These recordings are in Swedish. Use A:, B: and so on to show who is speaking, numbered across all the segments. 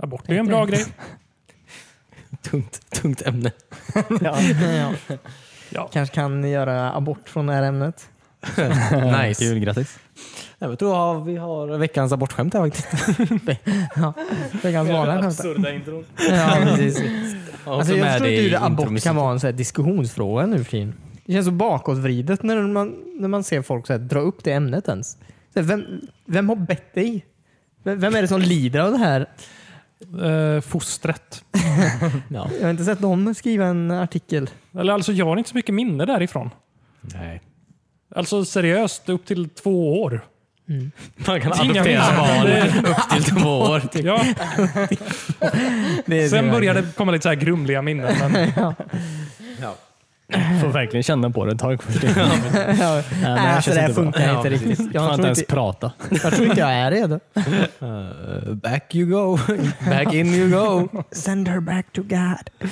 A: Ta bort det är en bra grej.
B: Tungt, tungt ämne.
C: Ja.
D: Ja.
A: Ja.
D: Kanske kan göra abort från det här ämnet.
B: Nice.
C: Kul, grattis.
B: Jag tror att vi har veckans abortskämt här faktiskt.
D: Veckans vana skämtar.
A: Absurda intron.
D: Ja, precis. Alltså,
B: Och så
D: jag
B: med
D: förstår
B: det
D: inte
B: i
D: hur det abort
B: intromusiken.
D: kan vara en så här diskussionsfråga nu för tiden. Det känns så bakåtvridet när man, när man ser folk så här, dra upp det ämnet ens. Så här, vem, vem har bett dig? Vem vem är det som lider av det här?
A: Eh, fostret.
B: Ja.
D: Jag har inte sett någon skriva en artikel.
A: Eller alltså, jag har inte så mycket minne därifrån.
B: Nej.
A: Alltså seriöst, upp till två år.
B: Man kan
A: Inga
B: adoptera
A: minnen.
B: barn upp till två år.
A: Ja,
D: Det är
A: sen
D: det
A: började det komma lite så här grumliga minnen. Men
C: Får verkligen känna på det ett tag först. Nej,
D: Ja.
C: men
D: Nej, alltså,
C: känns
D: det här
C: inte bra.
D: funkar
B: Ja,
D: inte
B: precis.
D: riktigt.
C: Fan
D: Jag
C: inte
D: tror
C: ens
D: inte,
C: prata.
D: jag tror inte jag är redo.
B: Eh, back you go. Back in you go.
D: Send her back to God.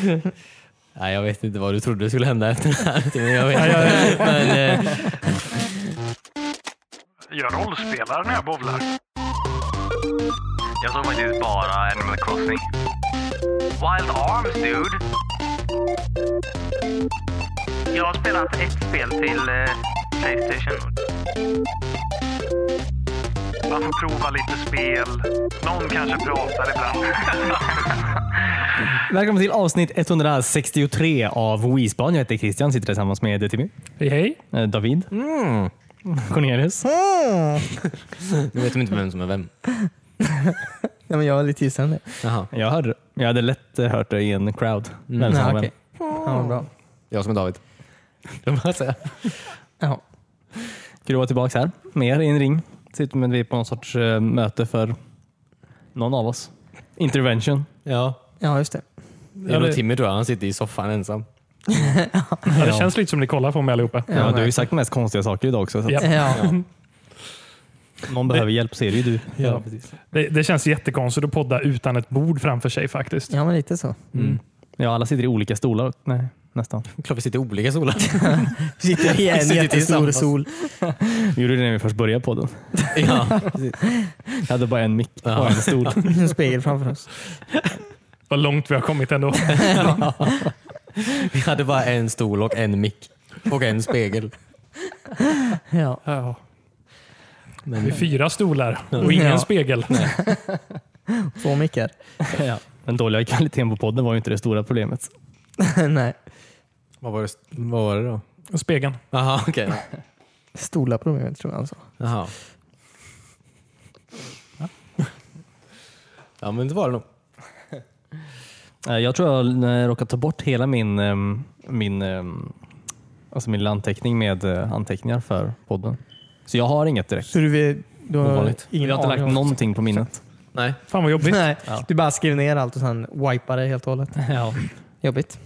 B: Nej, jag vet inte vad du trodde skulle hända efter det här. Men Jag vet
A: Ja, ja,
B: inte. Men, eh,
E: Jag rollspelar när jag bowlar.
F: Jag såg faktiskt bara Animal Crossing. Wild Arms, dude! Jag har spelat ett spel till eh, Playstation.
E: Man får prova lite spel. Någon kanske pratar ibland.
C: Välkommen till avsnitt 163 av Wispan. Jag heter Christian, sitter tillsammans med Timmy,
A: hej, hej.
C: eh, David,
B: Mm.
C: Cornelius.
B: nu vet de inte vem som är vem.
D: Ja, men jag är lite gissande. det.
B: Jaha.
C: Jag, hörde, jag hade lätt eh, hört det i en crowd. Vem som
D: Ja,
C: var vem.
D: okej. Ja, vad bra.
B: Mm. Jag som är David. Det var bara så här.
D: Ja.
C: Kul att vara tillbaka här med er i en ring. Sitter med vi på någon sorts eh, möte för någon av oss. Intervention.
B: Ja.
D: ja, just det.
B: Det är nog Timmy tror jag. Han sitter i soffan ensam.
A: Ja, det känns lite som ni kollar på mig allihopa.
C: Ja, du har ju sagt de mest konstiga saker idag också. Så att
A: Ja.
D: Ja.
C: Någon behöver hjälp så är det ju du.
A: Ja, Det, det känns jättekonstigt att podda utan ett bord framför sig faktiskt.
D: ja, men lite så.
C: Ja, alla sitter i olika stolar. Nej, nästan.
B: Klart vi sitter i olika solar.
D: Sitter i en
B: Sitter
D: jättestor
B: tillsammans.
D: sol.
C: Vi gjorde det när vi först började podden.
B: ja.
C: Jag hade bara en mick och
B: Ja.
C: en stol.
D: En spegel framför oss.
A: Vad långt vi har kommit ändå.
B: Vi hade bara en stol och en mick. Och en spegel.
D: Ja.
A: Ja. Vi är fyra stolar och
D: Ja.
A: ingen spegel.
D: Två mickar.
C: Ja. Den dåliga kvaliteten på podden var ju inte det stora problemet.
D: Nej.
B: Vad var det, vad var det då?
A: Spegeln.
B: Jaha, okej.
D: Stora problemet tror jag alltså. han sa.
B: Jaha. Ja, men det var det nog.
C: Eh, Jag tror jag eh, råkat ta bort hela min, ehm, min, ehm, alltså min lilla anteckning med eh, anteckningar för podden. Så jag har inget direkt.
D: Så du, vet- du har
B: Ovanligt.
D: ingen
C: jag har inte
D: aning
C: lagt
D: om-
C: någonting på minnet.
B: Nej.
A: Fan vad jobbigt.
D: Nej,
C: Ja.
D: du bara skrev ner allt och sen wipade det helt och hållet.
C: Ja,
D: Jobbigt.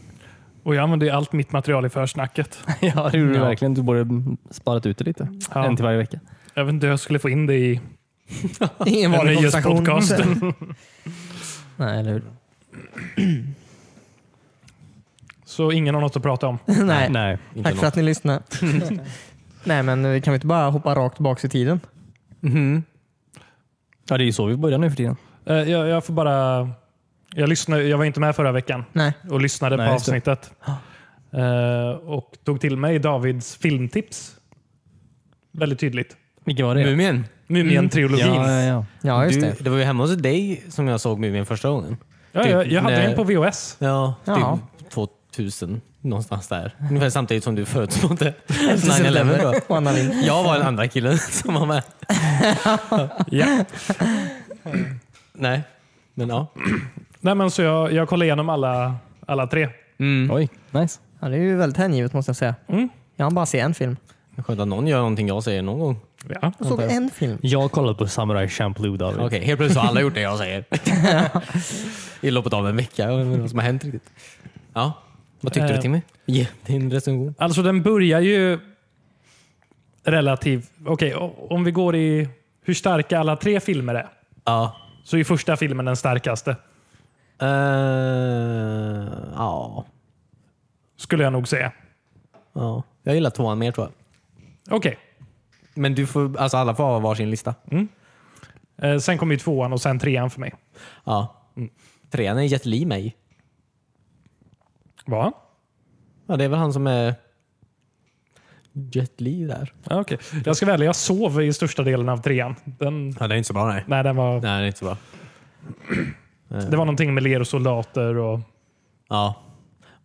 A: Och jag använder ju allt mitt material i försnacket.
C: ja det gjorde du
D: Ja.
C: verkligen. Du borde mm, sparat ut det lite.
A: Ja.
C: En till varje vecka.
A: Jag vet inte hur jag skulle få in det i
D: Ingen
A: en
D: vanlig konversation.
A: nyhetspodcast.
D: Nej, eller hur?
A: Så ingen har något att prata om.
D: Nej.
C: Nej.
B: Inte
D: Tack för att ni lyssnade. Nej, men eh, kan vi inte bara hoppa rakt tillbaka i tiden?
C: Ja, det är ju så vi börjar nu för tiden.
A: Eh, Jag, jag får bara... Jag, lyssnade, jag var inte med förra veckan
D: Nej.
A: och lyssnade
C: Nej,
A: på
C: just det.
A: avsnittet. Eh, Och tog till mig Davids filmtips. Väldigt tydligt.
C: Vilken var det?
B: Mumien.
A: Mumien-trilogin.
C: Ja, ja, ja.
D: Ja, just
B: Du,
D: det.
B: det var ju hemma hos dig som jag såg Mumien första gången.
A: Ja,
B: Typ
A: jag, jag hade
B: när-
A: den på VHS.
B: Ja,
D: Ja.
B: typ 2000. Någonstans där. Ungefär samtidigt som du föddes.
D: september.
B: 9-11 då.
D: Och Anna Lind.
B: Jag var den andra killen som var med.
A: Ja.
B: Nej, men ja.
A: Nej, men så jag, jag kollade igenom alla, alla tre.
C: Oj, nice.
D: Ja, det är ju väldigt hängivet måste jag säga.
A: Mm.
D: Jag har bara sett en film.
B: Skönt att någon gör någonting jag säger någon gång.
A: Ja.
D: Jag såg en film.
C: Jag har kollat på Samurai Champloo David.
B: Okej, helt plötsligt har alla gjort det jag säger. I loppet av en vecka. Jag vet inte vad som har hänt riktigt. Ja, vad tyckte
A: Eh.
B: du Timmy? Ge din recension.
A: Alltså den börjar ju relativt... Okej, o- om vi går i hur starka alla tre filmer är.
B: Ja.
A: Så är första filmen den starkaste,
B: Eh, ja.
A: skulle jag nog säga.
B: ja. Jag gillar tvåan mer tror jag.
A: Okej.
B: Men du får, alltså alla får ha varsin lista.
A: Eh, sen kommer ju tvåan och sen trean för mig.
B: Ja. Mm. Trean är Jet Li mig.
A: Va?
B: Ja, det är väl han som är Jet Li där.
A: Ja, okej. Jag ska välja, jag sov i största delen av trean. Den,
B: Ja, det är inte så bra nej.
A: nej, den var,
B: Nej, det är inte så bra.
A: Det var någonting med ler och soldater och...
B: Ja.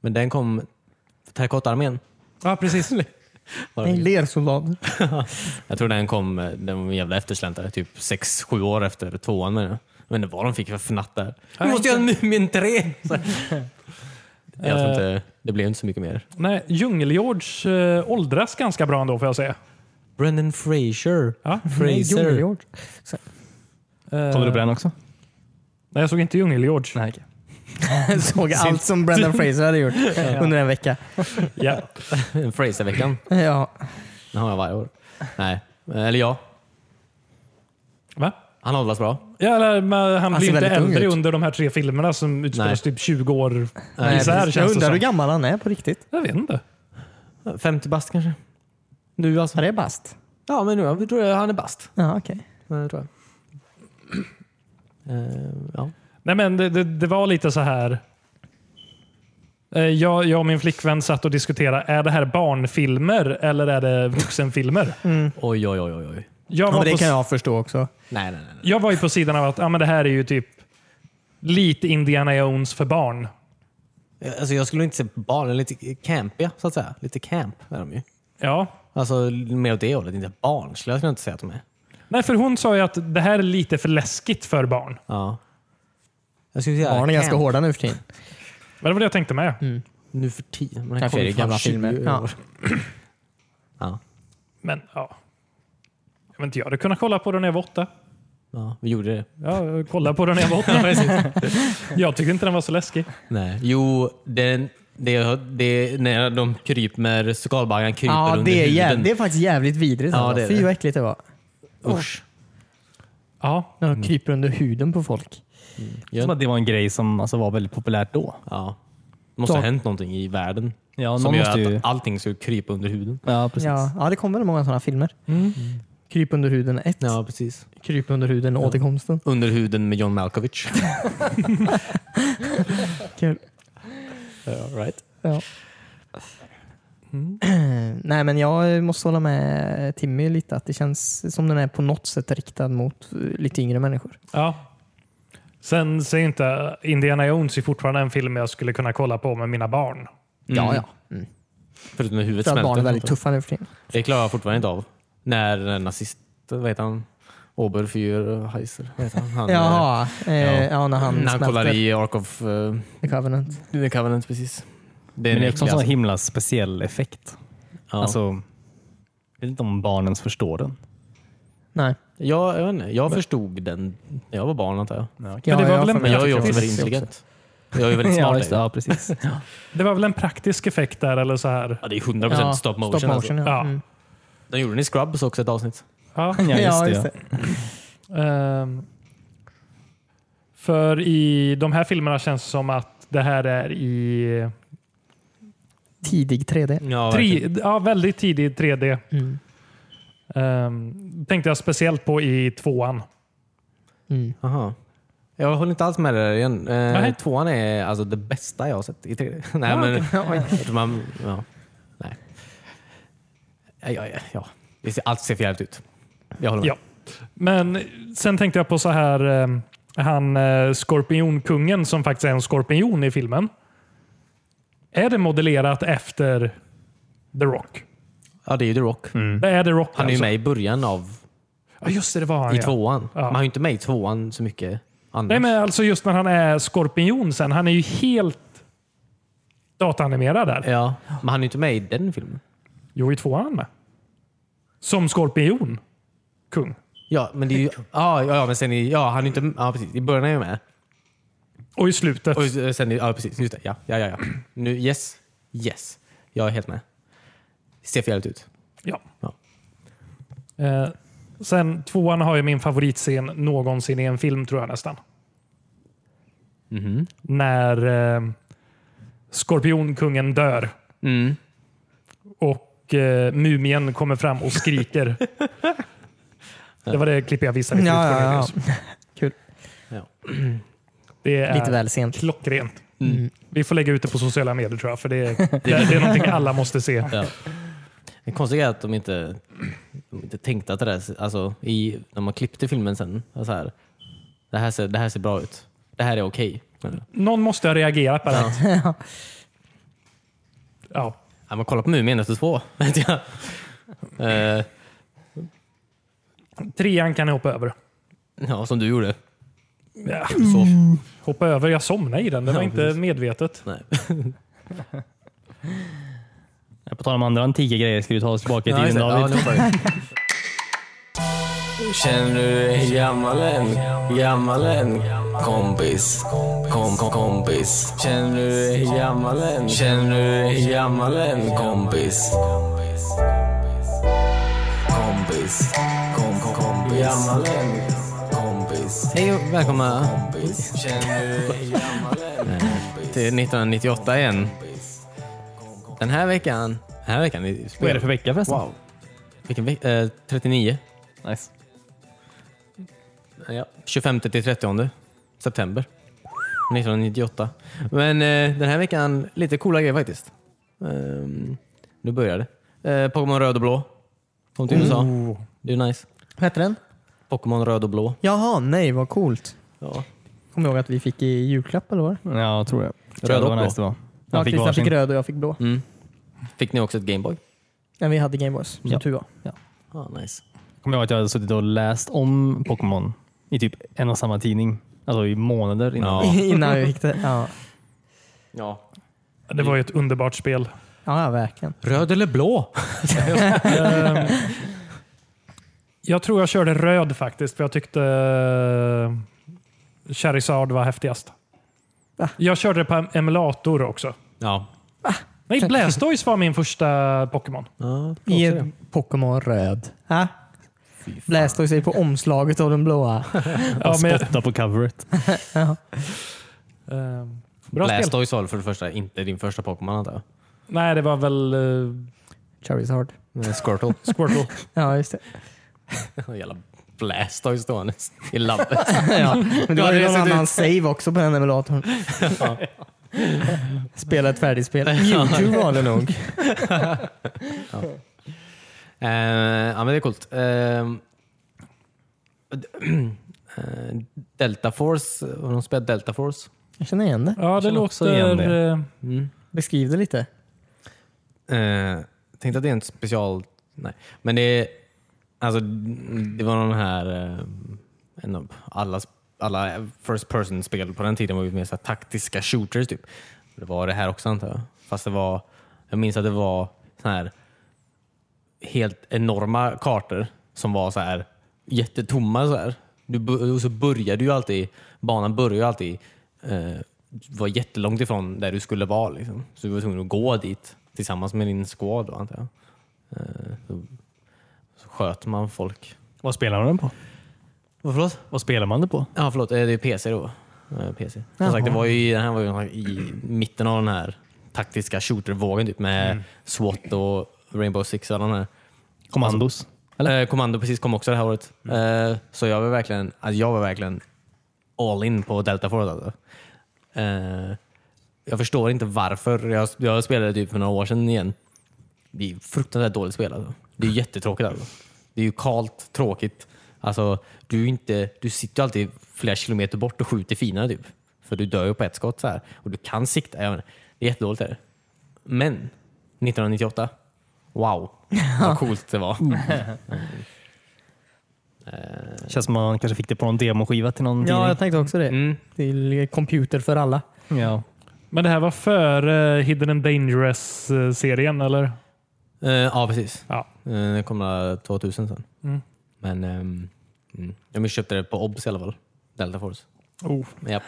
B: Men den kom... Terrakottararmén.
A: Ja, precis.
B: var
D: Nej,
B: det.
D: lersoldater.
B: Jag tror den kom, eh, den var en jävla eftersläntrare, typ sex sju år efter tvåan menar jag. Jag vet inte vad de fick för fnatt där. Nu måste jag göra Mumin 3! Så- Jag tror inte, det blev inte så mycket mer.
A: Nej, Djungel-George eh, åldras ganska bra ändå får jag säga. Eh,
B: Brendan Fraser.
A: Ja.
B: Fraser.
D: Djungelhjort.
C: Kollade du på
A: Eh,
C: den också?
A: nej, jag såg inte Djungel-George.
C: Nej, okej.
D: Såg allt som Brendan Fraser hade gjort under en vecka.
A: Ja.
B: Fraser-veckan.
D: Ja.
B: Den har jag varje år. Nej, eller ja.
A: Va?
B: Han åldras bra.
A: Ja, eller, men han
D: Han
A: blir
D: ser
A: inte
D: väldigt ung
A: äldre
D: ut.
A: under de här tre filmerna som utspelas
B: Nej.
A: typ 20 år
B: Nej,
A: isär
D: Jag
A: känns det
D: undrar hur
A: som.
D: gammal han är på riktigt.
A: Jag vet inte.
B: 50 bast kanske. Nu alltså.
D: Han är bast.
B: Ja, men nu, jag tror jag han är bast.
D: Ja, okej.
B: Det tror jag. Eh, ja.
A: Nej, men det, det, det var lite så här. Eh, Jag, jag och min flickvän satt och diskuterade, är det här barnfilmer eller är det vuxenfilmer?
B: Oj, oj, oj, oj, oj.
A: Jag,
D: Mm. Ja,
A: var
D: men det
A: på,
D: kan jag förstå också.
B: Nej, nej, nej. nej.
A: jag var ju på sidan av att ja, men det här är ju typ lite Indiana Jones för barn.
B: Jag- Alltså, jag skulle inte säga barn, de är lite campiga så att säga. Lite camp är de ju.
A: Ja.
B: Alltså mer åt det hållet, inte barnsliga skulle jag inte säga att de är.
A: Nej, för hon sa ju att det här är lite för läskigt för barn.
B: Ja. Jag skulle säga
D: Barn är ganska
B: camp
D: hårda nu för tiden.
A: Men Det var det jag tänkte med.
D: Mm.
B: nu för tiden. Man
D: Kanske är det gamla filmer. Ja.
B: Ja. Ja.
A: Men ja. Jag vet inte, jag hade kunnat kolla på den när jag var åtta.
B: ja, vi gjorde det.
A: Ja, jag kollade på den när jag var åtta. jag tyckte inte den var så läskig.
B: Nej. Jo, det, det, det, när de kryper, skalbaggarna kryper
D: Ja,
B: under
D: det är,
B: huden.
D: jäv, det är faktiskt jävligt vidrigt.
B: Ja,
D: alltså.
B: det är
D: Fy
B: det.
D: vad äckligt det var.
B: Usch.
A: Ja,
D: När
B: Mm.
D: de kryper under huden på folk.
C: Som att det var en grej som alltså, var väldigt populärt då.
B: Ja. Det måste ha
D: Så-
B: hänt någonting i världen
C: Ja,
B: som
C: någon
B: gör
C: måste ju-
B: att allting skulle krypa under huden.
C: Ja, precis.
D: Ja, ja, det kommer många sådana filmer.
B: Mm.
D: Kryp under huden 1.
B: Ja, precis.
D: Kryp under huden återkomsten.
B: Under huden med John Malkovich.
D: Kul.
B: right.
D: Ja. Mm. Nej men jag måste hålla med Timmy lite att det känns som den är på något sätt riktad mot eh, lite yngre människor.
A: Ja. Sen säger inte Indiana Jones är fortfarande en film jag skulle kunna kolla på med mina barn.
D: Ja, ja.
B: Mm. Förutom när huvudet
D: För att barn är
B: smälter.
D: väldigt tuffa nu för tiden.
B: Det klarar jag fortfarande inte av. När den här nazist, vad heter han? Oberfürheiser, vad heter han? han eh,
D: Jaha, eh,
B: ja.
D: ja. när han
B: när han
D: smälter
B: kollar i Ark of uh,
D: The Covenant.
B: The Covenant, precis. Det är
C: Men det
B: en
C: är också en
B: äcklig,
C: sån
B: alltså.
C: himla speciell effekt.
B: ja.
C: Alltså, jag vet inte om barnen ens förstår den.
D: Nej.
B: jag, jag, vet inte, jag förstod den när jag var barn antar jag.
A: Men det var väl en-
B: Men jag är ju också
A: tycker
B: väldigt
A: jag
B: intelligent. Jag är ju väldigt smart.
C: ja,
B: är
C: just det.
B: jag.
C: ja, precis.
A: Det var väl en praktisk effekt där eller så här.
B: ja, det är 100%
D: Ja,
B: stop motion. Alltså.
A: Ja.
D: ja. Mm.
B: De gjorde den i Scrubs också ett avsnitt.
A: Ja.
C: Ja, just
D: Ja,
C: det,
D: just
C: ja.
D: det.
A: Ehm, för i de här filmerna känns det som att det här är i
D: Tidig 3D.
B: Ja,
A: tre, ja, väldigt tidig 3D.
D: Mm.
A: Ehm, tänkte jag speciellt på i tvåan.
D: Mm.
B: Aha. Jag håller inte alls med dig där igen. Eh,
A: Nej.
B: tvåan är alltså det bästa jag har sett i 3D. Nej,
A: Ja,
B: men, jag tror man, ja. Nej. Ja, ja, ja, ja. Det ser, allt ser förjävligt ut. Jag håller med.
A: Ja. Men sen tänkte jag på så här, ehm, han eh, skorpionkungen som faktiskt är en skorpion i filmen. Är det modellerat efter The Rock?
B: Ja, det är ju The Rock.
A: Det är The Rock
B: Mm. Han är ju
A: alltså.
B: med i början av
A: Ja, just det, det var han
B: i
A: ja.
B: tvåan.
A: Ja.
B: Men han är ju inte med i tvåan så mycket annars.
A: Nej, men alltså just när han är skorpion sen. Han är ju helt dataanimerad där.
B: Ja, men han är ju inte med i den filmen.
A: Jo, i tvåan är han med. Som skorpion. Kung.
B: Ja, men det är ju, ja, ja, ja, men sen i, ja, han är ju inte, ja, precis. I början är jag med.
A: Och i slutet.
B: Och sen, ja precis, just det. Ja, ja, ja. ja. Nu, yes, yes. Jag är helt med. Det ser förjävligt ut.
A: Ja.
B: Ja.
A: Eh, sen tvåan har ju min favoritscen någonsin i en film tror jag nästan. När eh, skorpionkungen dör och eh, mumien kommer fram och skriker. det var det klippet jag visade.
D: Ja,
A: förut,
D: ja, ja.
A: Cornelius.
D: Kul.
A: Det är
D: Lite väl Mm. sent.
A: klockrent. Vi får lägga ut det på sociala medier tror jag, för det, det, det är någonting alla måste se.
B: Ja. Det konstiga är att de inte, de inte tänkte att det där, alltså, i, när man klippte filmen sen, var så här, det, här ser, det här ser bra ut. Det här är okej.
A: Någon måste ha reagerat på det. Ja.
B: Ja, man kollar på Mumien efter två. vet jag. Eh,
A: Trean kan jag hoppa över.
B: ja, som du gjorde.
A: Ja.
B: Du sov.
A: Hoppa över? Jag somnade i den. Det var
B: Ja,
A: inte
B: precis.
A: medvetet.
B: Nej.
C: På tal om andra antika grejer, ska vi ta oss tillbaka i
B: Ja, just
C: tiden
B: det. Ja,
C: David?
B: nu hoppar vi. Känner du dig gammal än? Gammal än? Kompis. Kom, kom, kompis. Känner du dig gammal än? Känner du dig gammal än? Kompis. Kompis. Kom, kom, kompis. Gammal än? Kompis. Hej och välkomna. Eh, Till 1998 igen. Den här veckan. Den här veckan.
C: Vad är det för vecka förresten?
B: Wow. Vilken veck- eh, 39.
C: Nice.
B: Ja. 25 till 30 september 1998. Men eh, den här veckan lite coola grejer faktiskt. Ehm, nu börjar det. Eh, Pokémon röd och blå. Kom till USA. Det är nice.
D: Vad hette den?
B: Pokémon röd och blå.
D: Jaha, nej vad coolt.
B: Ja.
D: Kommer jag ihåg att vi fick i julklapp eller vad
C: Ja, jag tror jag.
B: Röd
C: Det
B: och
C: var
B: blå.
C: nice det
D: Ja,
C: var. Jag fick
D: Christian
C: varsin.
D: fick röd och jag fick blå.
B: Fick ni också ett Gameboy?
D: Nej, vi hade Gameboys, som
C: Ja.
D: tur var.
B: Ah, nice.
C: Kommer jag ihåg att jag hade suttit och läst om Pokémon i typ en och samma tidning. Alltså i månader innan.
B: Ja.
D: Innan vi fick det. Ja,
B: ja.
A: Det var ju ett underbart spel.
D: ja ja, verkligen.
B: Röd eller blå?
A: Ehm, jag tror jag körde röd faktiskt, för jag tyckte eh, Charizard var häftigast.
D: Va?
A: Jag körde det på emulator också.
B: Ja.
A: Nej, Blastoise var min första Pokémon.
B: ja.
D: I ett Pokémon röd. Ja. Blästade sig på omslaget av den blåa.
A: Ja, men,
C: Spotta på coveret.
A: ehm, bra spel.
B: Blastoise var väl för det första inte din första Pokémon antar jag?
A: Nej, det var väl eh,
D: Charizard.
B: Nej, Squirtle.
A: Squirtle.
D: Ja, just det.
B: Jävla Blastoise stående i labbet.
D: Ja. Men det typ- var
B: Ja,
D: ju någon
B: det ser ut-
D: annan save också på den emulatorn. Spela ett färdigt spel. Mewtwo var det nog.
B: Eh, ja, men det är coolt. Uh, Delta Force, har de spelat Delta Force?
D: Jag känner igen det.
A: Ja, det
C: känner också igen
A: låter...
C: det.
A: eh,
D: Beskriv det lite.
B: Eh, tänkte att det är en special... Nej. Men det är... Alltså, det var de här... eh, en av alla, alla first person-spel på den tiden var ju mer så här taktiska shooters. Typ. Det var det här också antar jag. Fast det var... Jag minns att det var så här helt enorma kartor som var så här jättetomma. Så här. Du, bu- och så började ju alltid... Banan började ju alltid eh, var jättelångt ifrån där du skulle vara. Liksom. Så du var tvungen att gå dit tillsammans med din squad då, antar jag. Eh, så, så sköt man folk.
C: Vad spelar man den på?
B: Vad förlåt?
C: Vad spelar man det på?
B: Ja, förlåt. Eh, Det är PC då. Eh, PC. Som sagt, det var ju, den här var ju i mitten av den här taktiska shootervågen typ, med SWAT och Rainbow Six och alla de här.
C: Kommandos?
B: Eh, Kommando precis kom också det här året. Eh, så jag var verkligen, alltså jag var verkligen all in på Delta Force. Alltså. Eh, jag förstår inte varför. Jag, jag spelade typ för några år sedan igen. Det är ju fruktansvärt dåligt spel. Alltså. Det är ju jättetråkigt. Alltså. Det är ju kallt, tråkigt. Alltså, du, är ju inte, du sitter ju alltid flera kilometer bort och skjuter fina typ. För du dör ju på ett skott så här. Och du kan sikta. Jag menar, det är jättedåligt. Är det. Men 1998, wow vad coolt det var. Eh,
C: Känns som man kanske fick det på någon demoskiva till någon
D: Ja, jag
C: tidning.
D: tänkte också det.
B: Mm.
D: Till computer för alla.
C: Ja.
A: Men det här var före Hidden and Dangerous-serien, eller?
B: Eh, ja, precis.
A: Ja.
B: Eh, det kom några 2000 sen. Men ehm, mm. jag minns köpte det på OBS i alla fall. Delta Force.
A: Oh.
B: Ja.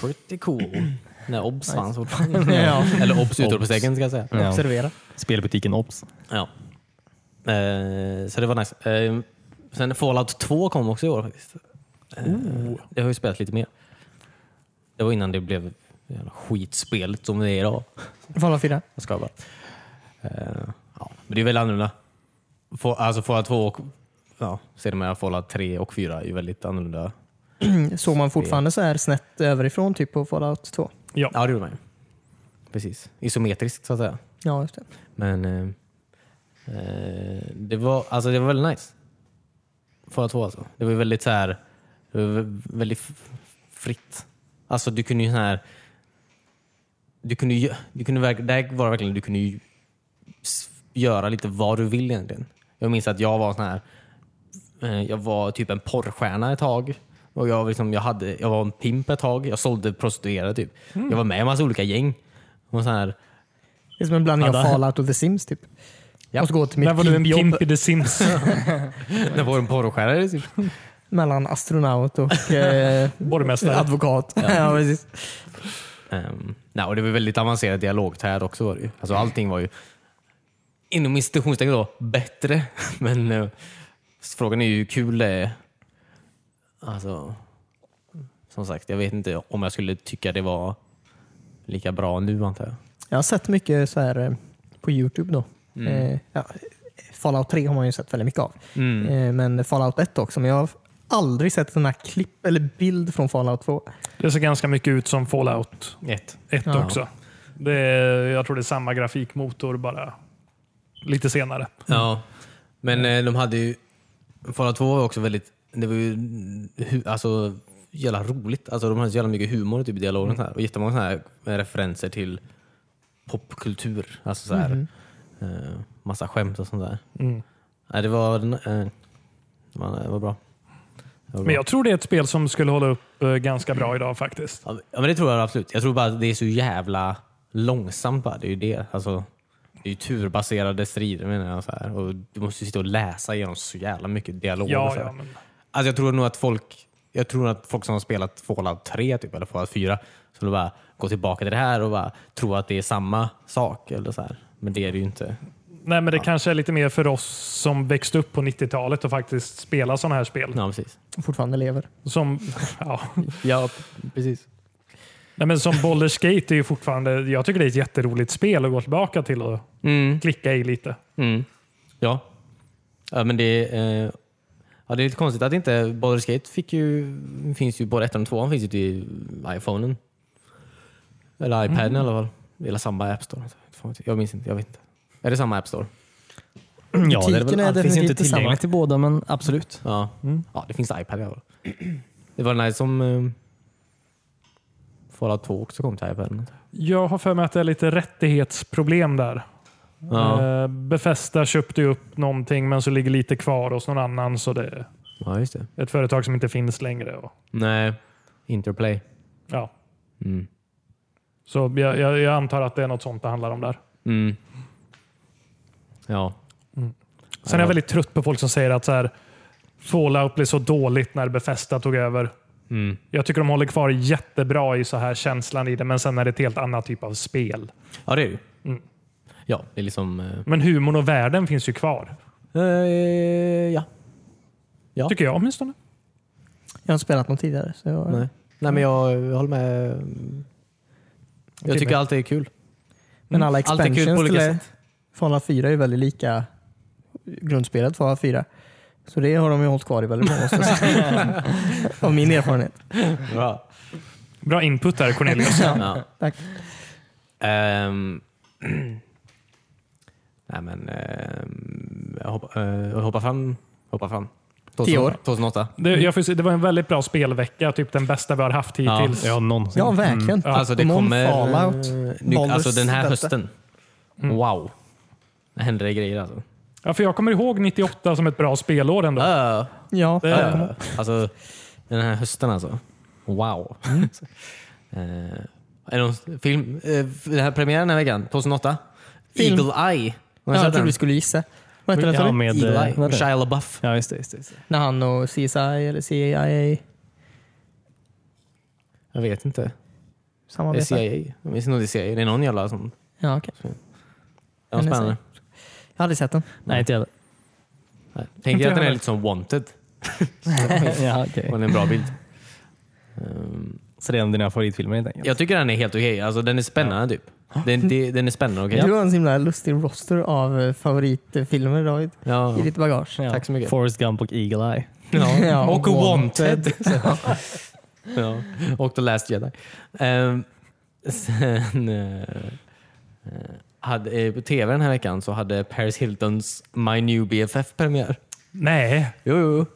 B: Pretty cool. När OBS fanns fortfarande.
D: Ja.
B: Eller OBS utropstecken ska jag säga.
C: Ja.
D: Observera.
C: Spelbutiken Obs.
B: Ja. Eh, så det var nice. Eh, sen Fallout 2 kom också i år faktiskt. Eh, det har jag ju spelat lite mer. Det var innan det blev jävla skitspelet som det är idag.
D: Fallout 4.
B: Jag skojar bara. Eh, ja. Men det är väl annorlunda. Få, alltså Fallout 2 och ja, ser de här Fallout 3 och 4 är ju väldigt annorlunda
D: Mm, Såg man fortfarande så här snett överifrån typ på Fallout 2?
B: Ja, det gjorde man ju. Precis. Isometriskt så att säga.
D: Ja, just det.
B: Men eh, eh, det, var, alltså, det var väldigt nice. Fallout 2 alltså. Det var ju väldigt så här, det var vä- väldigt f- fritt. Alltså du kunde ju så här, du kunde, ju- du kunde, verk- där var det verkligen, du kunde ju s- göra lite vad du vill egentligen. Jag minns att jag var sån här, eh, jag var typ en porrstjärna ett tag. Och jag, liksom, jag, hade, jag var en pimp ett tag. Jag sålde prostituerade typ. Jag var med i en massa olika gäng. Och så här,
D: Det är som en blandning
B: Ja,
D: av
B: där.
D: Fallout och The Sims typ. Jag måste gå till
A: Där
D: mitt
A: var du en
D: pimpjobb
A: pimp i The Sims.
B: det var en porrstjärna typ.
D: mellan astronaut och eh,
A: Borgmästare.
D: advokat. ja, precis.
B: Um, nej, och det var väldigt avancerad dialogträd också. Var det ju. Alltså, allting var ju inom institutionstecken då bättre. Men eh, frågan är ju hur kul det är. Alltså, som sagt, jag vet inte om jag skulle tycka det var lika bra nu antar jag.
D: Jag har sett mycket så här eh, på Youtube då. Eh, ja, Fallout 3 har man ju sett väldigt mycket av. Eh, men Fallout 1 också. Men jag har aldrig sett den här klipp eller bild från Fallout 2.
A: Det ser ganska mycket ut som Fallout
B: Ett.
A: 1 också. Det är, jag tror det är samma grafikmotor, bara lite senare.
B: Ja, men eh, de hade ju... Fallout 2 var också väldigt... Det var ju hu- alltså, jävla roligt. Alltså, de hade så jävla mycket humor typ, i dialogen så här. och jättemånga så här eh, referenser till popkultur. Alltså, så här,
A: Mhm.
B: eh, massa skämt och sånt där.
A: Mm.
B: Nej, det, var, eh, det var, det var bra. Det var bra.
A: Men jag tror det är ett spel som skulle hålla upp eh, ganska bra idag faktiskt.
B: Ja, men det tror jag absolut. Jag tror bara att det är så jävla långsamt bara. Det är ju det. Alltså, det är ju turbaserade strider menar jag. Så här. Och du måste ju sitta och läsa igenom så jävla mycket dialog. och
A: Ja,
B: så här.
A: ja, men
B: Alltså jag tror nog att folk jag tror att folk som har spelat Fallout 3 typ, eller Fallout 4 skulle bara gå tillbaka till det här och bara tro att det är samma sak. Eller så här. Men det är det ju inte.
A: Nej, men det kanske är lite mer för oss som växte upp på 90-talet och faktiskt spelar sådana här spel.
B: Ja, precis.
D: Fortfarande lever.
A: Som, ja.
B: Ja, precis.
A: Nej, men som Baldur's Gate är ju fortfarande, jag tycker det är ett jätteroligt spel att gå tillbaka till och
B: Mm,
A: klicka i lite.
B: mm. Ja. ja, men det, eh, ja, det är lite konstigt att inte Baldur's Gate fick ju, finns ju både ettan och tvåan finns ju till iPhonen. Eller iPaden i alla fall. Eller samma App Store. Jag minns inte. Jag vet inte. Är det samma App Store?
C: Ja, det är väl,
D: Butiken är
C: allt finns ju inte
D: definitivt detsamma.
C: tillgängligt till båda, men absolut.
B: Ja, ja det finns iPad i alla fall. Det var nice som eh, Fallout 2 också kom till iPaden.
A: Jag har för mig att det är lite rättighetsproblem där.
B: Ja,
A: Eh, Befästa köpte ju upp någonting men så ligger lite kvar hos någon annan så det är
B: ja just det.
A: ett företag som inte finns längre. Och,
B: Nej, Interplay.
A: ja.
B: Mm.
A: Så jag, jag, jag antar att det är något sånt det handlar om där.
B: Mm. Ja.
A: Sen är jag väldigt trött på folk som säger att så här, Fallout blev så dåligt när Befästa tog över.
B: Mm.
A: Jag tycker de håller kvar jättebra i så här känslan i det, men sen är det ett helt annat typ av spel.
B: ja, det är det ju. Ja, det är liksom... eh,
A: Men humorn och världen finns ju kvar.
B: Eh, ja. Ja.
A: Tycker jag åtminstone.
D: Jag har inte spelat någon tidigare. Så jag,
B: Nej. Nej, men jag, jag håller med. Typ. Jag tycker allt är kul.
D: Men alla
B: Allt är Mm. kul på
D: expansions
B: olika
D: till det-
B: sätt.
D: Fallout 4 är ju väldigt lika grundspelet Fallout 4. Så det har de ju hållit kvar i väldigt många år. ska jag säga. Av min erfarenhet.
B: Bra.
A: Bra input där Cornelius.
B: Ja.
D: Tack.
B: Ehm, nej men, ehm, jag hoppa, eh, jag hoppar fram. Hoppar fram. 2000
D: Tio år.
B: 2008.
D: Mm.
A: Det, jag får, se- det var en väldigt bra spelvecka, typ den bästa vi har haft hittills.
C: Ja, någonsin. Mm.
D: Ja, verkligen.
B: Alltså det
D: Pokémon,
B: kommer... eh,
D: Fallout, Mm.
B: ny,
D: Baldur's
B: alltså den här
D: detta.
B: hösten. Wow. Det händer det grejer alltså.
A: Ja, för jag kommer ihåg 98 som ett bra spelår ändå.
B: Uh,
D: Ja,
B: uh, alltså den här hösten alltså. Wow.
D: Mm.
B: Eh, är det någon film? eh, den här premiären den här veckan, 2008.
D: Film. Ja,
B: Eagle Eye. Har ni
D: jag
B: sett
D: trodde
B: den?
D: du skulle gissa. Vad heter den sa
C: Ja,
D: du?
C: med,
B: Eagle
C: eh,
B: Eye.
C: vad
B: Med
C: heter det?
B: Shia LaBeouf.
C: Ja, just det. Just det, just det.
D: När han och CSI eller CIA
B: Jag vet inte. Det är
D: samarbetar.
B: CIA. Jag minns inte om det är CIA. Det är någon jävla som...
D: Ja, okej.
B: Det var
D: Men det är
B: spännande.
D: Jag har aldrig sett den.
C: Nej, inte jag heller.
B: Nej. Tänkte jag att den är lite som Wanted.
C: ja, okej.
B: Och det är en bra bild. Ehm,
C: Så det är en av dina favoritfilmer helt enkelt?
B: jag tycker den är helt okej. Alltså, den är spännande typ. Den, det- den är spännande och okej.
D: Du har en så himla lustig roster av eh, favoritfilmer David,
B: Ja.
D: i ditt bagage.
C: Ja.
B: Tack så mycket.
C: Forrest Gump och Eagle Eye.
B: Ja.
D: Ja,
B: och
D: Wanted.
B: Wanted. ja. Och The Last Jedi. Ehm, sen, eh, eh, hade, eh, på tv den här veckan så hade Paris Hiltons My New BFF premiär.
A: Nej.
B: Jo, jo.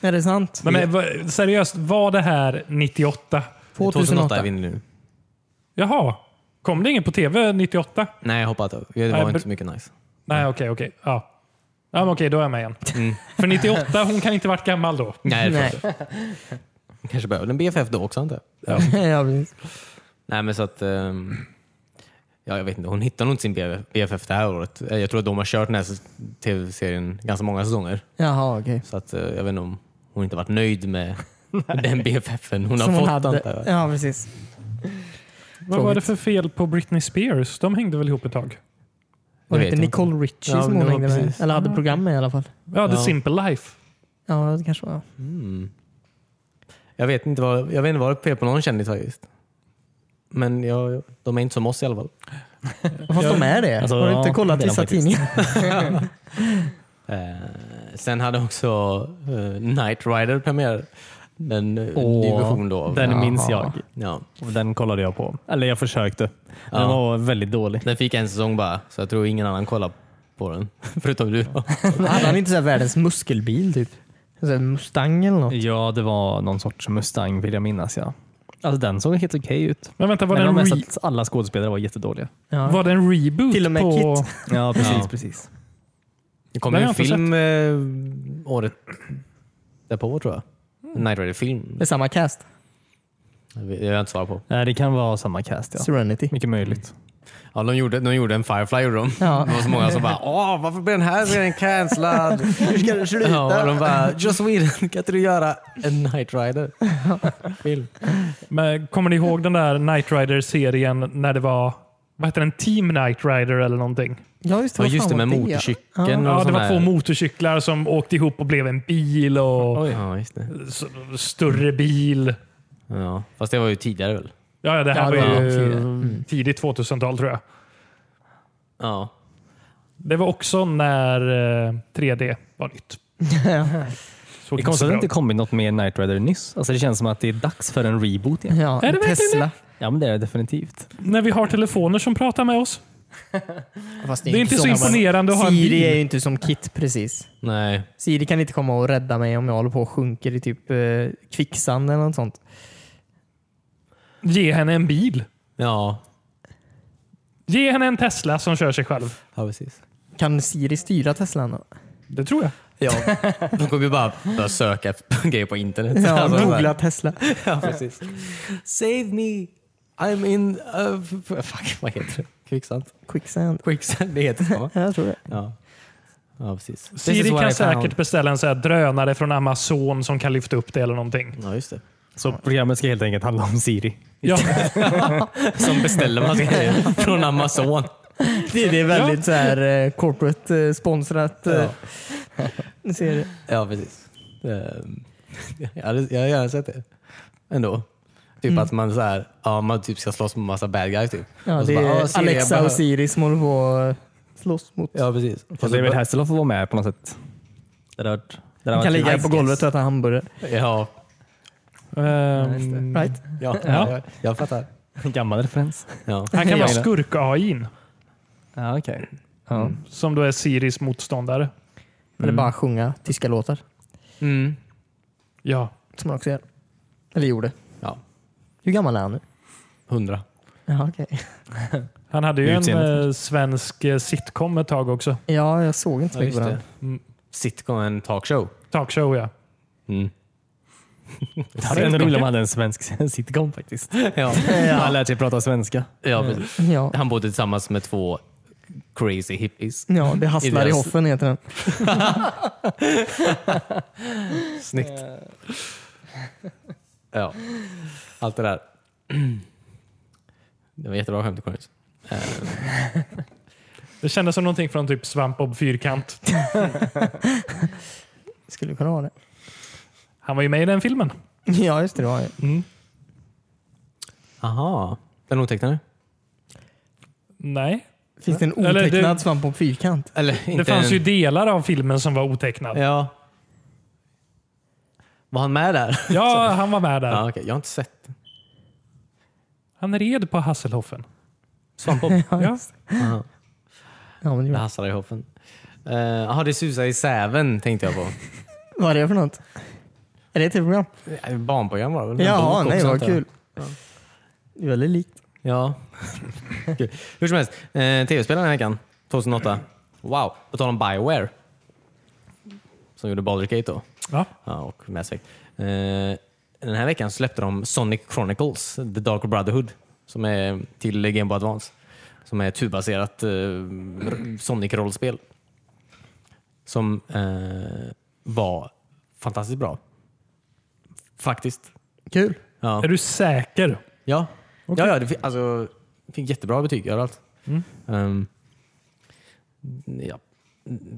D: Är det sant?
A: Nej, men, va- seriöst, var det här 98?
B: 2008 är vi inne nu.
A: Jaha. Kom det ingen på tv 98?
B: Nej, jag hoppas att det
A: Nej,
B: var
A: men-
B: inte så mycket nice.
A: Nej, okej, okej. Ja. Ja, men okej, då är jag med igen.
D: Mm.
A: För 98, hon kan inte varit gammal då.
B: Nej, det tror jag
D: Nej.
B: inte. Kanske behöver en BFF då också antar jag.
D: Ja, precis.
B: Nej, men så att... ehm, ja, jag vet inte. Hon hittar nog inte sin BFF det här året. Eh, Jag tror att de har kört den här s- tv-serien ganska många säsonger.
D: Jaha, okej.
B: Så att, eh, jag vet inte om hon inte varit nöjd med den BFFen hon
D: Som hon
B: har fått.
D: hade.
B: antar jag.
D: Ja, precis.
A: Vad var det för fel på Britney Spears? De hängde väl ihop ett tag?
D: Var det
B: vet
D: inte
B: jag
D: Nicole Richie
B: Ja,
D: som
B: men
D: hon
B: det var
D: hängde med?
B: precis.
D: Eller hade program med i alla fall.
A: Ja, The
B: Ja.
A: Simple Life.
D: Ja, det kanske var.
B: Jag vet inte vad jag vet inte vad det är fel på någon kändis faktiskt. Men jag, de är inte som oss i alla fall.
D: Fast de är det.
C: Alltså,
D: Har du inte
C: ja,
D: kollat
C: det är de
D: vissa
C: faktiskt.
D: tidningar?
B: Eh, sen hade också eh, Knight Rider premiär. Den eh,
C: Åh,
B: ny version då. av-
C: Den
B: ja.
C: minns jag.
B: Ja.
C: Och Den kollade jag på. Eller jag försökte. Den
B: Ja.
C: var väldigt dålig.
B: Den fick en säsong bara, så jag tror ingen annan kollar på den. Förutom du.
D: Hade han inte så här världens muskelbil typ? Så här Mustang eller något?
C: Ja, det var någon sorts Mustang vill jag minnas. Ja. Alltså, den såg helt okej ut.
A: Men vänta, var,
C: Men det
A: det,
C: var
A: en
C: mest
A: re-
C: att alla skådespelare var jättedåliga.
D: Ja.
A: var det en reboot?
D: Till och med
A: på...
D: Kit.
C: Ja, precis.
B: Ja.
C: precis.
B: Det kom ju
A: Den har
B: en
A: jag inte
B: film eh, året därpå tror jag. En Night Rider-film.
D: Det är samma cast.
B: Jag vet- jag har inte svarat på.
C: Nej, det kan vara samma cast. Ja.
D: Serenity.
C: Mycket möjligt.
B: Ja, de, gjorde, de gjorde en Firefly gjorde de.
D: Ja.
B: Det var så många som bara Åh, varför blev den här serien cancellad?
D: Hur ska det sluta?
B: ja, och de bara Joss Whedon, kan inte du göra en Night Rider-film?
A: Men kommer ni ihåg den där Knight Rider-serien när det var vad heter den? Team Knight Rider eller någonting?
D: Ja, just det.
B: Ja,
D: vad
B: just det
D: fan
B: med
D: var Ja.
B: motorcykeln. och
A: Ja, det
B: sån
A: var
B: här-
A: två motorcyklar som åkte ihop och blev en bil och
B: Ja, just det.
A: s- större bil.
B: Ja, fast det var ju tidigare väl?
A: Ja, ja, det här
D: Ja, det
A: var
D: var
A: ju Mm.
D: tidigare.
B: Mm.
A: tidigt 2000-tal tror jag.
B: Ja.
A: Det var också när eh, 3D var nytt. Såg
C: Det är
A: inte så
C: konstigt att det
A: bra
C: inte
A: ut.
C: kommit något mer Knight Rider nyss. Alltså, det känns som att det är dags för en reboot igen.
D: Ja,
A: Är det verkligen
D: Tesla.
C: Ja, men det är det definitivt.
A: När vi har telefoner som pratar med oss.
D: Fast
A: Det är inte så
D: som-
A: imponerande att ha en
D: Siri
A: bil.
D: är ju inte som Kit precis.
B: Nej.
D: Siri kan inte komma och rädda mig om jag håller på och sjunker i typ eh, kvicksand eller något sånt.
A: Ge henne en bil.
B: Ja,
A: Ge henne en Tesla som kör sig själv.
B: ja precis.
D: Kan Siri styra Teslan då?
A: Det tror jag.
B: Ja, de kommer ju bara börja söka efter grejer på internet.
D: Ja,
B: Alltså, så här.
D: googla Tesla.
B: Ja, precis. Save me, I'm in... Uh, f- fuck, vad heter det? Kvicksand?
D: Quicksand.
B: Quicksand, det heter det va?
D: Ja, jag tror det.
B: Ja. ja, precis. This is
A: Siri
B: what
A: kan
B: I found.
A: säkert beställa en så här drönare från Amazon som kan lyfta upp det eller någonting.
B: Ja, just det.
C: Så programmet ska helt enkelt handla om Siri.
A: Ja,
B: Som beställer man grejer från Amazon.
D: Det, det är väldigt så här eh, corporate eh, sponsrat. Eh, serie.
B: Ja, precis. Ehm, Jag hade, jag hade gärna sett det ändå. Typ att man, så här, ja, man typ ska slåss med massa bad guys. Typ.
D: Ja,
B: Och så
D: det är
B: bara, ja, Siri, jag
D: Alexa
B: behöver-
D: och Siri som håller på att slåss mot.
B: Ja, precis. Och så
C: Fast David
B: bara-
C: Hasselhoff får vara med på något sätt. Det där, det
D: De
C: där var
D: kan
C: kul.
D: ligga på golvet och äta hamburgare.
B: Ja,
A: ehm,
D: Right?
B: ja,
A: Ja.
B: Jag, jag fattar.
C: Gammal referens.
B: Ja.
A: han kan
D: Ja.
A: vara skurk-AIn
C: Ja, okej. Ja.
A: som då är Siris motståndare.
D: Eller bara sjunga tyska låtar.
B: Mm.
A: Ja.
D: Som han också gör. Eller gjorde.
B: Ja,
D: Hur gammal är han nu?
B: hundra.
D: Ja, okej.
A: Han hade ju en
B: Utseendet
A: eh, svensk eh, sitcom ett tag också.
D: Ja, jag såg inte så
B: Ja,
D: mycket
B: just
D: på den.
B: det. Sitcom, en talkshow.
A: Talkshow ja.
C: Det hade varit roligt om han hade en svensk sitcom faktiskt.
B: Ja.
C: Han lärt sig prata svenska.
B: Ja, precis.
D: Ja.
B: Han bodde tillsammans med två crazy hippies.
D: ja, det hasslar i
B: deras-
D: hoffen heter den.
B: Snyggt. Ja, allt det där. Det var jättebra skämt Cornelius.
A: Det kändes som någonting från typ Svampbob Fyrkant.
D: Skulle kunna vara det.
A: Han var ju med i den filmen.
D: Ja, just det. det var det.
B: Aha. Den otecknade?
A: Nej.
D: Finns det en
A: Eller det-
D: otecknad svamp på fyrkant?
B: Eller inte
A: Det fanns
B: en...
A: ju delar av filmen som var otecknad.
B: Ja. Var han med där?
A: Ja, han var med där.
B: Ja, okej. Jag har inte sett den.
A: Han red på Hasselhoffen.
B: Svampbob?
A: Ja.
B: Jaha,
D: Ja, men det
B: det
D: var-
B: hasslar i hoppen. Eh, Jaha, det susar i säven tänkte jag på.
D: Vad är det för något? Är det ett tv-program?
B: Eh, Barnprogram var det väl?
D: Jaha,
B: En bok
D: nej
B: också,
D: vad
B: antar jag.
D: kul. Det är väldigt likt.
B: Ja. Kul. Hur som helst, eh, tv-spel den här veckan, 2008. Wow, på tal om Bioware. Som gjorde Baldur's Gate då.
A: Ja.
B: Ja, och Mass Effect. Eh, den här veckan släppte de Sonic Chronicles, The Dark Brotherhood, som är till Game Boy Advance. Som är turbaserat eh, r- Sonic-rollspel. Som eh, var fantastiskt bra. Faktiskt.
D: Kul.
B: Ja.
A: Är du säker?
B: Ja, ja, ja det fick, alltså, fick jättebra betyg överallt. Ehm, ja.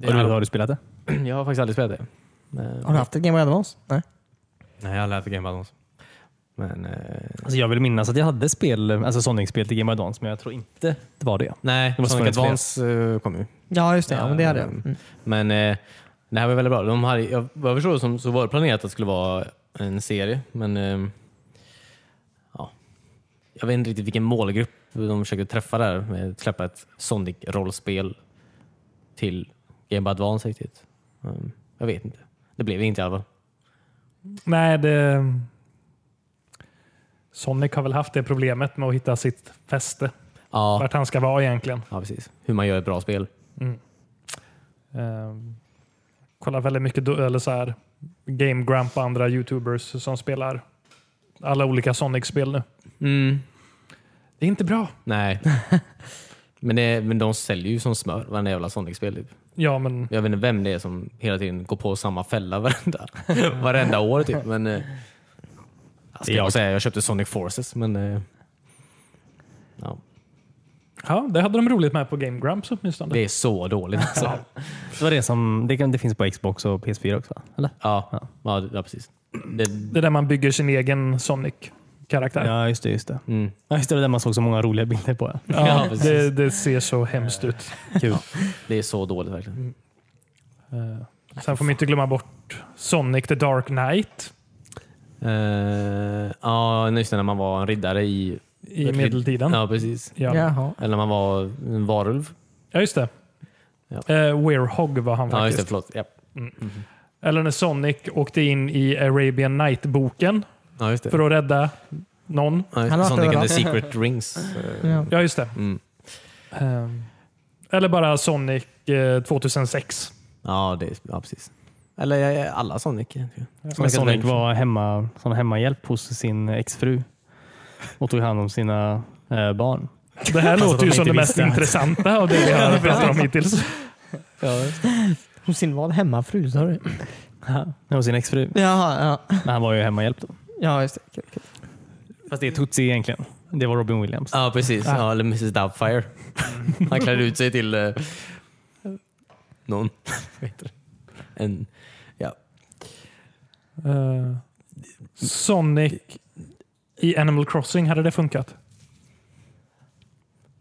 C: Har du, har du spelat det?
B: Jag har faktiskt aldrig spelat det. Men,
D: Har du haft ett Game Boy Advance? Nej.
B: nej, jag har aldrig haft Game Boy Advance. Men, eh,
C: Alltså jag vill minnas att jag hade spel, alltså Sonic-spel till Game Boy Advance, men jag tror inte det var det.
B: nej,
C: Det måste
B: Sonic
C: funnits fler.
B: Advance eh, kom ju.
D: Ja, just det. Ja, men det hade jag.
B: Ehm,
D: Mm.
B: Men eh, det här var väldigt bra. De hade, jag, vad jag förstår det som, så var det planerat att det skulle vara en serie, men ehm, ja. jag vet inte riktigt vilken målgrupp de försökte träffa där med att släppa ett Sonic-rollspel till Game Boy Advance riktigt. Ehm, jag vet inte. Det blev inte i alla fall.
A: Nej, det... Sonic har väl haft det problemet med att hitta sitt fäste.
B: Ja,
A: Vart han ska vara egentligen.
B: ja, precis. Hur man gör ett bra spel.
A: Eh, kollar väldigt mycket do- eller så här, Game Grump och andra YouTubers som spelar alla olika Sonic-spel nu. Mm. Det är inte bra.
B: Nej. men, det, men de säljer ju som smör, varenda jävla Sonic-spel. Typ.
A: Ja, men
B: Jag vet inte vem det är som hela tiden går på samma fälla varenda, varenda år. Typ. Men, eh, ska jag säga, jag köpte Sonic Forces, men... eh, Ja,
A: ja, det hade de roligt med på Game Grumps åtminstone.
B: det är så dåligt. Alltså.
C: Det var det som, det, kan, det finns på Xbox och PS4 också va? Eller?
B: Ja, ja, ja, precis. Det,
A: Det är där man bygger sin egen Sonic-karaktär. Ja.
C: Ja, just det. Just det.
B: mm,
C: Ja, just det, det var där man såg så många roliga bilder på. Ja.
B: Ja, precis. Eh.
A: det, det ser så hemskt ut.
B: kul. det är så dåligt verkligen.
A: Eh, Sen får man inte glömma bort Sonic the Dark Knight
B: Eh, Ja, just det, när man var en riddare i...
A: i medeltiden. Ja.
B: Ja, precis.
A: Ja.
D: Jaha.
B: Eller när man var en varulv.
A: just det.
B: Ja.
A: Eh, Werehog var han
B: Ja, just
A: faktiskt.
B: det. Förlåt. Ja.
A: Eller när Sonic åkte in i Arabian Night-boken
B: Ja, just det.
A: för att rädda någon.
B: Ja, just
D: Han
B: det.
D: har
B: Sonic and the
D: varit
B: Secret Rings. eh,
D: Ja.
A: Ja, just det.
B: Mm.
A: Ehm, Eller bara Sonic eh, 2006.
B: Ja, det, ja, precis. Eller eh, alla Sonic. egentligen.
C: Men Sonic
B: Adventure.
C: var hemma, som hemmahjälp hos sin exfru och tog hand om sina eh, barn.
A: Det här låter ju
C: de
A: som
C: inte
A: det mest
C: visste.
A: intressanta av det vi har pratat om hittills.
D: Hos sin vad? Hemmafru, sa du?
C: Och sin exfru.
D: Jaha, ja.
C: Men han var ju hemmahjälp då.
D: Ja, just det. Kul, kul.
C: Fast det är Tutsi egentligen. Det var Robin Williams.
B: Ja, precis. Ja, Mm. eller Mrs Doubtfire. Han klädde ut sig till eh, någon. Vad heter det? en, ja.
A: Eh, Sonic i Animal Crossing, hade det funkat?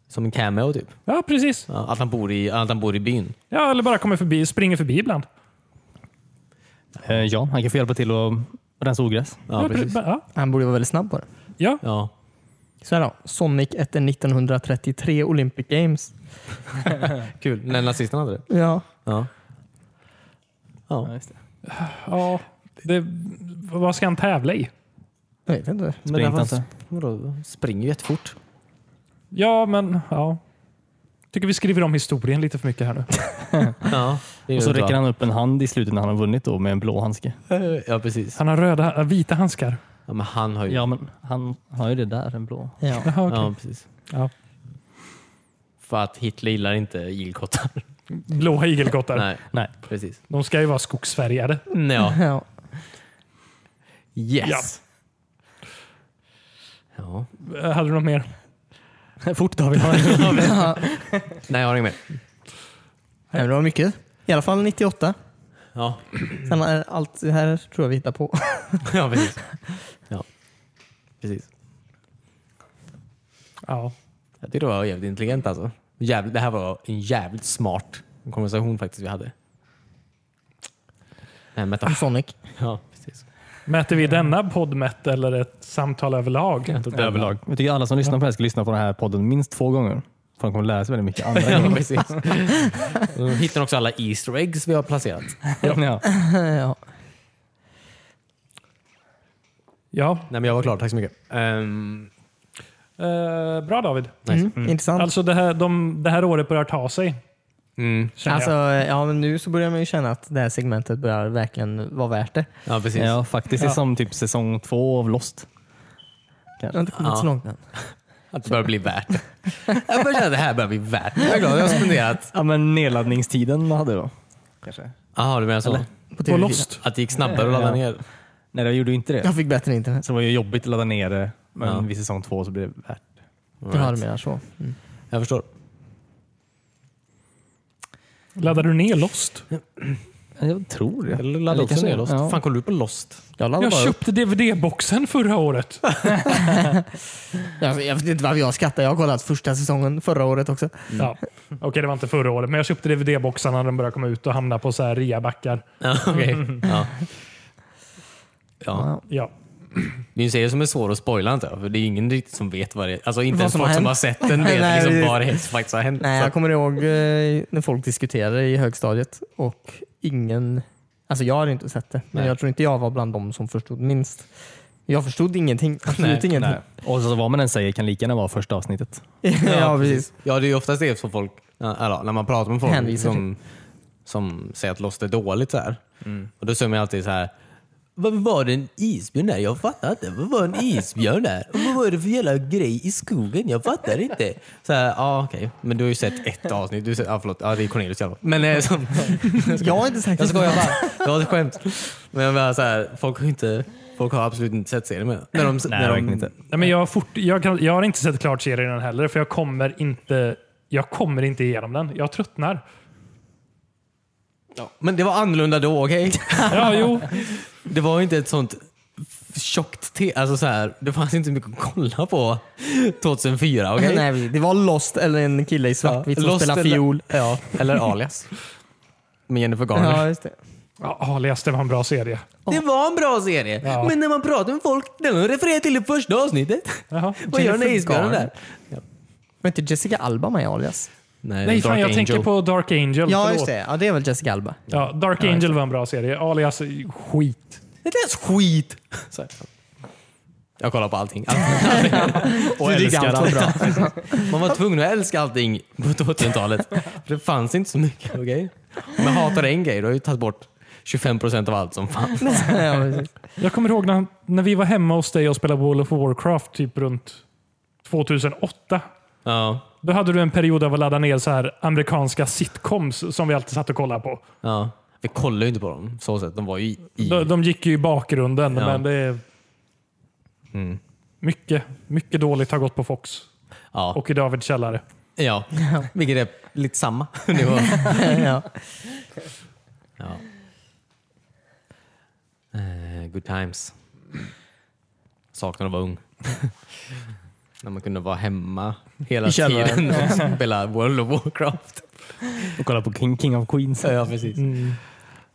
B: Som en cameo typ.
A: Ja, precis.
B: Ja, att, han bor i, att han bor i byn.
A: Ja, eller bara kommer förbi, springer förbi ibland.
C: Eh, ja, han kan få hjälpa till att rensa ogräs.
B: Ja, precis.
A: pre- ja.
D: Han borde vara väldigt snabb på det.
A: ja.
B: Ja.
D: Så här då. Sonic efter 1933 Olympic Games.
B: Kul. När nazisterna hade det.
D: Ja.
B: Ja.
C: Ja,
B: Ja.
C: just det.
A: ja. Det, vad ska han tävla i?
D: Jag vet inte.
B: Men
C: Spring
B: det var-
C: inte.
B: vadå? Springer ju jättefort.
A: Ja, men ja. Tycker vi skriver om historien lite för mycket här nu.
B: Ja, det gör
C: Och så
B: det bra.
C: räcker han upp en hand i slutet när han har vunnit då med en blå handske.
B: Ja, precis.
A: Han har röda, äh, vita handskar.
B: Ja, men han har ju...
C: Ja, men han har ju det där, en blå.
D: Ja.
A: Jaha, okej.
B: Ja, precis.
A: Ja.
B: För att Hitler gillar inte igelkottar.
A: Blåa igelkottar.
B: Nej,
C: Nej.
B: precis.
A: De ska ju vara skogsfärgade.
B: Ja.
D: ja.
B: Yes. Ja.
A: Eh, Hade du något mer?
C: Fort David.
B: Nej, jag har inget mer.
D: Nej, men Det var mycket. I alla fall 98.
B: Ja,
D: Sen är allt det här tror jag vi hittar på.
B: ja precis. Ja. precis.
A: Ja.
B: Jag tyckte det var jävligt intelligent alltså. Jävligt, det här var en jävligt smart konversation faktiskt vi hade. Nej, men ta-
D: Sonic.
B: ja, precis.
A: Mäter vi denna poddmätt eller ett samtal överlag?
C: Överlag. Jag tycker alla som lyssnar på det här ska lyssna på den här podden minst två gånger. För de kommer lära sig väldigt mycket andra
B: Ja,
C: grejer.
B: precis. Och Hittar också alla Easter eggs vi har placerat.
C: Ja.
D: ja.
A: Ja,
B: Nej, men jag var klar. Tack så mycket. Ehm,
A: eh, bra David.
B: nice.
D: Mm. Intressant. Alltså,
A: Alltså det här, de, det här året börjar ta sig.
B: Mm.
A: känner
D: Alltså,
A: jag.
D: ja, men nu så börjar man ju känna att det här segmentet börjar verkligen vara värt det.
B: Ja, precis.
C: ja, faktiskt. Det är
A: Ja.
C: som typ säsong två av Lost.
D: Jag har inte kommit
B: Ja.
D: så långt än.
B: Att det börjar bli värt det. Jag börjar känna att det här börjar bli värt det. Jag är glad att jag har spenderat...
C: Ja, men nedladdningstiden man hade då. Kanske.
B: Jaha, du menar så?
A: På
D: TV4.
A: Lost.
B: Att det gick snabbare att ladda
C: Ja.
B: ner?
C: Nej, jag gjorde ju inte det.
D: Jag fick bättre internet.
C: Så det var ju jobbigt att ladda ner det. Men
B: Ja.
C: vid säsong två så blev det värt det.
D: Du har mer så. Mm.
B: Jag förstår.
A: Laddar du ner Lost?
C: Jag tror det.
B: Eller laddade
C: Lika
B: också
C: så.
B: ner Lost.
C: Ja.
B: Fan, kollade du på Lost?
D: Jag, laddar
A: Jag
D: bara upp.
A: köpte DVD-boxen förra året.
D: Jag, jag vet inte varför jag skrattar. Jag har kollat första säsongen förra året också.
A: Ja. Okej, det var inte förra året, men jag köpte DVD-boxarna när de började komma ut och hamnade på så här reabackar.
B: Ja, okej. Ja. Ja.
A: Ja.
B: Det är ju en serie som är svår att spoila inte För det är ingen riktigt som vet vad det är. Alltså inte
D: Vad
B: ens
D: som
B: folk
D: har
B: som
D: hänt.
B: har sett den vet
D: Nej,
B: liksom
D: det-
B: vad det är som faktiskt har hänt.
D: Nej,
B: Så
D: jag
B: att-
D: kommer ihåg eh, när folk diskuterade i högstadiet och ingen... Alltså jag hade inte sett det, men
B: Nej.
D: jag tror inte jag var bland de som förstod minst. Jag förstod ingenting. Absolut
B: Nej,
D: ingenting.
C: Nej. Och så vad man än säger kan lika gärna vara första avsnittet.
D: ja, precis.
B: Ja, det är ju oftast det som folk, eller, när man pratar med folk
D: Hänvisar
B: som, som säger att Lost är dåligt. Så här. Och Då säger man alltid så här. Vad var det en isbjörn där? Jag fattar inte. Vad var en isbjörn där? Och vad var det för jävla grej i skogen? Jag fattar inte. Så här, ja okej. Men du har ju sett ett avsnitt. Du har sett, ja, förlåt, ja, det är Cornelius i alla fall. Men eh, som,
D: Jag har inte sagt
B: jag
D: det.
B: skojar bara. Det var ett skämt. Men jag menar så här, folk har, ju inte, folk har absolut inte sett serien. men- När de,
C: Nej,
B: när de,
C: verkligen inte.
A: Nej, men jag, har fort, jag, kan, jag har inte sett klart serien heller, för jag kommer inte jag kommer inte igenom den. Jag tröttnar.
B: Ja, Men det var annorlunda då, okej?
A: Ja, jo.
B: Det var ju inte ett sånt tjockt te. Alltså så här, det fanns inte mycket att kolla på 2004. okej?
D: Nej, det var Lost eller en kille i svartvitt som
B: Lost
D: spelar
B: eller-
D: fiol.
B: Ja, eller Alias. Med Jennifer Garner.
D: Ja, just det.
A: Ja, Alias, det var en bra serie.
B: Det var en bra serie.
A: Ja.
B: Men när man pratar med folk, de refererar till det första avsnittet.
A: Jaha.
B: Vad gör
D: Jennifer
B: nejsbjörnen
D: Garner.
B: där?
D: Var inte Jessica Alba med i Alias?
A: Nej, fan, jag tänker på Dark Angel.
D: Ja,
A: förlåt.
D: just det. Ja, det är väl Jessica Alba.
A: Ja, Dark Angel var en bra serie. Alias, skit.
B: Det lät skit. Så här. Jag kollar på allting. Allt.
C: Och
D: Det tyckte
C: älskar
D: han var
C: allt.
D: bra.
B: Man var tvungen att älska allting på 2000-talet. För Det fanns inte så mycket. okej? Om jag hatar en grej, då har jag ju tagit bort 25% av allt som fanns.
D: ja, precis.
A: Jag kommer ihåg när, när vi var hemma hos dig och spelade World of Warcraft typ runt 2008.
B: Ja,
A: Då hade du en period av att ladda ner så här amerikanska sitcoms som vi alltid satt och kollade på.
D: Mm.
B: ja. Vi kollade ju inte på dem så sett. De var ju i...
A: De, de gick ju i bakgrunden,
B: Ja.
A: men det är...
D: Mm.
A: Mycket, mycket dåligt har gått på Fox
B: Ja.
A: och i Davids källare.
B: ja, vilket är lite samma. Det var,
D: ja.
B: ja. Eh, Good times. Saknar att vara ung. När man kunde vara hemma hela
C: I källaren.
B: tiden och spela World of Warcraft.
C: Och kolla på King, King of Queens.
B: Ja, precis. Ah,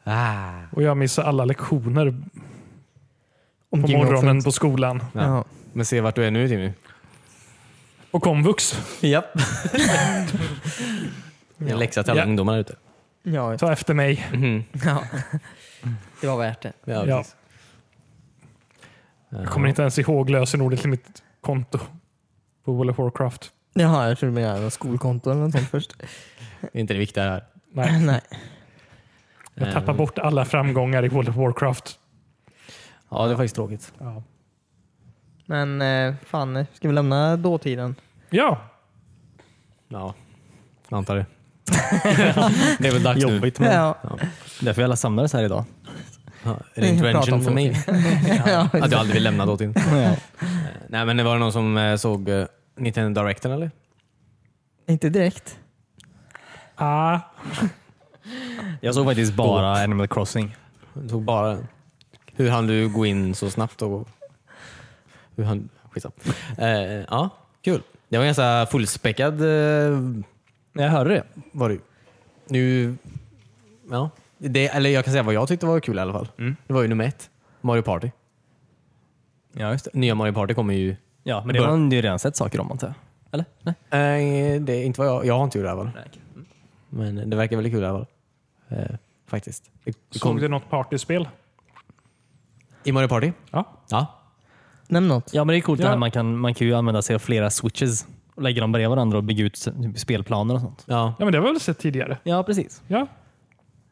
A: Mm. Och jag missar alla lektioner
D: Om
A: på
D: Game of
A: morgonen
D: Thrones.
A: på skolan.
B: ja.
D: Ja.
B: Men se vart du är nu Timmy.
A: På komvux.
B: Japp. En läxa till alla
A: Ja.
B: ungdomar där ute.
D: Ja,
A: Ta efter mig.
D: ja. Det var värt det.
B: Ja,
A: Ja.
B: precis.
A: Jag kommer inte ens ihåg lösenordet till mitt konto på World of Warcraft.
D: Jaha, jag trodde du menade skolkonto eller något sånt först.
B: Det är inte det viktiga här.
A: Nej,
D: Nej.
A: jag tappar bort alla framgångar i World of Warcraft.
B: Ja, det är faktiskt tråkigt.
A: Ja.
D: Men eh, fan, ska vi lämna dåtiden?
A: ja.
B: Ja, jag antar det. det är väl dags nu.
C: Jobbigt men
D: Ja.
C: därför vi alla samlades här idag.
B: Ja, är det
D: Vi pratar
B: intervention
D: om
B: för mig?
D: ja.
B: Att jag aldrig vill lämna Dotin. Nej, men var det någon som eh, såg eh, Nintendo Directen eller?
D: Inte direkt.
A: Ah.
C: Jag såg faktiskt bara Animal Crossing.
B: Jag såg bara den. Hur hann du gå in så snabbt? Och... Hur hann... Skitsamma. Eh, ja, kul. Det var en ganska fullspäckad eh,
C: Jag hörde det.
B: var det ju.
C: Mm.
B: Nu, ja. Det, eller jag kan säga vad jag tyckte var kul i alla fall. Det var ju nummer ett. Mario Party.
C: Ja, just det.
B: Nya Mario Party kommer ju...
C: Ja, men det har man ju redan sett saker om antar jag. Eller? Nej.
B: Nej, det är inte vad jag... Jag har inte gjort det i alla fall. Men det verkar väldigt kul i alla fall. Eh, faktiskt. Det, det
A: Såg
B: kom,
A: du något partyspel?
B: I Mario Party?
A: Ja.
B: Ja.
D: Nämn något.
C: Ja, men det är coolt det
A: Ja.
C: här. Man kan, man kan ju använda sig av flera switches och lägga dem bredvid varandra och bygga ut s- typ spelplaner och sånt.
B: ja.
A: Ja, men det har vi väl sett tidigare?
C: Ja, precis.
A: Ja.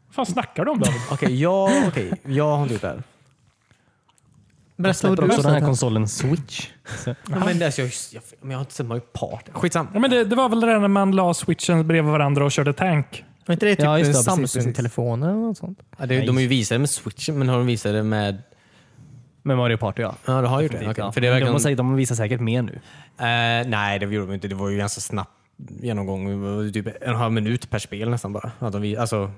A: Vad fan snackar du om David?
B: Okej, ja, okej. jag har inte gjort det här.
D: Berätta vad du
C: Också den här
D: har sett.
C: konsolen Switch. Så,
B: Ja, men, det, jag, jag, men jag har inte sett Mario Party. Skitsam.
A: Ja, men det, det var väl det där när man la switchen bredvid varandra och körde tank?
D: Var inte det typ
C: Ja, just det, precis,
D: Samsung-telefoner eller något sånt?
B: Ja, det, de har ju visat det med switchen, men har de visat det med...
C: med Mario Party ja.
B: Ja, de har gjort det. Okej,
C: Ja,
B: För det är
C: men de,
B: verkligen,
C: har säkert, de visar säkert mer nu.
B: Eh, nej, det gjorde de inte. Det var ju ganska snabb genomgång. Det var ju Typ en och en halv minut per spel nästan bara. Att de, vi- alltså,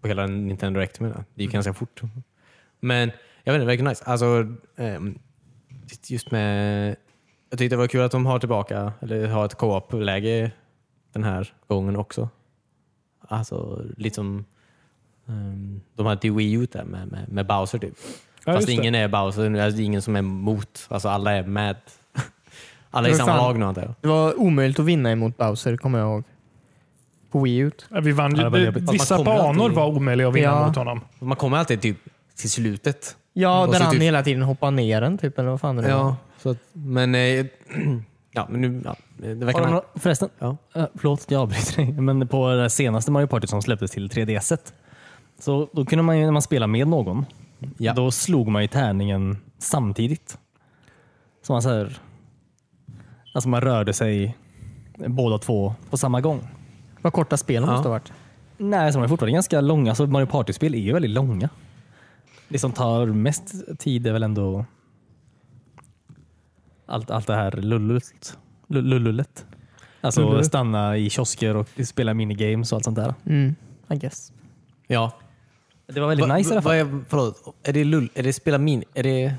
B: på hela Nintendo Direct menar jag. Det gick ganska fort. Men jag vet inte, det verkar nice. Alltså, ehm, just med... Jag tyckte det var kul att de har tillbaka, eller har ett co-op-läge den här gången också. Alltså lite som ehm, de hade i Wii U där med, med, med Bowser typ.
A: Ja,
B: Fast
A: just det.
B: ingen är Bowser, nu, alltså, det är ingen som är mot. Alltså alla är med. Alla är i
D: Men
B: samma
D: fan.
B: lag nu antar jag.
D: Det var omöjligt att vinna emot Bowser, kommer jag ihåg. På Wii U.
A: Ja, Vi vann ju.
B: Ja, det var
A: det-
B: jobbigt. Fast man
A: vissa
B: kommer ju
A: banor
B: alltid-
A: var omöjliga att vinna
D: Ja.
A: mot honom.
B: Man kommer alltid typ till slutet.
D: Ja,
B: Och
D: där
B: så
D: han
B: typ-
D: hela tiden hoppar ner den typ, eller vad fan det nu var.
B: Ja, så att, men, eh, ja, men nu, ja, det
C: Har
B: verkar...
C: de, nå- förresten,
B: Ja.
C: eh, förlåt jag avbryter dig, men på det senaste Mario Party som släpptes till 3DS. Så då kunde man ju, när man spelade med någon,
B: Ja.
C: då slog man ju tärningen samtidigt. Så man, så här, alltså man rörde sig båda två på samma gång.
D: Vad korta spelen
B: Ja.
D: måste ha varit.
C: Nej, så de är fortfarande ganska långa. Alltså Mario Party-spel är ju väldigt långa. Det som tar mest tid är väl ändå allt, allt det här lullut. Lu- Lullulet. Alltså
A: Lullulet.
C: stanna i kiosker och spela minigames och allt sånt där.
D: Mm, I guess.
B: Ja.
C: Det var väldigt
B: Va-
C: nice i alla
B: va-
C: fall.
B: vad är- Förlåt, är det, lull, är det spela min... Är det,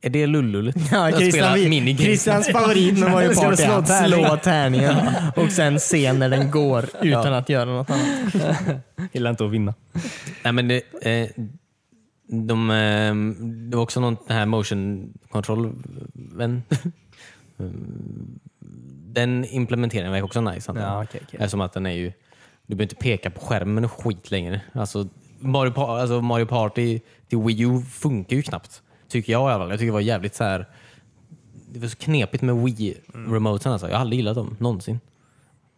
B: är det lullul?
D: Ja,
B: Att spela
D: Christian, vi,
B: minigame.
D: Christians favorit när man är
C: Ska
D: party
C: slå
D: är att
C: tärning.
D: slå tärningen och sen se när den går utan att göra något annat.
C: Gillar inte att vinna.
B: Nej, men det, eh, de, eh, det var också någon, den här motion control men, Den implementeringen verkar också nice. antar jag.
C: Ja, okej, okej.
B: Eftersom att den är ju, du behöver inte peka på skärmen och skit längre. Alltså Mario, Pa- alltså Mario Party till Wii U funkar ju knappt. Tycker jag i alla fall. Jag tycker det var jävligt så här. Det var så knepigt med Wii-remoten alltså. Jag har aldrig gillat dem, någonsin.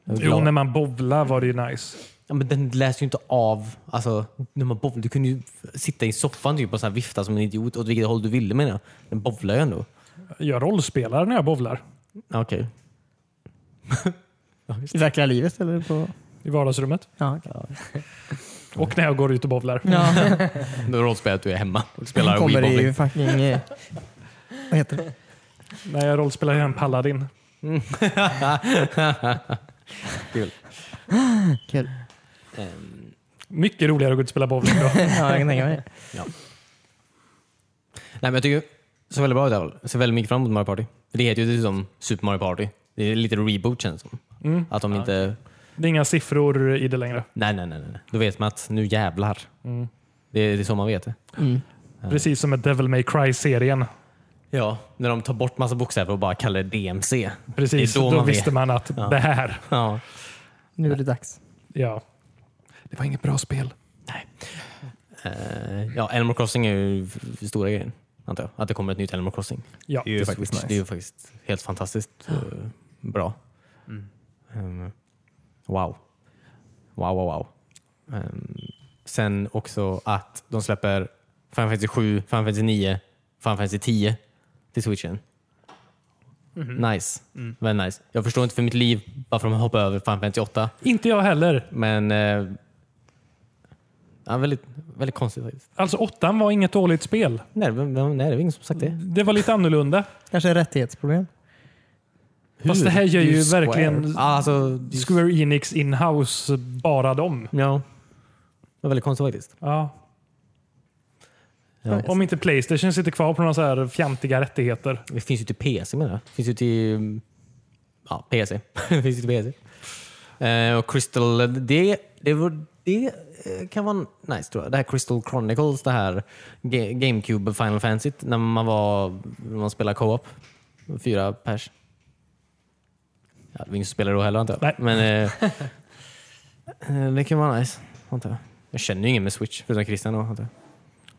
B: Jag är
A: Jo,
B: glad-
A: när man bowlar var det ju nice.
B: Ja, men den läser ju inte av... Alltså, när man bowlar, du kunde ju sitta i soffan typ, och så här vifta som en idiot åt vilket håll du ville menar jag. Den bowlar ju ändå.
A: Jag rollspelar när jag bowlar
B: Ja, Okej.
D: I verkliga livet eller på...
A: i vardagsrummet.
D: Ja, okej.
A: Och när jag går ut och bowlar.
D: ja.
B: Okay. Rollspelar att du är hemma och
D: Hon
B: spelar
D: kommer
B: Wii-bowling.
D: i fucking... eh, Vad heter det?
A: När jag rollspelar jag en paladin.
B: Mm.
D: Kul.
B: Ehm,
A: Mycket roligare att gå ut och spela bowling då.
D: Ja, jag kan tänka mig det.
B: Nej, men jag tycker det ser väldigt bra ut i alla fall. Jag Ser väldigt mycket fram emot Mario Party. Det heter ju dessutom Super Mario Party. Det är lite reboot känns det som.
A: Mm.
B: Att de inte...
A: Det är inga siffror i det längre.
B: Nej, nej, nej. nej. Då vet man att nu jävlar. Det, är, det är så man vet det.
A: Precis som med Devil May Cry-serien.
B: Ja, när de tar bort massa bokstäver och bara kallar det DMC.
A: Precis,
B: Det är
A: då,
B: då man
A: visste
B: vet.
A: man att det här.
B: Ja.
D: Nu är det dags.
A: Ja. Det var inget bra spel.
B: Eh, ja, Animal Crossing är ju f- f- stora grejen, antar jag. Att det kommer ett nytt Animal Crossing.
A: Ja.
C: ju
B: det, är
C: faktiskt
B: faktiskt,
C: nice.
B: det är ju faktiskt helt fantastiskt eh, bra. Ehm, wow. Wow, wow, wow. Ehm, sen också att de släpper Final Fantasy 7, Final Fantasy 9, Final Fantasy 10 till switchen. Nice. Väldigt nice. Jag förstår inte för mitt liv varför de hoppar över Final Fantasy 8.
A: Inte jag heller.
B: Men eh, ja, väldigt, väldigt konstigt faktiskt.
A: Alltså åttan var inget dåligt spel.
B: Nej, vem, vem, nej, det är ingen som sagt det.
A: Det var lite annorlunda.
D: Kanske rättighetsproblem.
A: Fast det här gör ju verkligen
B: Ja, alltså,
A: Square Enix inhouse bara dem.
B: ja. Det var väldigt konstigt faktiskt.
A: Ja.
B: Ja.
A: Om inte Playstation sitter kvar på några så här fjantiga rättigheter.
B: Det finns ju till PC menar jag. Det finns ju till mm, ja, PC. det finns ju till PC. Eh, och Crystal, det, det var det eh, kan vara nice tror jag. Det här Crystal Chronicles, det här Ga- GameCube Final Fantasy när man var när man spelade co-op. Fyra pers. Ja, det var ingen som spelade då heller antar jag.
A: Nej.
B: Men eh, eh, det kan vara nice antar jag. Jag känner ju ingen med Switch förutom Christian då antar jag.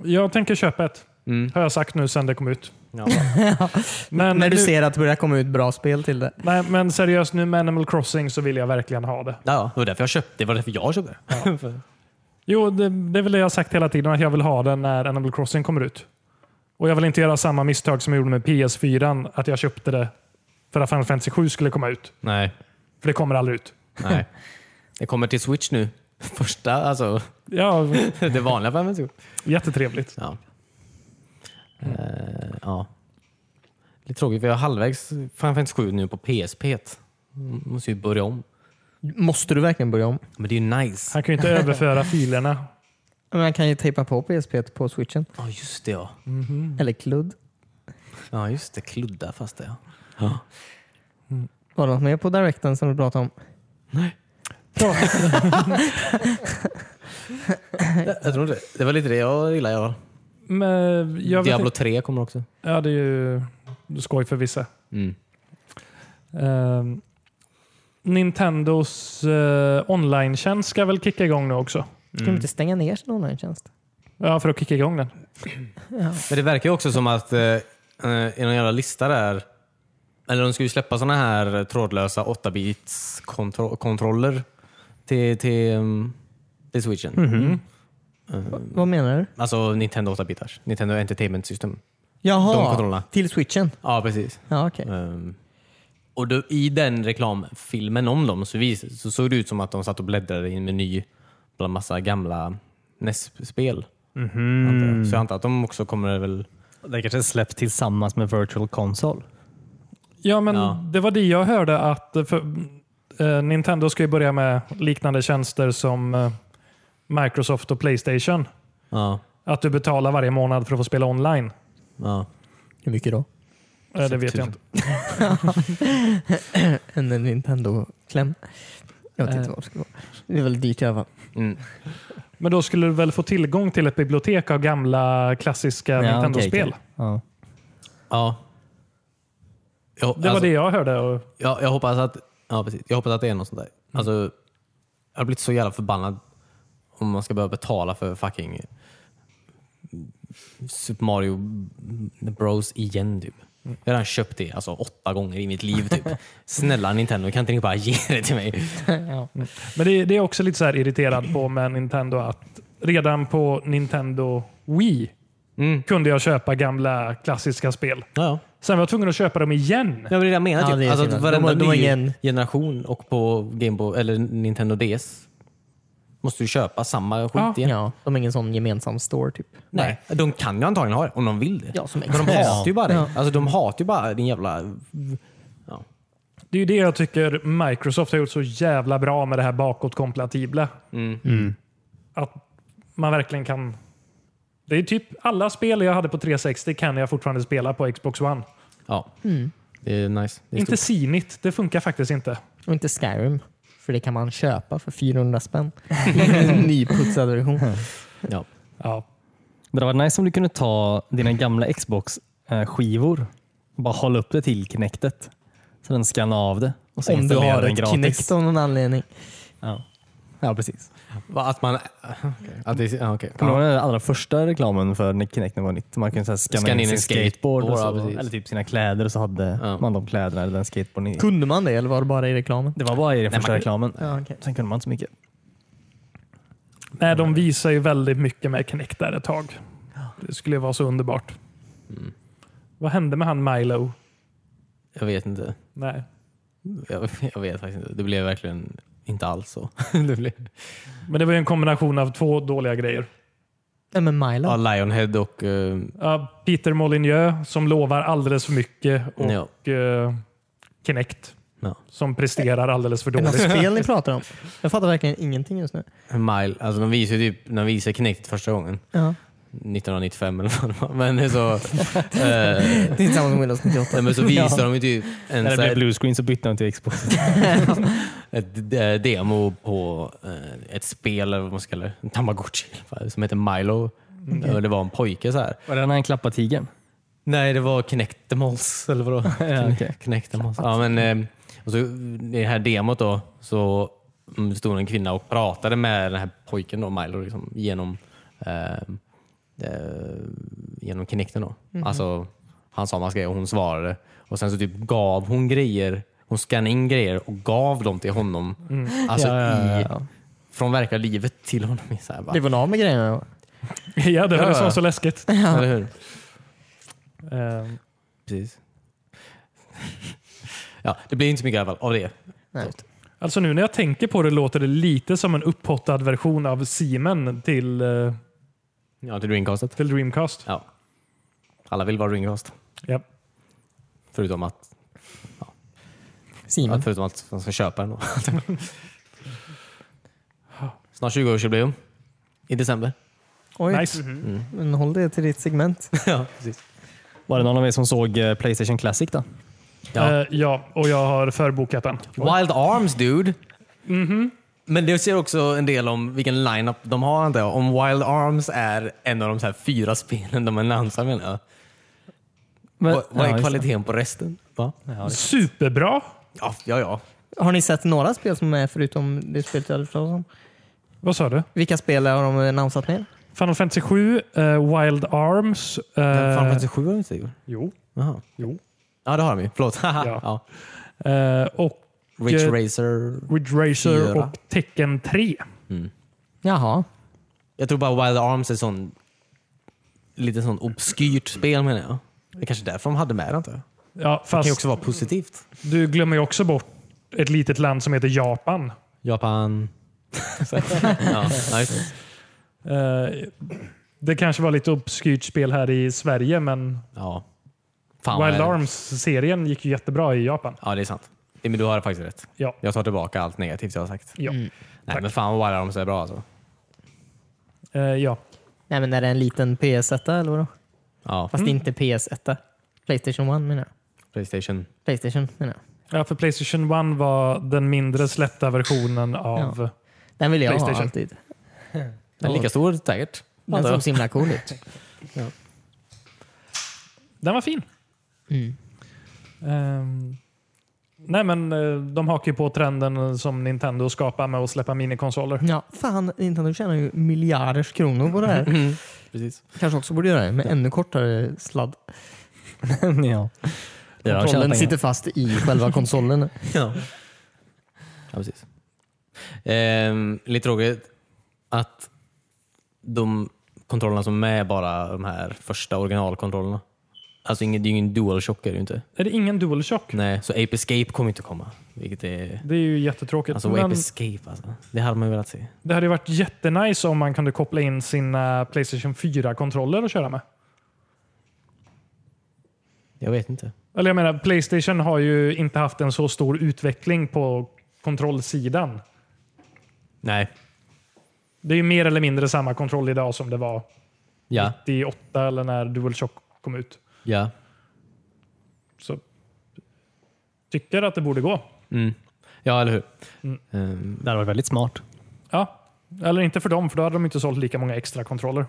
A: Jag tänker köpa ett.
B: Mm.
A: Har jag sagt nu sedan det kom ut. Men,
D: När du
A: nu,
D: ser att det börjar komma ut bra spel till det.
A: nej, men seriöst, nu med Animal Crossing så vill jag verkligen ha det.
B: Ja, det var därför jag köpte det. var därför jag köpte det.
A: Jo, det, det är väl det jag har sagt hela tiden, att jag vill ha den när Animal Crossing kommer ut. Och jag vill inte göra samma misstag som jag gjorde med PS4, att jag köpte det för att Final Fantasy 7 skulle komma ut.
B: Nej.
A: För det kommer aldrig ut.
B: Nej. Det kommer till Switch nu. Första, alltså
A: Ja,
B: det vanliga Final Fantasy.
A: jättetrevligt.
B: Ja. Eh, ja. Lite tråkigt, för jag är halvvägs Final Fantasy 7 nu på PSP. M- Måste ju börja om.
D: Måste du verkligen börja om?
B: Men det är ju nice.
A: Han kan ju inte överföra filerna.
D: Man kan ju tejpa på PSP på switchen.
B: Ja, just det ja.
A: Mhm.
D: Eller kludd.
B: Ja, just det. Kludda fast det ja.
D: Var det något mer på directen som du pratade om?
A: Ja,
B: Jag, jag tror inte det. Det var lite det jag gillade i alla fall.
A: men jag vet
B: Diablo
A: inte-
B: 3 kommer också.
A: Ja, det är ju skoj för vissa.
B: Mm.
A: Ehm, Nintendos eh, online-tjänst ska väl kicka igång nu också?
D: Ska
B: Mm.
D: de inte stänga ner sin online-tjänst?
A: Ja, för att kicka igång den.
B: Men det verkar ju också som att eh, eh, i någon jävla lista där, eller de ska ju släppa sådana här trådlösa 8-bits kontro- kontroller till, till, mm, till switchen.
D: Vad menar du?
B: Alltså Nintendo 8-bitars. Nintendo Entertainment System.
D: Jaha,
B: De kontrollerna.
D: till switchen?
B: Ja, precis.
D: Ja, okej.
B: Ehm, och då, I den reklamfilmen om dem så, vis, så såg det ut som att de satt och bläddrade i en meny bland massa gamla NES-spel. antar jag. Så jag antar att de också kommer väl...
C: Det kanske släpps tillsammans med Virtual Console.
A: Ja, men
B: Ja.
A: det var det jag hörde att eh, för, eh, Nintendo ska ju börja med liknande tjänster som eh, Microsoft och Playstation.
B: Ja,
A: Att du betalar varje månad för att få spela online.
B: ja.
D: Hur mycket då?
A: Eh, det vet jag inte.
D: En Nintendo-kläm. Jag vet inte
A: Eh.
D: vad det skulle vara. Det är väl dyrt i alla fall.
B: Mm.
A: Men då skulle du väl få tillgång till ett bibliotek av gamla klassiska
C: Ja,
A: Nintendo-spel?
C: okej, okej. Ja.
B: ja. Jag,
A: Det var
B: alltså,
A: det jag hörde. Och,
B: Jag, jag, hoppas att, ja, precis. jag hoppas att det är något sånt där.
D: Mm.
B: Alltså, jag har blivit så jävla förbannad om man ska behöva betala för fucking Super Mario Bros igen. Typ.
D: Mm.
B: Jag har redan köpt det alltså, åtta gånger i mitt liv. Typ. Snälla Nintendo, kan inte ni bara ge det till mig?
D: ja.
A: men det, det är jag också lite så här irriterad på med Nintendo. att Redan på Nintendo Wii
B: Mm.
A: kunde jag köpa gamla klassiska spel.
B: Ja, ja.
A: Sen var jag tvungen att köpa dem igen.
B: Ja, men det är det jag menar.
D: Ja,
B: Typ.
D: det är
B: alltså,
D: synd.
B: att varenda
D: De har- de har
B: ny
D: ingen-
B: generation och på Game Boy, eller Nintendo DS måste du köpa samma skit
A: Ja.
B: igen.
D: ja, de har ingen sån gemensam store typ.
B: Nej. De kan ju antagligen ha det om de vill det.
D: Ja, som
B: Men de
D: Xbox.
B: hatar ju bara dig.
D: Ja.
B: Alltså, de hatar ju bara din jävla...
A: Det är ju det jag tycker Microsoft har gjort så jävla bra med det här bakåtkompatibla. Att man verkligen kan... Det är typ alla spel jag hade på 360 kan jag fortfarande spela på Xbox One.
B: Ja. Det är nice. Det är
A: Inte
B: stort.
A: sinigt, det funkar faktiskt inte.
D: Och inte Skyrim. För det kan man köpa för 400 spänn. en nyputsad version.
B: Ja.
A: Ja.
C: Men det var nice om du kunde ta dina gamla Xbox-skivor och bara hålla upp det till Kinectet. Så den skannar av det. Och så
D: Om du
C: installerar
D: har
C: den
D: ett
C: gratis.
D: Kinect av någon anledning.
C: Ja.
D: Ja, precis.
B: Va, Att man... okej. Att det, ja, okej.
C: Kommer du ihåg den allra första reklamen för när Kinecten var nytt? Man kunde så här skanna
B: Skanna
C: in sin skateboard, och
B: ja,
C: så,
B: precis.
C: eller typ sina kläder och så hade
B: Ja.
C: man de kläderna eller den skateboarden i.
D: Kunde man det eller var det bara i reklamen?
C: Det var bara i den första
B: man-
C: reklamen.
D: Ja, okej.
C: Sen kunde man inte så mycket.
A: Nej, de visar ju väldigt mycket med Kinect där ett tag. Det skulle vara så underbart. Vad hände med han Milo?
B: Jag vet inte.
A: Nej.
B: Jag, jag vet faktiskt inte. Det blev verkligen inte alls så. det blev,
A: Men det var ju en kombination av två dåliga grejer.
D: Nej, men Milo.
B: ja, Lionhead och... eh,
A: Ja, Peter Molyneux som lovar alldeles för mycket och
B: ja.
A: eh, Kinect
B: Ja.
A: som presterar alldeles för
D: Är det något
A: dåligt.
D: spel ni pratar om? Jag fattar verkligen ingenting just nu.
B: Mile. Alltså de visade ju typ... När de visade Kinect första gången.
D: Ja.
B: 1995 eller vad det var. Men det är så... eh,
D: Det är samma som Windows 98.
B: nej, men så visade de ju typ... En,
C: När
B: så
C: det
B: här,
C: blev blue screen så bytte de till Xbox.
B: ett d- demo på eh, ett spel, eller vad man ska kalla det, en tamagotchi, eller vad det är, som heter Milo. Och det var en pojke så här.
C: Var det när han klappade tigern?
B: Nej, det var Kinectimals eller vadå?
C: Ja, okej.
B: Kinectimals. Ja, men, eh, och så, I det här demot då så mm, stod en kvinna och pratade med den här pojken då, Milo, liksom, genom, eh, eh, genom Kinecten. Då.
C: Mhm.
B: Alltså, han sa massa grejer och hon svarade. Och sen så typ gav hon grejer, hon scannade in grejer och gav dem till honom.
C: Mm.
B: Alltså I, från verkliga livet till honom. Så här, bara,
D: Blev hon av med grejerna då?
A: Ja, det var det som
B: Ja, ja.
A: var så läskigt.
B: Eller hur?
A: Eh,
B: Precis. ja, det blir inte så mycket i alla fall av det.
D: Nej.
A: Alltså nu när jag tänker på det låter det lite som en upphottad version av Siemen till, eh,
B: Ja, till Dreamcastet.
A: till Dreamcast.
B: Ja. Alla vill vara Dreamcast.
A: Ja.
B: Förutom att,
D: Simon.
B: förutom att man ska köpa den. då. Snart 20-årsjubileum. I december.
D: Oj,
A: Nice.
B: Mm-hmm.
D: men håll det till ditt segment.
B: ja, precis.
C: Var det någon av er som såg eh, Playstation Classic då?
B: Ja.
A: Eh, ja, och jag har förbokat den.
B: Wild Arms dude. Men det ser också en del om vilken lineup de har. antar jag. Om Wild Arms är en av de så här fyra spelen de annonsar menar jag.
C: Men-
B: Vad- Vad
C: ja,
B: är
C: just
B: kvaliteten på resten? Va?
A: Superbra!
B: Ja, ja, ja.
D: Har ni sett några spel som är med förutom det spelet jag hade pratat om?
A: Vad sa du?
D: Vilka spel har de annonsat ner?
A: Final Fantasy 7, eh, Wild Arms. eh,
B: Final Fantasy 7 har de inte gjort.
A: Jo.
B: Jaha.
A: jo.
B: Ja, det har de ju. Förlåt.
A: Ja.
B: ja.
A: Eh, och
B: Rich
A: Eh,
B: Racer.
A: Ridge Racer
B: Fyra.
A: och Tecken 3.
D: Jaha.
B: Jag tror bara Wild Arms är sån lite sån obskyrt spel menar jag. Det är kanske därför de hade med det antar jag. Det
A: Ja,
B: kan
A: fast
B: ju också vara positivt.
A: du glömmer ju också bort ett litet land som heter Japan.
B: Japan. ja, nice.
A: Eh, det kanske var lite obskyrt spel här i Sverige, men
B: ja. Fan, vad
A: Wild
B: är det?
A: Arms-serien gick ju jättebra i Japan.
B: Ja, det är sant. Det- Men du har faktiskt rätt.
A: Ja.
B: Jag tar tillbaka allt negativt jag har sagt.
A: Ja.
B: Nej, men fan vad Wild Arms är bra alltså.
A: Eh, ja.
D: Nej, men är det en liten PS1 eller vadå?
B: Ja,
D: Fast inte PS1. Playstation 1 menar jag.
B: Playstation.
D: Playstation menar jag.
A: ja, för Playstation 1 var den mindre släppta versionen av...
D: Den vill jag ha
A: PlayStation.
D: alltid.
B: Den är lika stor säkert.
D: Den såg så himla cool ut.
A: Den var fin.
D: Mm.
A: Ehm, nej, men eh, de hakar ju på trenden som Nintendo skapar med att släppa minikonsoler.
D: Ja, fan, Nintendo tjänar ju miljarders kronor på det här.
B: Precis.
D: Kanske också borde göra det med ännu kortare sladd.
C: det. ja. Det har tjänat
D: Kontrollen
C: pengar.
D: sitter fast i själva konsolen.
B: Ja. ja, precis. Ehm, lite tråkigt att de kontrollerna som är med är bara de här första originalkontrollerna. Alltså ingen, det är ju ingen DualShock är det ju inte.
A: Är det ingen DualShock?
B: Nej, så Ape Escape kommer inte komma. Vilket är...
A: Det är ju jättetråkigt.
B: Alltså
A: men
B: Ape Escape alltså. Det hade man ju velat se.
A: det hade ju varit jättenice om man kunde koppla in sina Playstation 4-kontroller och köra med.
B: Jag vet inte.
A: Eller jag menar, Playstation har ju inte haft en så stor utveckling på kontrollsidan.
B: Nej.
A: Det är ju mer eller mindre samma kontroll idag som det var
B: Ja.
A: 98 eller när DualShock kom ut.
B: Ja.
A: Så tycker att det borde gå.
B: Mm. Ja, eller hur? Ehm,
C: Det hade varit väldigt smart.
A: Ja, eller inte för dem, för då hade de inte sålt lika många extra kontroller.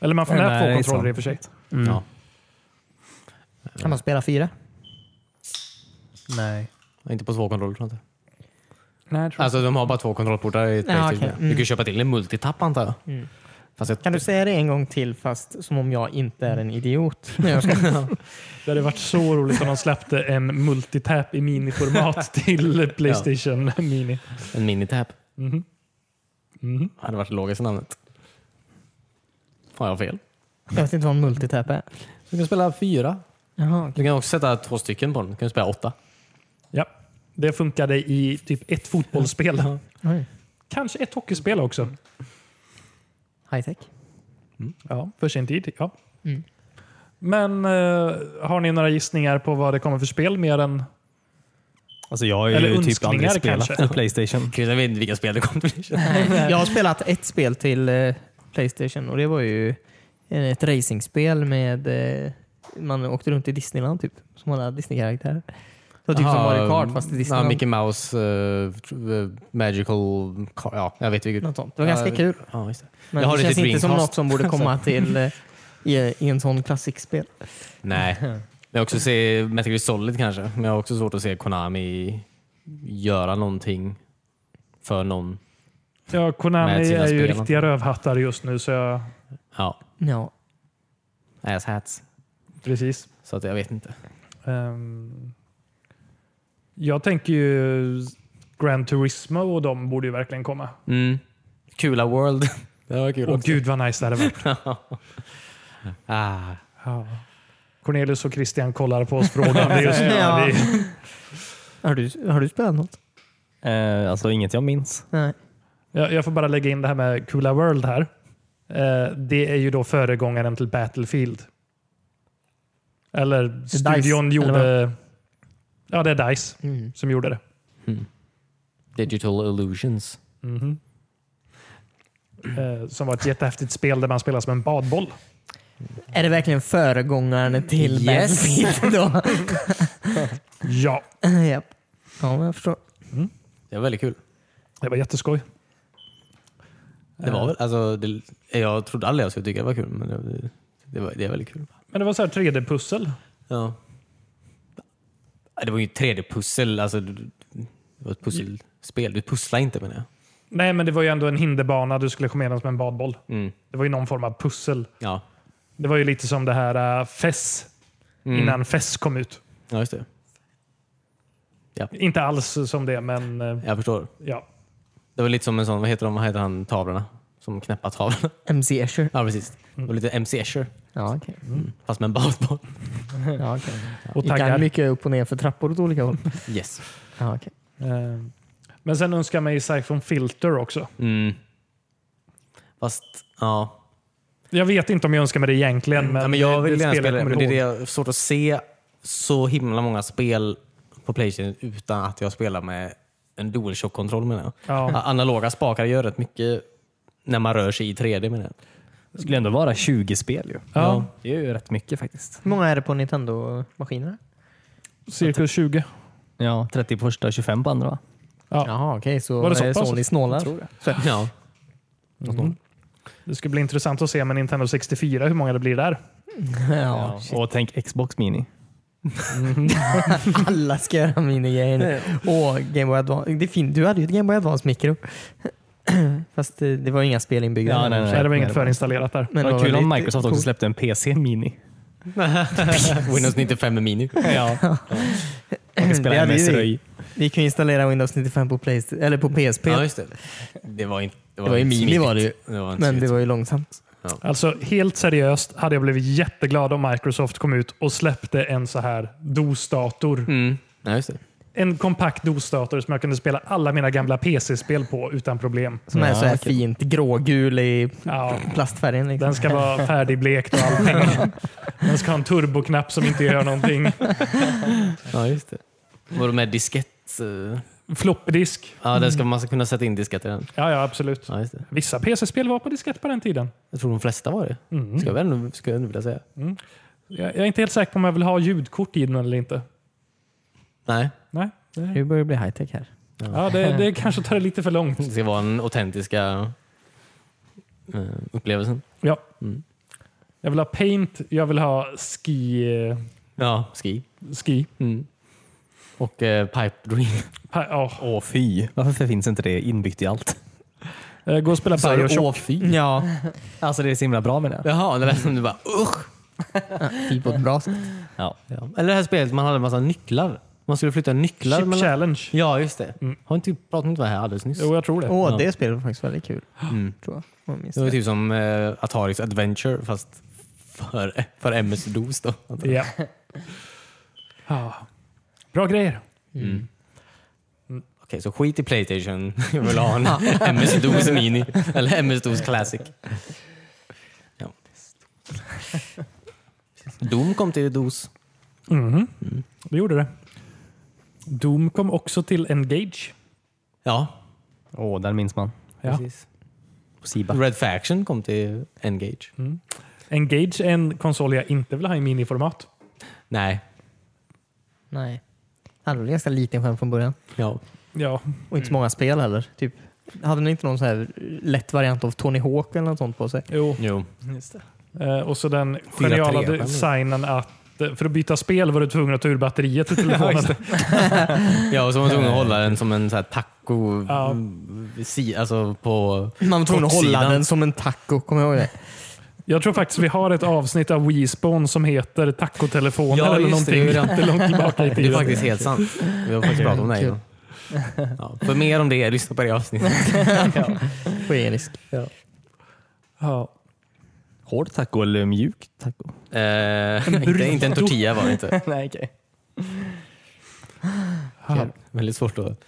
A: Eller man får
C: Nej,
A: med
C: det
A: två
C: är
A: kontroller
C: sant.
A: i och för sig.
B: Mm. Ja.
D: Kan man spela fyra?
C: Nej.
B: Inte på två kontroller tror jag inte.
A: Nej, tror
B: Alltså de har bara två kontrollportar i Playstation.
D: okej.
B: Du kan ju köpa till en multitapp antar jag. Fast jag
D: Kan du säga det en gång till fast som om jag inte är en idiot? Nej, jag ska...
A: Det hade varit så roligt om de släppte en multitap i miniformat till Playstation Mini.
B: En minitap.
A: Mhm.
D: Mhm.
B: Hade varit det logiska namnet. Har jag fel?
D: Jag vet inte vad en multitap är.
B: Du kan spela fyra.
D: Jaha,
B: Du kan också sätta två stycken på den. Du kan spela åtta.
A: Ja, det funkade i typ ett fotbollsspel.
D: Oj.
A: Kanske ett hockeyspel också.
D: high tech.
A: Ja, för sin tid. Ja.
D: Mm.
A: Men eh, har ni några gissningar på vad det kommer för spel mer än...
C: Alltså jag har ju
A: Eller
C: typ
A: önskningar
C: aldrig spelat
A: kanske.
C: Playstation.
B: Jag vet inte vilka spel det kommer bli.
D: Jag har spelat ett spel till eh, Playstation och det var ju ett racingspel med eh, man åkte runt i Disneyland typ, som hade Disney-karaktärer. Så typ som
B: Aha,
D: Mario Kart fast i
B: Ja,
D: Disneyland.
B: Mickey Mouse, eh, tr- eh, Magical... Car, ja, jag vet vilket.
D: Något sånt. Det var ganska
B: Ja,
D: kul.
B: Ja, just det.
D: Men
B: jag har
D: det
B: det
D: känns
B: till
D: inte som
B: Dreamcast.
D: något som borde komma till eh, i, i en sån klassikspel.
B: Nej. Men jag har också se Metal Gear Solid kanske. Men jag har också svårt att se Konami göra någonting för någon.
A: Ja,
B: Med
A: Konami
B: sina
A: är ju
B: spel.
A: riktiga rövhattar just nu, så jag...
B: Ja,
D: Ja.
B: asshats.
A: Precis.
B: Så att jag vet inte.
A: Ehm, jag tänker ju Gran Turismo och de borde ju verkligen komma.
B: Mm. Kula World. Det var kul
A: Åh gud vad nice det hade varit.
B: Ah.
A: Ja. Cornelius och Christian kollar på oss frågande just nu.
D: Ja.
A: Vi-
D: Har, du, har du spelat något?
C: Eh, alltså inget jag minns.
D: Nej.
A: Jag, jag får bara lägga in det här med Kula World här. Eh, det är ju då föregångaren till Battlefield. Eller studion
D: DICE, eller
A: gjorde... ja, det är Dice
B: Mm.
A: som gjorde det.
B: Digital Illusions.
A: Mhm. Eh, som var ett jättehäftigt spel där man spelar som en badboll.
D: Är det verkligen föregångaren till Battlefield då?
A: Ja,
D: Japp. Ja, men jag förstår.
B: Det var väldigt kul.
A: det var jätteskoj.
B: Det var väl, alltså, det, jag trodde aldrig jag skulle tycka det var kul, men det, det, var, det är väldigt kul.
A: Men det var så här 3D-pussel.
B: Ja. Det var ju ett 3D-pussel. Alltså, det var ett pusselspel. Du pusslar inte menar jag.
A: Nej, men det var ju ändå en hinderbana du skulle komma igenom som en badboll.
B: Mm.
A: Det var ju någon form av pussel.
B: Ja.
A: Det var ju lite som det här uh, FES, innan FES kom ut.
B: ja, just det.
A: Inte alls som det, men eh,
B: Jag förstår.
A: ja.
B: Det var lite som en sån, vad heter de, vad heter han, tavlorna? Som knäppa tavlorna.
D: MC Escher.
B: Ja, precis. Det var lite MC Escher,
D: Ja, okej.
B: fast med en badboll.
D: Ja, okej.
A: Och
D: Gick han
A: taggar.
D: mycket upp och ner för trappor åt olika håll?
B: Yes.
D: Ja, okej.
A: Eh, Men sen önskar jag mig Siphon Filter också.
B: Mm. Fast, ja.
A: Jag vet inte om jag önskar mig det egentligen, men,
B: Mm. ja, men jag
A: det
B: vill gärna
A: spelet
B: spela det,
A: kommer
B: men det är det
A: ihåg.
B: jag har svårt att se så himla många spel på Playstation utan att jag spelar med en DualShock-kontroll menar jag.
A: Ja.
B: A- Analoga spakar gör rätt mycket när man rör sig i 3D menar jag.
C: Det skulle ändå vara 20 spel ju.
A: Ja.
C: Det är ju rätt mycket faktiskt.
D: Hur många är det på Nintendo-maskinerna?
A: Cirka 20.
C: Ja, 30 på första, 25 på andra va?
D: Jaha, okej. så
A: Var det så
D: är
A: pass?
D: Sony snålar?
B: Ja.
A: Det ska bli intressant att se med Nintendo 64 hur många det blir där.
D: Ja,
C: Och tänk Xbox Mini.
D: alla ska göra minigrejer. Åh, Game Boy Advance. Det är fint. Du hade ju ett Game Boy Advance-mikro. Fast eh, det var ju inga spel inbyggda.
C: Ja, nej,
A: Så
C: nej.
A: det var inget
C: nej,
A: förinstallerat där.
D: Men
C: Det var kul om
D: väldigt
C: Microsoft också
D: coolt.
C: släppte en PC Mini.
B: Windows 95 med mini.
C: Ja. Man kan spela
D: Det hade ju
C: MS
D: vi.
C: Röj.
D: Vi kan ju installera Windows 95 på, Playst- eller på PSP.
B: Ja, just det. Det var inte det var
D: Det var ju
B: inte
D: mini
B: smidigt.
D: var det ju.
B: Det var inte
D: men det
B: smidigt.
D: var ju långsamt.
A: Alltså helt seriöst hade jag blivit jätteglad om Microsoft kom ut och släppte en så här DOS-dator.
B: Mm. Ja, just det.
A: En kompakt DOS-dator som jag kunde spela alla mina gamla PC-spel på utan problem.
D: Som är
C: Ja,
D: så här
C: okej.
D: fint grågul i
A: Ja,
D: plastfärgen. Liksom.
A: den ska vara färdigblekt och allting. Den ska ha en turboknapp som inte gör någonting.
B: Ja, just det. Var det med diskett? eh?
A: Floppdisk.
B: Ja, den ska, man ska kunna sätta in diskett i den.
A: Ja, ja, absolut.
B: Ja, just det.
A: Vissa PC-spel var på diskett på den tiden.
B: Jag tror de flesta var det. Ska jag väl ändå, ska jag ändå vilja säga.
A: Jag, jag är inte helt säker på om jag vill ha ljudkort i den eller inte.
B: Nej,
A: Nej,
D: Nu börjar det bli high-tech här.
A: ja, det, det kanske tar det lite för långt.
B: det ska vara den autentiska eh, upplevelsen.
A: Ja.
B: Mm.
A: Jag vill ha paint, jag vill ha ski. eh,
B: Ja, ski.
A: ski.
B: Mm. Och eh, Pipe Dream.
A: Pa, ja.
C: Åh fy. Varför finns inte det inbyggt i allt?
A: Eh, Gå och spela Bioshock.
B: fy.
C: Ja. Alltså det är så himla bra med det.
B: Jaha, det lät som du bara usch.
D: Fint på ett bra sätt.
C: Ja.
B: Ja. Eller det här spelet man hade en massa nycklar. Man skulle flytta nycklar.
A: Chip
B: mellan-
A: Challenge.
B: Ja, just det. Har inte pratat om det här alldeles nyss?
A: Jo, jag tror det.
D: Åh,
B: Ja.
D: det spelet var faktiskt väldigt kul.
B: Mm.
D: Tror jag. om jag minns
B: Det var
D: rätt.
B: typ som eh, Ataris Adventure fast för, för MS-DOS då.
A: Ja. Ja. Bra grejer.
B: Okej, så skit i Playstation. Jag vill ha en MS-DOS Mini. Eller MS-DOS Classic. Ja. Doom kom till DOS.
A: Det gjorde det. Doom kom också till Engage.
B: Ja,
C: Åh, den minns man.
A: Ja.
B: precis.
C: På Siba.
B: Red Faction kom till Engage.
A: Engage är en konsol jag inte vill ha i miniformat.
B: Nej,
D: Nej. Hade väl ganska liten skärm från början.
B: Ja.
A: Ja.
D: Och inte så många spel heller. Typ, hade ni inte någon så här lätt variant av Tony Hawk eller något sånt på sig?
A: Jo.
B: Jo.
A: Eh, och så den
B: tre,
A: geniala
B: eller?
A: designen att eh, för att byta spel var du tvungen att ta ur batteriet till telefonen.
B: Ja, och så var man tvungen att hålla den som en så här taco.
A: Ja.
B: Mm. Si, alltså på
D: Man var tvungen att hålla
B: kortsidan.
D: den som en taco, kommer jag ihåg det?
A: Jag tror faktiskt vi har ett avsnitt av Wispon som heter Tacotelefoner
B: Ja,
A: eller
B: just det,
A: någonting.
B: det är det.
A: Jättelångt tillbaka i
B: Det är
A: tiden.
B: faktiskt helt sant. Vi har faktiskt pratat om det här innan. Ja, för mer om det, lyssna på det avsnittet.
D: Genisk.
A: Ja.
C: Hård taco eller mjuk taco?
B: Eh, inte, inte en tortilla var det inte.
C: Nej, okej.
A: Ja.
B: Väldigt svårt att...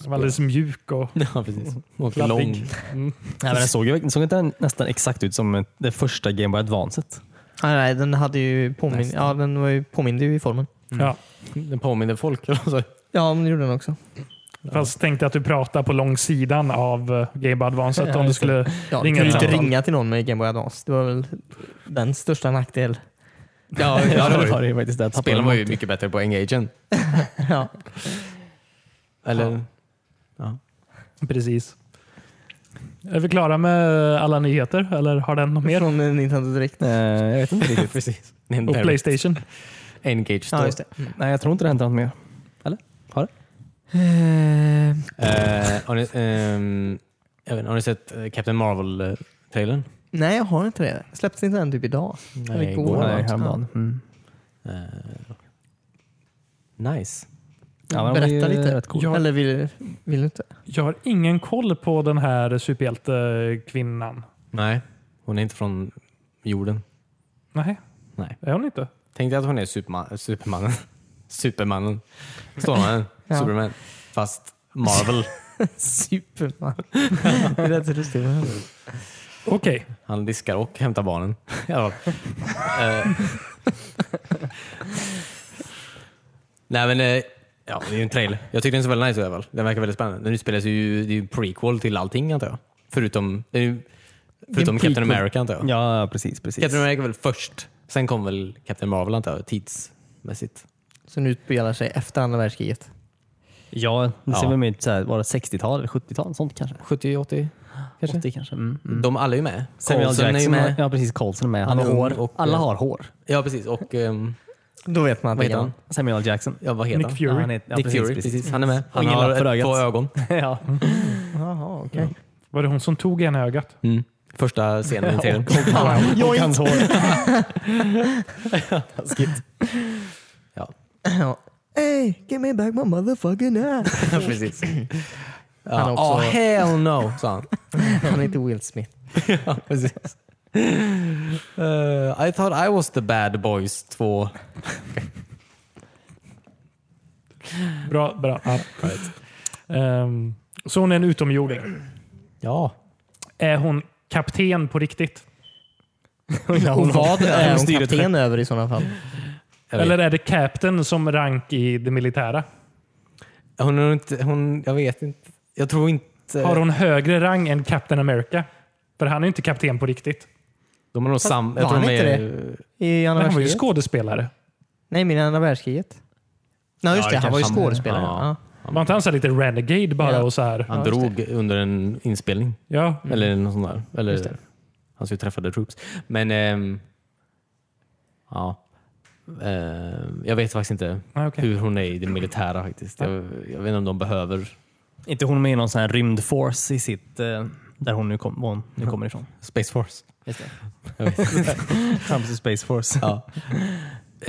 A: Den var Alldeles mjuk och
B: Ja, precis. Och lång.
A: kladdig. Mm.
C: Nej, men den såg, ju, såg inte den nästan exakt ut som det första Game Boy Advancet?
D: Nej, nej, den hade ju påmin-
B: Nästan.
D: ja, den var ju påminde ju i formen.
B: Mm.
A: Ja.
B: Den påminner folk. Alltså.
D: Ja, men det gjorde den också.
A: Fast tänkte att du pratar på långsidan av eh, Game Boy Advance att om du skulle
D: Ja,
A: Ringa
D: du kunde
A: ett
D: ju inte
A: samtal.
D: ringa till någon med Game Boy Advance. Det var väl den största nackdel.
B: Ja, ja, det var det.
C: ju faktiskt. Där tappade
B: Spelen
C: de
B: var ju
C: något.
B: mycket bättre på Engagen.
D: Ja.
B: Eller?
A: Precis. Är vi klara med eh, alla nyheter eller har den något
B: Mm.
A: mer?
D: Från en Nintendo Direkt.
C: Eh, jag vet inte riktigt.
B: precis. Det är en
A: Och
B: direct
A: Playstation?
B: Engage
D: Ja,
B: då.
D: just det.
C: Nej, jag tror inte det hände något mer.
D: Eh,
B: Eh, har, ni, ehm, jag vet, inte, har ni sett eh, Captain Marvel-trailern?
D: nej, jag har inte det. Släpptes inte den typ idag? Eller igår.
B: igår.
D: Nej, häromdagen.
C: Mm.
B: Eh, nice.
C: Ja, men de var ju
D: Berätta lite.
C: rätt cool.
A: Ja.
D: Eller vill, vill du inte?
A: Jag har ingen koll på den här superhjältekvinnan.
B: Nej, hon är inte från jorden.
A: Nej.
B: Nej.
A: Är hon inte?
B: Tänk dig att hon är Superman, Supermannen. Supermannen. Stålmannen.
D: Ja.
B: Superman. Fast Marvel.
D: Superman. det lät så lustigt.
A: Okej.
B: Han diskar och hämtar barnen. I alla fall. Eh. Nej men, eh, ja, det är ju en trailer. Jag tyckte den såg väldigt nice ut i alla fall. Den verkar väldigt spännande. Den utspelar sig ju, det är ju prequel till allting antar jag. Förutom, det är ju, förutom Captain
D: prequel.
B: America antar jag.
C: Ja, precis. precis.
B: Captain America var väl först. Sen kom väl Captain Marvel antar jag, tidsmässigt.
D: Så nu utspelar sig efter andra världskriget.
C: Ja, det ser
B: Ja.
C: väl mer ut så här, var det 60-tal eller 70-tal? Sånt kanske?
B: 70, 80 kanske?
C: 80 kanske. Mm.
B: De alla är ju med.
C: Samuel
B: Coulson är ju
C: Jackson
B: med.
C: Ja, precis. Colson är eh, med.
B: Han
C: Han
B: är
C: har
B: ung
C: hår.
B: och-
C: Alla har hår.
B: Ja precis. Och ehm,
D: Då vet man att
B: vad
D: det
B: heter
D: kan...
B: han?
C: Samuel Jackson.
B: Ja, vad heter
A: Nick
B: han?
A: Fury.
C: Ja, han är, ja,
B: Nick
C: precis,
B: Fury.
C: precis.
B: Precis. Han är med. Han
C: Ingen
B: har
C: lapp för
B: ett- två
C: ögat.
B: ögon.
C: ja.
D: Jaha, okej.
A: Var det hon som tog en i ögat?
B: Mm. Första scenen i trailern.
C: Och hans hår.
D: Ja. Hey, give me back my motherfucking ass.
B: Ja, Precis. Ja,
D: Han är också-
B: "Ah, hell no, sa han.
D: Han är inte Will Smith.
B: ja, precis. Eh, I thought I was the bad boys 2.
A: Bra, bra. Ja. Ehm, så hon är en utomjording.
B: Ja.
A: Är hon kapten på riktigt?
D: Och vad är hon
C: styret för-
D: kapten över i sådana fall?
B: Jag vet.
A: Eller är det captain som rank i det militära?
B: Hon är nog inte... Hon, jag vet inte. Jag tror inte...
A: Har hon högre rang än Captain America? För han är ju inte kapten på riktigt.
B: de har nog sam...
D: var
B: tror
D: han
B: de
D: inte
B: är-
D: I andra
A: Men han var ju
D: världskriget?
A: skådespelare.
D: Nej, men i andra världskriget. Nej, just
B: Ja,
D: det.
B: det
D: Han var ju
B: kanske han-
D: skådespelare.
B: ja.
D: Ja.
A: Var inte han så här lite renegade bara
D: Ja.
A: och så här?
B: Han
D: just Mm.
B: drog under en inspelning.
A: Ja.
B: Eller något sånt där.
D: Just
B: Eller,
D: det.
B: han ska ju träffa The Troops. Men... ehm, ja. Ehm, jag vet faktiskt inte
A: Ah, okej.
B: hur hon är i det militära faktiskt. Jag, jag vet inte om de behöver
C: Inte hon med i någon sån här rymdforce i sitt... Eh, där hon nu, kom, var hon nu kommer ifrån.
B: Space Force.
C: Just det.
B: Jag vet.
C: Framtida Space Force.
B: Ja.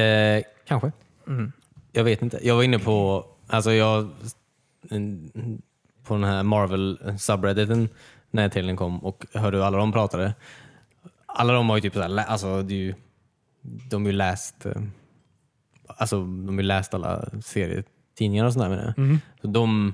B: Eh, kanske. Jag vet inte. Jag var inne på, alltså jag, en- på den här Marvel subredditen när trailern kom och hörde hur alla de pratade. Alla de har ju typ såhär, lä- alltså det är ju, de har ju läst, eh, alltså de har ju läst alla serietidningar och sådär med det. Så de,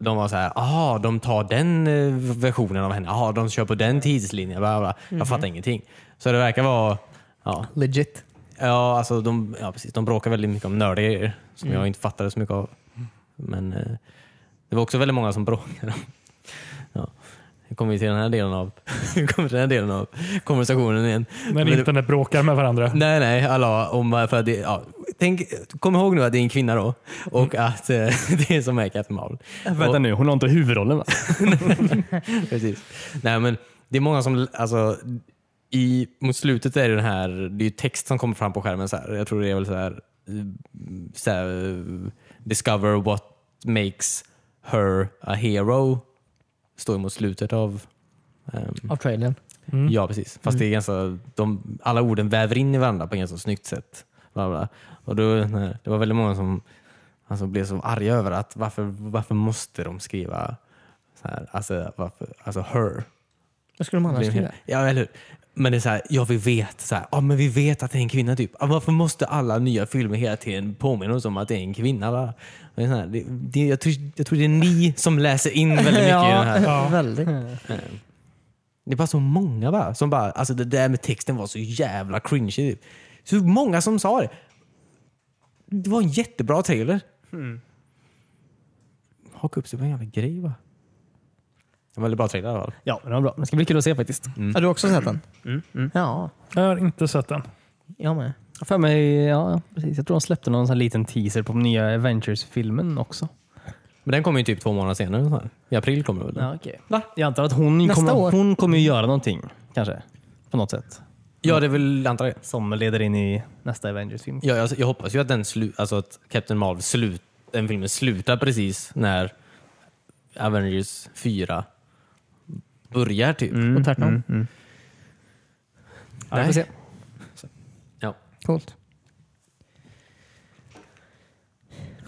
B: de var så här, aha, de tar den eh, versionen av henne, aha, de kör på den tidslinjen, bla, bla, bla. Jag fattar ingenting. Så det verkar vara, ja,
D: Legit.
B: Ja, alltså de, ja, precis. De bråkar väldigt mycket om nördiga grejer som jag inte fattade så mycket av. Men eh, det var också väldigt många som bråkade. ja. Nu kommer vi till den här delen av, nu kommer den här delen av konversationen igen.
A: När
B: Men-
A: internet bråkar med varandra.
B: Nej, nej. Alla om, för att det, ja, tänk, kom ihåg nu att det är en kvinna då och att eh, det är som är Captain Marvel.
C: Vänta nu, hon har inte huvudrollen va?
B: Precis. Nej, men det är många som, alltså, i, mot slutet är det den här, det är ju text som kommer fram på skärmen så här. Jag tror det är väl så här, eh, så här eh, discover what makes her a hero. Står ju mot slutet av ehm,
D: Av trailern.
B: Ja, precis. Fast det är ganska, de, alla orden väver in i varandra på ett ganska snyggt sätt. Bla bla. Och då, nej, det var väldigt många som alltså, blev så arga över att varför, varför måste de skriva så här, alltså, varför, alltså her?
D: Vad skulle de annars
B: Blir-
D: skriva?
B: Ja, eller hur? Men det är så här, ja vi vet, så här, ja, men vi vet att det är en kvinna typ. Ja, varför måste alla nya filmer hela tiden påminna oss om att det är en kvinna? Va? Det är så här, det, det, jag, tror, jag tror det är ni som läser in väldigt mycket i den här.
A: Ja.
D: väldigt.
B: Det var så många bara, som bara, alltså det där med texten var så jävla cringe. Typ. Så många som sa det. Det var en jättebra trailer. Hmm. Haka upp sig på en jävla grej va? En väldigt bra trailer i alla fall.
C: Ja, men det var bra. Det ska bli kul att se faktiskt.
D: Har du också sett den? Ja,
A: Jag har inte sett den.
D: jag med.
C: För mig, ja, ja, precis. Jag tror de släppte någon sån här liten teaser på nya Avengers-filmen också.
B: Men den kommer ju typ två månader senare. så här. I april kommer väl den? Ja.
C: okay. Jag antar att hon
D: Nästa
C: kommer,
D: år.
C: hon kommer ju göra någonting, kanske. På något sätt.
B: det är väl, antar jag.
C: Som leder in i nästa Avengers-film.
B: Ja, jag, jag hoppas ju att, den slu, alltså att Captain Marvel slut, den filmen slutar precis när Avengers 4 börjar typ.
D: Och tvärtom.
C: Ja, vi får se.
B: Ja.
D: Coolt.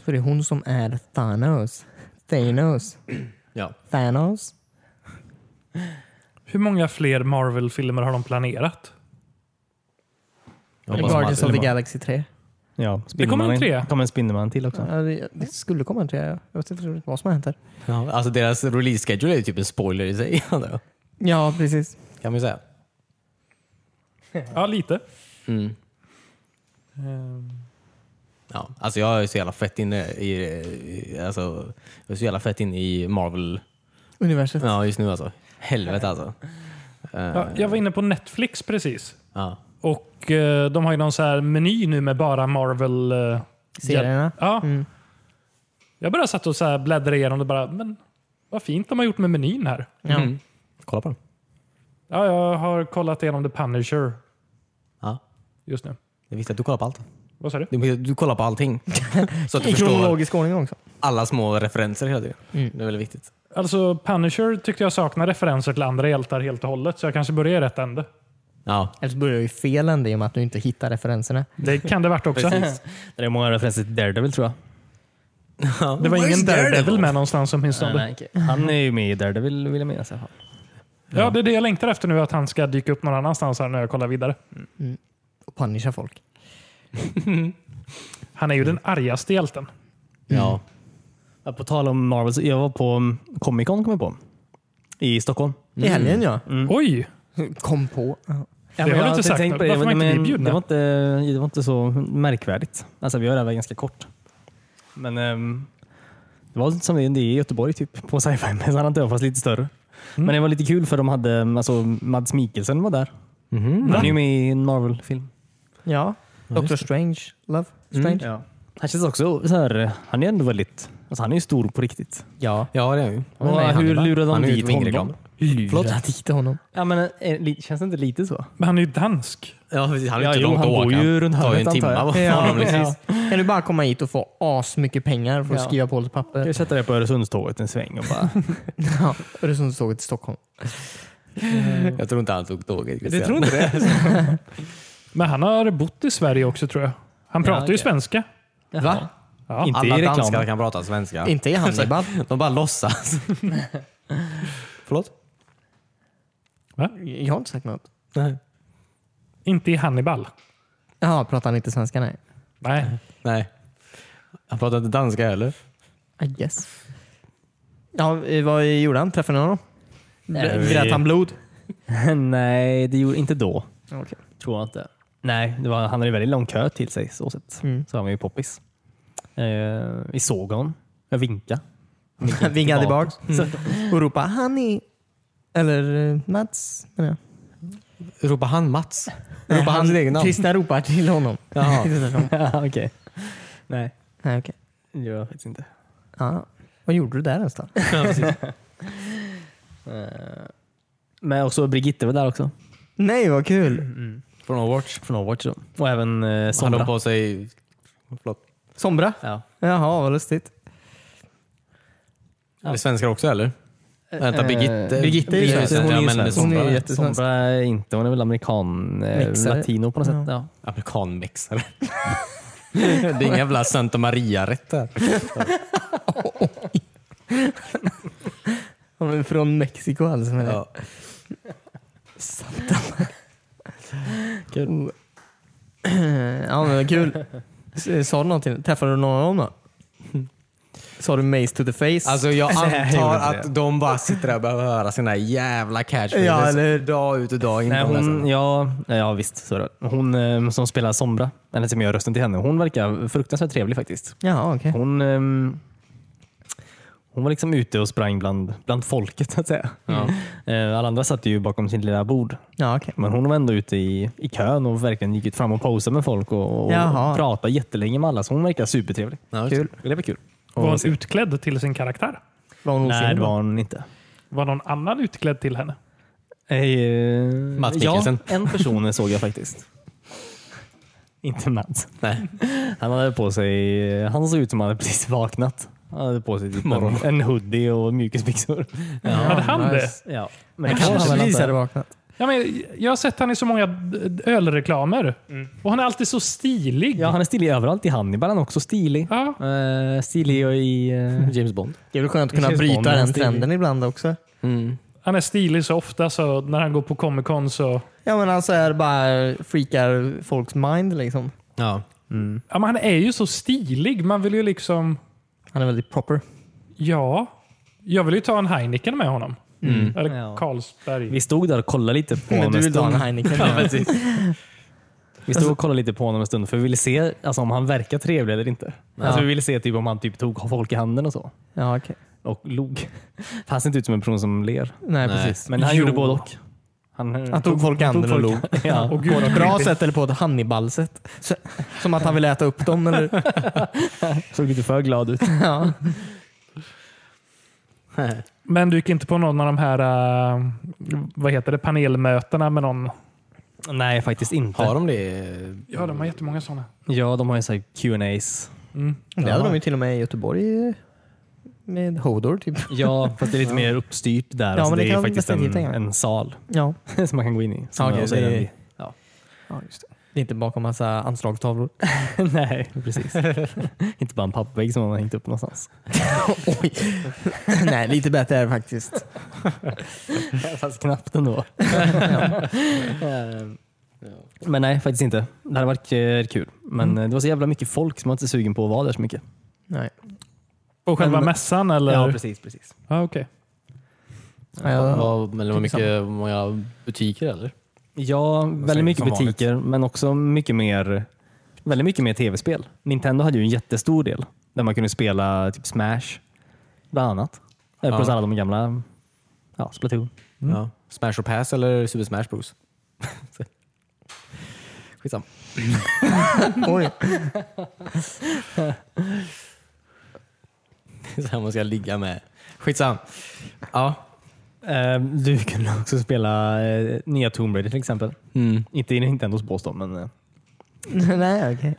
D: För det är hon som är Thanos. Thanos.
B: ja.
D: Thanos.
A: Hur många fler Marvel-filmer har de planerat?
B: Jag
D: Eller
B: hoppas de
D: Guardians of
B: hade-
D: the Galaxy 3.
C: Ja,
A: kommer en
C: Spindelmannen-
A: trea.
C: kommer en Spindelman till också.
D: Ja, det, det skulle komma en trea. Jag vet inte riktigt vad som har hänt här.
B: Ja, alltså deras release schedule är ju typ en spoiler i sig. då,
D: Ja, precis.
B: kan man ju säga.
A: Ja, lite.
B: Mm. Ja, alltså jag är så jävla fett inne i, i- alltså, jag är så jävla fett inne i Marvel
D: Universet.
B: ja, just nu alltså. Helvete alltså. Eh,
A: Ja, jag var inne på Netflix precis.
B: ja.
A: Och eh, de har ju någon så här meny nu med bara Marvel... Eh,
D: Serierna.
A: Ja.
D: Mm.
A: Jag bara satt och så här bläddrade igenom det bara, men vad fint de har gjort med menyn här.
D: Ja.
B: Mm. Kolla på den.
A: Ja, jag har kollat igenom The Punisher
B: Ja.
A: just nu.
B: Jag visste att du kollar på allt.
A: Vad sa du?
B: Du, du kollar på allting. så att du
D: I
B: förstår
D: kronologisk ordning också.
B: alla små referenser hela tiden.
C: Mm.
B: Det är väldigt viktigt.
A: Alltså Punisher tyckte jag saknar referenser till andra hjältar helt och hållet, så jag kanske börjar i rätt ände.
B: Ja,
D: Eller så börjar du i fel ände i och med att du inte hittar referenserna.
A: Det kan det varit också.
B: precis.
C: Det är många referenser till Daredevil tror jag.
A: Det var ingen Daredevil med någonstans
C: Nej,
A: åtminstone.
C: nej, okej. Han är ju med i Daredevil vill jag minnas i alla fall.
A: Ja, det är det jag längtar efter nu, att han ska dyka upp någon annanstans här när jag kollar vidare.
D: Och punisha folk.
A: Han är ju den argaste hjälten.
C: Mm.
B: Ja.
C: Ja, På tal om Marvel, så jag var på mm, Comic Con kom jag på. I Stockholm.
D: I helgen ja.
A: Oj!
D: Kom på. Ja.
C: Ja,
A: Det
C: men
A: har du
C: jag
A: inte sagt
C: tänkt
A: något.
C: på Mm. det,
A: Varför var
C: men-
A: inte vi
C: men
A: bjudna?
C: Det var inte, det var inte så märkvärdigt. Alltså, vi var där ganska kort. Men ehm, det var som det är i Göteborg typ, på sci-fi mässan antar jag, fast lite större.
A: Mm.
C: Men det var lite kul för de hade, alltså, Mads Mikkelsen var där. Han är ju med i en Marvel-film.
D: ja. Doctor Strange. Love. Strange.
C: Ja. Han känns också så här, han är ändå väldigt, alltså, han är ju stor på riktigt.
D: Ja.
B: Ja, det är han ju.
C: Och hur lurade
B: Han
C: de
B: är ju
C: dit
B: ett vingreklam.
C: honom?
D: Lura dit honom.
C: Ja, men, eh, li- känns det inte lite så?
A: Men han är ju dansk.
B: Ja, precis. Han är
C: Ja,
B: inte
C: jo,
B: långt
C: han
B: att åka.
C: bor ju runt
B: Det tar ju en
C: hörnet,
B: timme
C: antar jag.
B: va?
D: Ja,
B: Ja, precis.
D: precis. Kan du bara komma hit och få as mycket pengar för att
C: Ja.
D: skriva på lite papper?
C: Jag sätter det på Öresundståget en sväng och bara...
D: Ja. Öresundståget till Stockholm.
B: Jag tror inte han tog tåget.
C: Du tror inte det?
A: Men han har bott i Sverige också tror jag. Han pratar ju
C: okej.
A: svenska.
D: Va?
A: Ja.
C: Inte
B: Alla
C: i
B: danskar
C: reklam.
B: kan prata svenska.
D: Inte i Hannibal.
B: De bara låtsas. Förlåt?
D: Jag har inte sagt något.
B: Nej.
A: Inte i Hannibal.
D: Jaha, pratar han inte svenska? Nej.
C: Mm.
A: Nej.
B: Nej. Han pratar inte danska heller.
D: I guess. Ah, Ja, eh, vad gjorde han? Träffade ni honom? Bl- Grät han blod?
C: Nej, det gjorde inte då.
D: Okej.
C: Tror jag inte. Nej, det var, han hade väldigt lång kö till sig så sett.
D: Mm.
C: Så han var ju poppis. Eh, vi såg honom. Jag vinkade.
D: Vingade
C: tillbaka.
D: tillbaks Mm. och ropade Hanni. Eller eh, Mats menar jag.
B: Ropar han Mats?
D: Nej,
B: Ropar han sin egen namn?
D: Kristna ropar till honom.
B: Jaha.
C: Ja, Okej. Nej,
D: Nej, okej.
C: det gör jag faktiskt inte.
D: Ja. Vad gjorde du där ens då?
C: Men också Brigitte var där också.
D: Nej, vad kul!
B: Från Overwatch.
C: Från Overwatch. då. Och även eh,
B: Hade de
C: Sondra.
B: på sig... Förlåt.
D: Sombra?
B: Ja.
D: Jaha, vad lustigt.
B: Är det svenskar också eller? Vänta, Birgitte.
C: eh, Birgitte är ju
B: Ja,
C: svensk. Hon är ju
B: men
C: svensk.
B: det är
D: Hon är ju
B: sånt.
D: jättesvensk.
C: Sondra är inte, hon är väl amerikan, eh,
D: Mixare.
C: latino på något sätt. Ja.
B: Amerikanmixare. det är inga jävla Santa Maria-rätter.
D: Hon är från Mexiko alltså. Men
B: Ja.
D: Kul. ja, men vad kul. S- eh, Sa du någonting? Träffade du någon av dem då? Sa du mace to the face?
B: Alltså jag
C: jag gjorde
B: antar
C: inte
B: att de bara sitter där och behöver höra sina jävla catchphrases
D: Ja, eller-
B: dag ut och dag in.
C: Nej,
B: De
C: hon,
B: läser.
C: ja, ja visst. Så är det. hon eh, som spelar Sombra, eller som gör rösten till henne, hon verkar fruktansvärt trevlig faktiskt.
D: Jaha, okej.
C: Hon, ehm, hon var liksom ute och sprang bland, bland folket så att säga. Eh, Alla andra satt ju bakom sin lilla bord.
D: Ja, okej.
C: Men hon var ändå ute i, i kön och verkligen gick ut fram och posade med folk och, och
D: Jaha.
C: pratade jättelänge med alla. Så hon verkar supertrevlig.
B: Ja,
D: Kul.
C: Det var kul.
A: Var hon utklädd till sin karaktär?
D: Var hon
C: Nej,
D: osäker
C: det
D: då?
C: var hon inte.
A: Var någon annan utklädd till henne?
C: Eh,
B: Mats
C: ja,
B: Mikkelsen.
C: en person såg jag faktiskt. Inte Mats.
B: Nej.
C: Han hade på sig, eh, han såg ut som han hade precis vaknat. Han hade på sig typ en,
B: Morgon.
C: en hoodie och mjukisbyxor.
A: Hade han det?
C: Ja, men
D: Han kanske precis hade vaknat.
A: Ja, men jag har sett han i så många d- d- ölreklamer. Och han är alltid så stilig.
C: Mm. Ja, han är stilig överallt. I Hannibal han är också stilig.
A: Ja.
C: Eh, stilig och i... eh,
B: James Bond.
D: Det är väl skönt att kunna
C: känns
D: bryta
C: van med
D: den
C: hans stil.
D: trenden ibland också.
A: Han är stilig så ofta så när han går på Comic Con så...
D: Ja, men alltså är det bara freakar folks mind liksom.
B: Ja.
A: Ja, men han är ju så stilig. Man vill ju liksom...
D: Han är väldigt proper.
A: Ja. Jag vill ju ta en Heineken med honom. Eller
C: Ja.
A: Carlsberg.
C: vi stod där och kollade lite på
D: Men
C: honom
D: du
C: en
D: vill ta en
C: stund.
D: Heineken?
C: Vi stod och kollade lite på honom en stund för vi ville se alltså, om han verkar trevlig eller inte. Alltså, vi ville se typ, om han typ, tog folk i handen och så.
D: Ja, okej.
C: Och log. Han ser inte ut som en person som ler.
D: Nej,
B: Nej.
D: precis.
C: Men han
A: Jo.
C: gjorde både och. Han, eh,
D: Han tog folk i handen och log.
C: ja.
A: Åh, gud,
D: På ett
A: vad
D: bra
A: creepy.
D: sätt eller på ett Hannibal-sätt? Så- Som att han vill äta upp dem? Eller?
C: Såg lite för glad ut.
D: Ja.
A: Men du gick inte på någon av de här eh, vad heter det, panelmötena med någon?
C: Nej, faktiskt inte.
B: Har de det?
A: Ja, de har jättemånga sådana.
C: Ja, de har ju så här Q&As.
D: Det hade de ju till och med i Göteborg eh, med Hodor. Typ.
C: Ja, fast det är lite mer uppstyrt där.
D: Ja,
C: alltså,
D: men
C: det,
D: det
C: är
D: kan
C: ju faktiskt en,
D: definitivt tänka mig.
C: en sal
D: Ja.
C: som man kan gå in i. Som
D: Ja, okej,
C: och så är
D: det-
C: den- ja.
D: Ja, just det. det är inte bakom massa anslagstavlor.
C: Nej, precis. inte bara en pappvägg som man har hängt upp någonstans.
D: Oj! Nej, lite bättre är det faktiskt.
C: Fast knappt ändå. Men nej, faktiskt inte. Det hade varit eh, kul. Men eh, det var så jävla mycket folk som man inte är sugen på att vara där så mycket.
D: Nej.
A: På själva
C: Men-
A: mässan eller?
C: Ja, precis. precis.
A: Ja, okej.
D: Ja, ja.
B: Var, men det var mycket, många butiker eller?
C: Ja, väldigt mycket
B: som
C: butiker, men också mycket mer, väldigt mycket mer tv-spel. Nintendo hade ju en jättestor del där man kunde spela typ Smash, bland annat. Eller plus
B: Ja.
C: alla de gamla, ja, Splatoon.
B: Ja. Smash or Pass eller Super Smash Bros? Skitsamma.
D: Oj.
B: Det är så här man ska ligga med. Skitsam. Ja.
C: Eh, Du kunde också spela eh, nya Tomb Raider till exempel. Inte i Nintendos bås då, men
D: Nej, okej.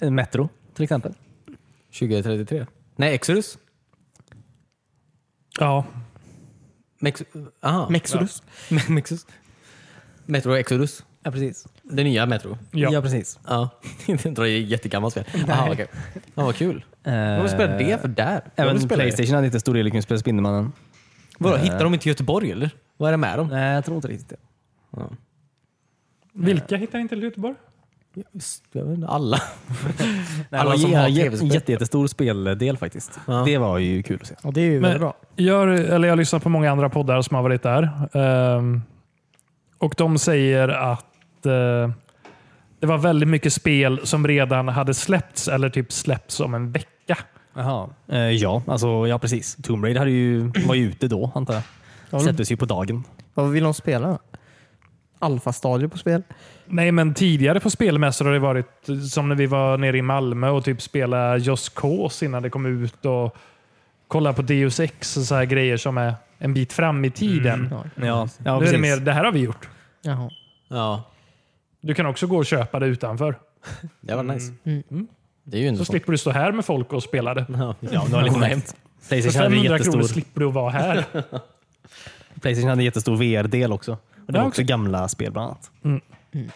C: eh, Metro till exempel.
B: 2033? Nej, Exodus?
A: Ja.
B: Mex aha.
D: Mexodus.
B: Me- Mexus. Metro Exodus.
C: Ja, precis.
B: Det nya Metro.
A: Ja.
C: precis.
B: Ja. Jag tror det är ett jättegammalt spel. Jaha, okej. Ja, vad kul. Varför spelar det för där? Jag vill
C: Eh, Även
B: spela det.
C: Playstation hade inte stor del i att kunna spela Spindelmannen.
B: Vadå, hittar de inte Göteborg eller? Vad är det med dem?
C: Nej, jag tror inte riktigt det.
A: Vilka hittar inte till Göteborg?
B: Jag vet inte, Alla.
C: Nej,
B: Alla
C: det var
B: som
C: en
B: har
C: jä-
B: tv-spel.
C: jätte, jättestor speldel faktiskt.
B: Ja.
C: Det var ju kul att se.
D: Ja, det är ju
A: Men
D: väldigt bra.
A: Jag, eller jag lyssnar på många andra poddar som har varit där. Ehm, och de säger att eh, det var väldigt mycket spel som redan hade släppts eller typ släppts om en vecka.
C: Jaha. Eh, ja, alltså, ja, precis. Tomb Raider hade ju, var ju ute då, antar jag. Släpptes ju på dagen.
D: Vad vill de spela då? alfastadier på spel.
A: Nej, men tidigare på spelmässor har det varit eh, som när vi var nere i Malmö och typ spelade Just Cause innan det kom ut och kolla på Deus Ex och så här grejer som är en bit fram i tiden.
D: Ja.
C: Mm. Ja, ja
A: nu är det
C: precis.
A: mer, det här har vi gjort.
D: Jaha.
B: Ja,
A: Du kan också gå och köpa det utanför.
B: det var nice.
D: Mm.
B: Det är ju ändå
A: Så slipper du stå här med folk och spela det.
B: Ja,
C: Ja, det var lite hämt.
A: För
C: Playstation hade,
A: 500 kronor
C: jättestor,
A: slipper du att vara här.
C: Playstation hade jättestor VR-del också. Och det
A: Ja,
C: var också
A: okej.
C: gamla spel bland annat. Fast man
D: man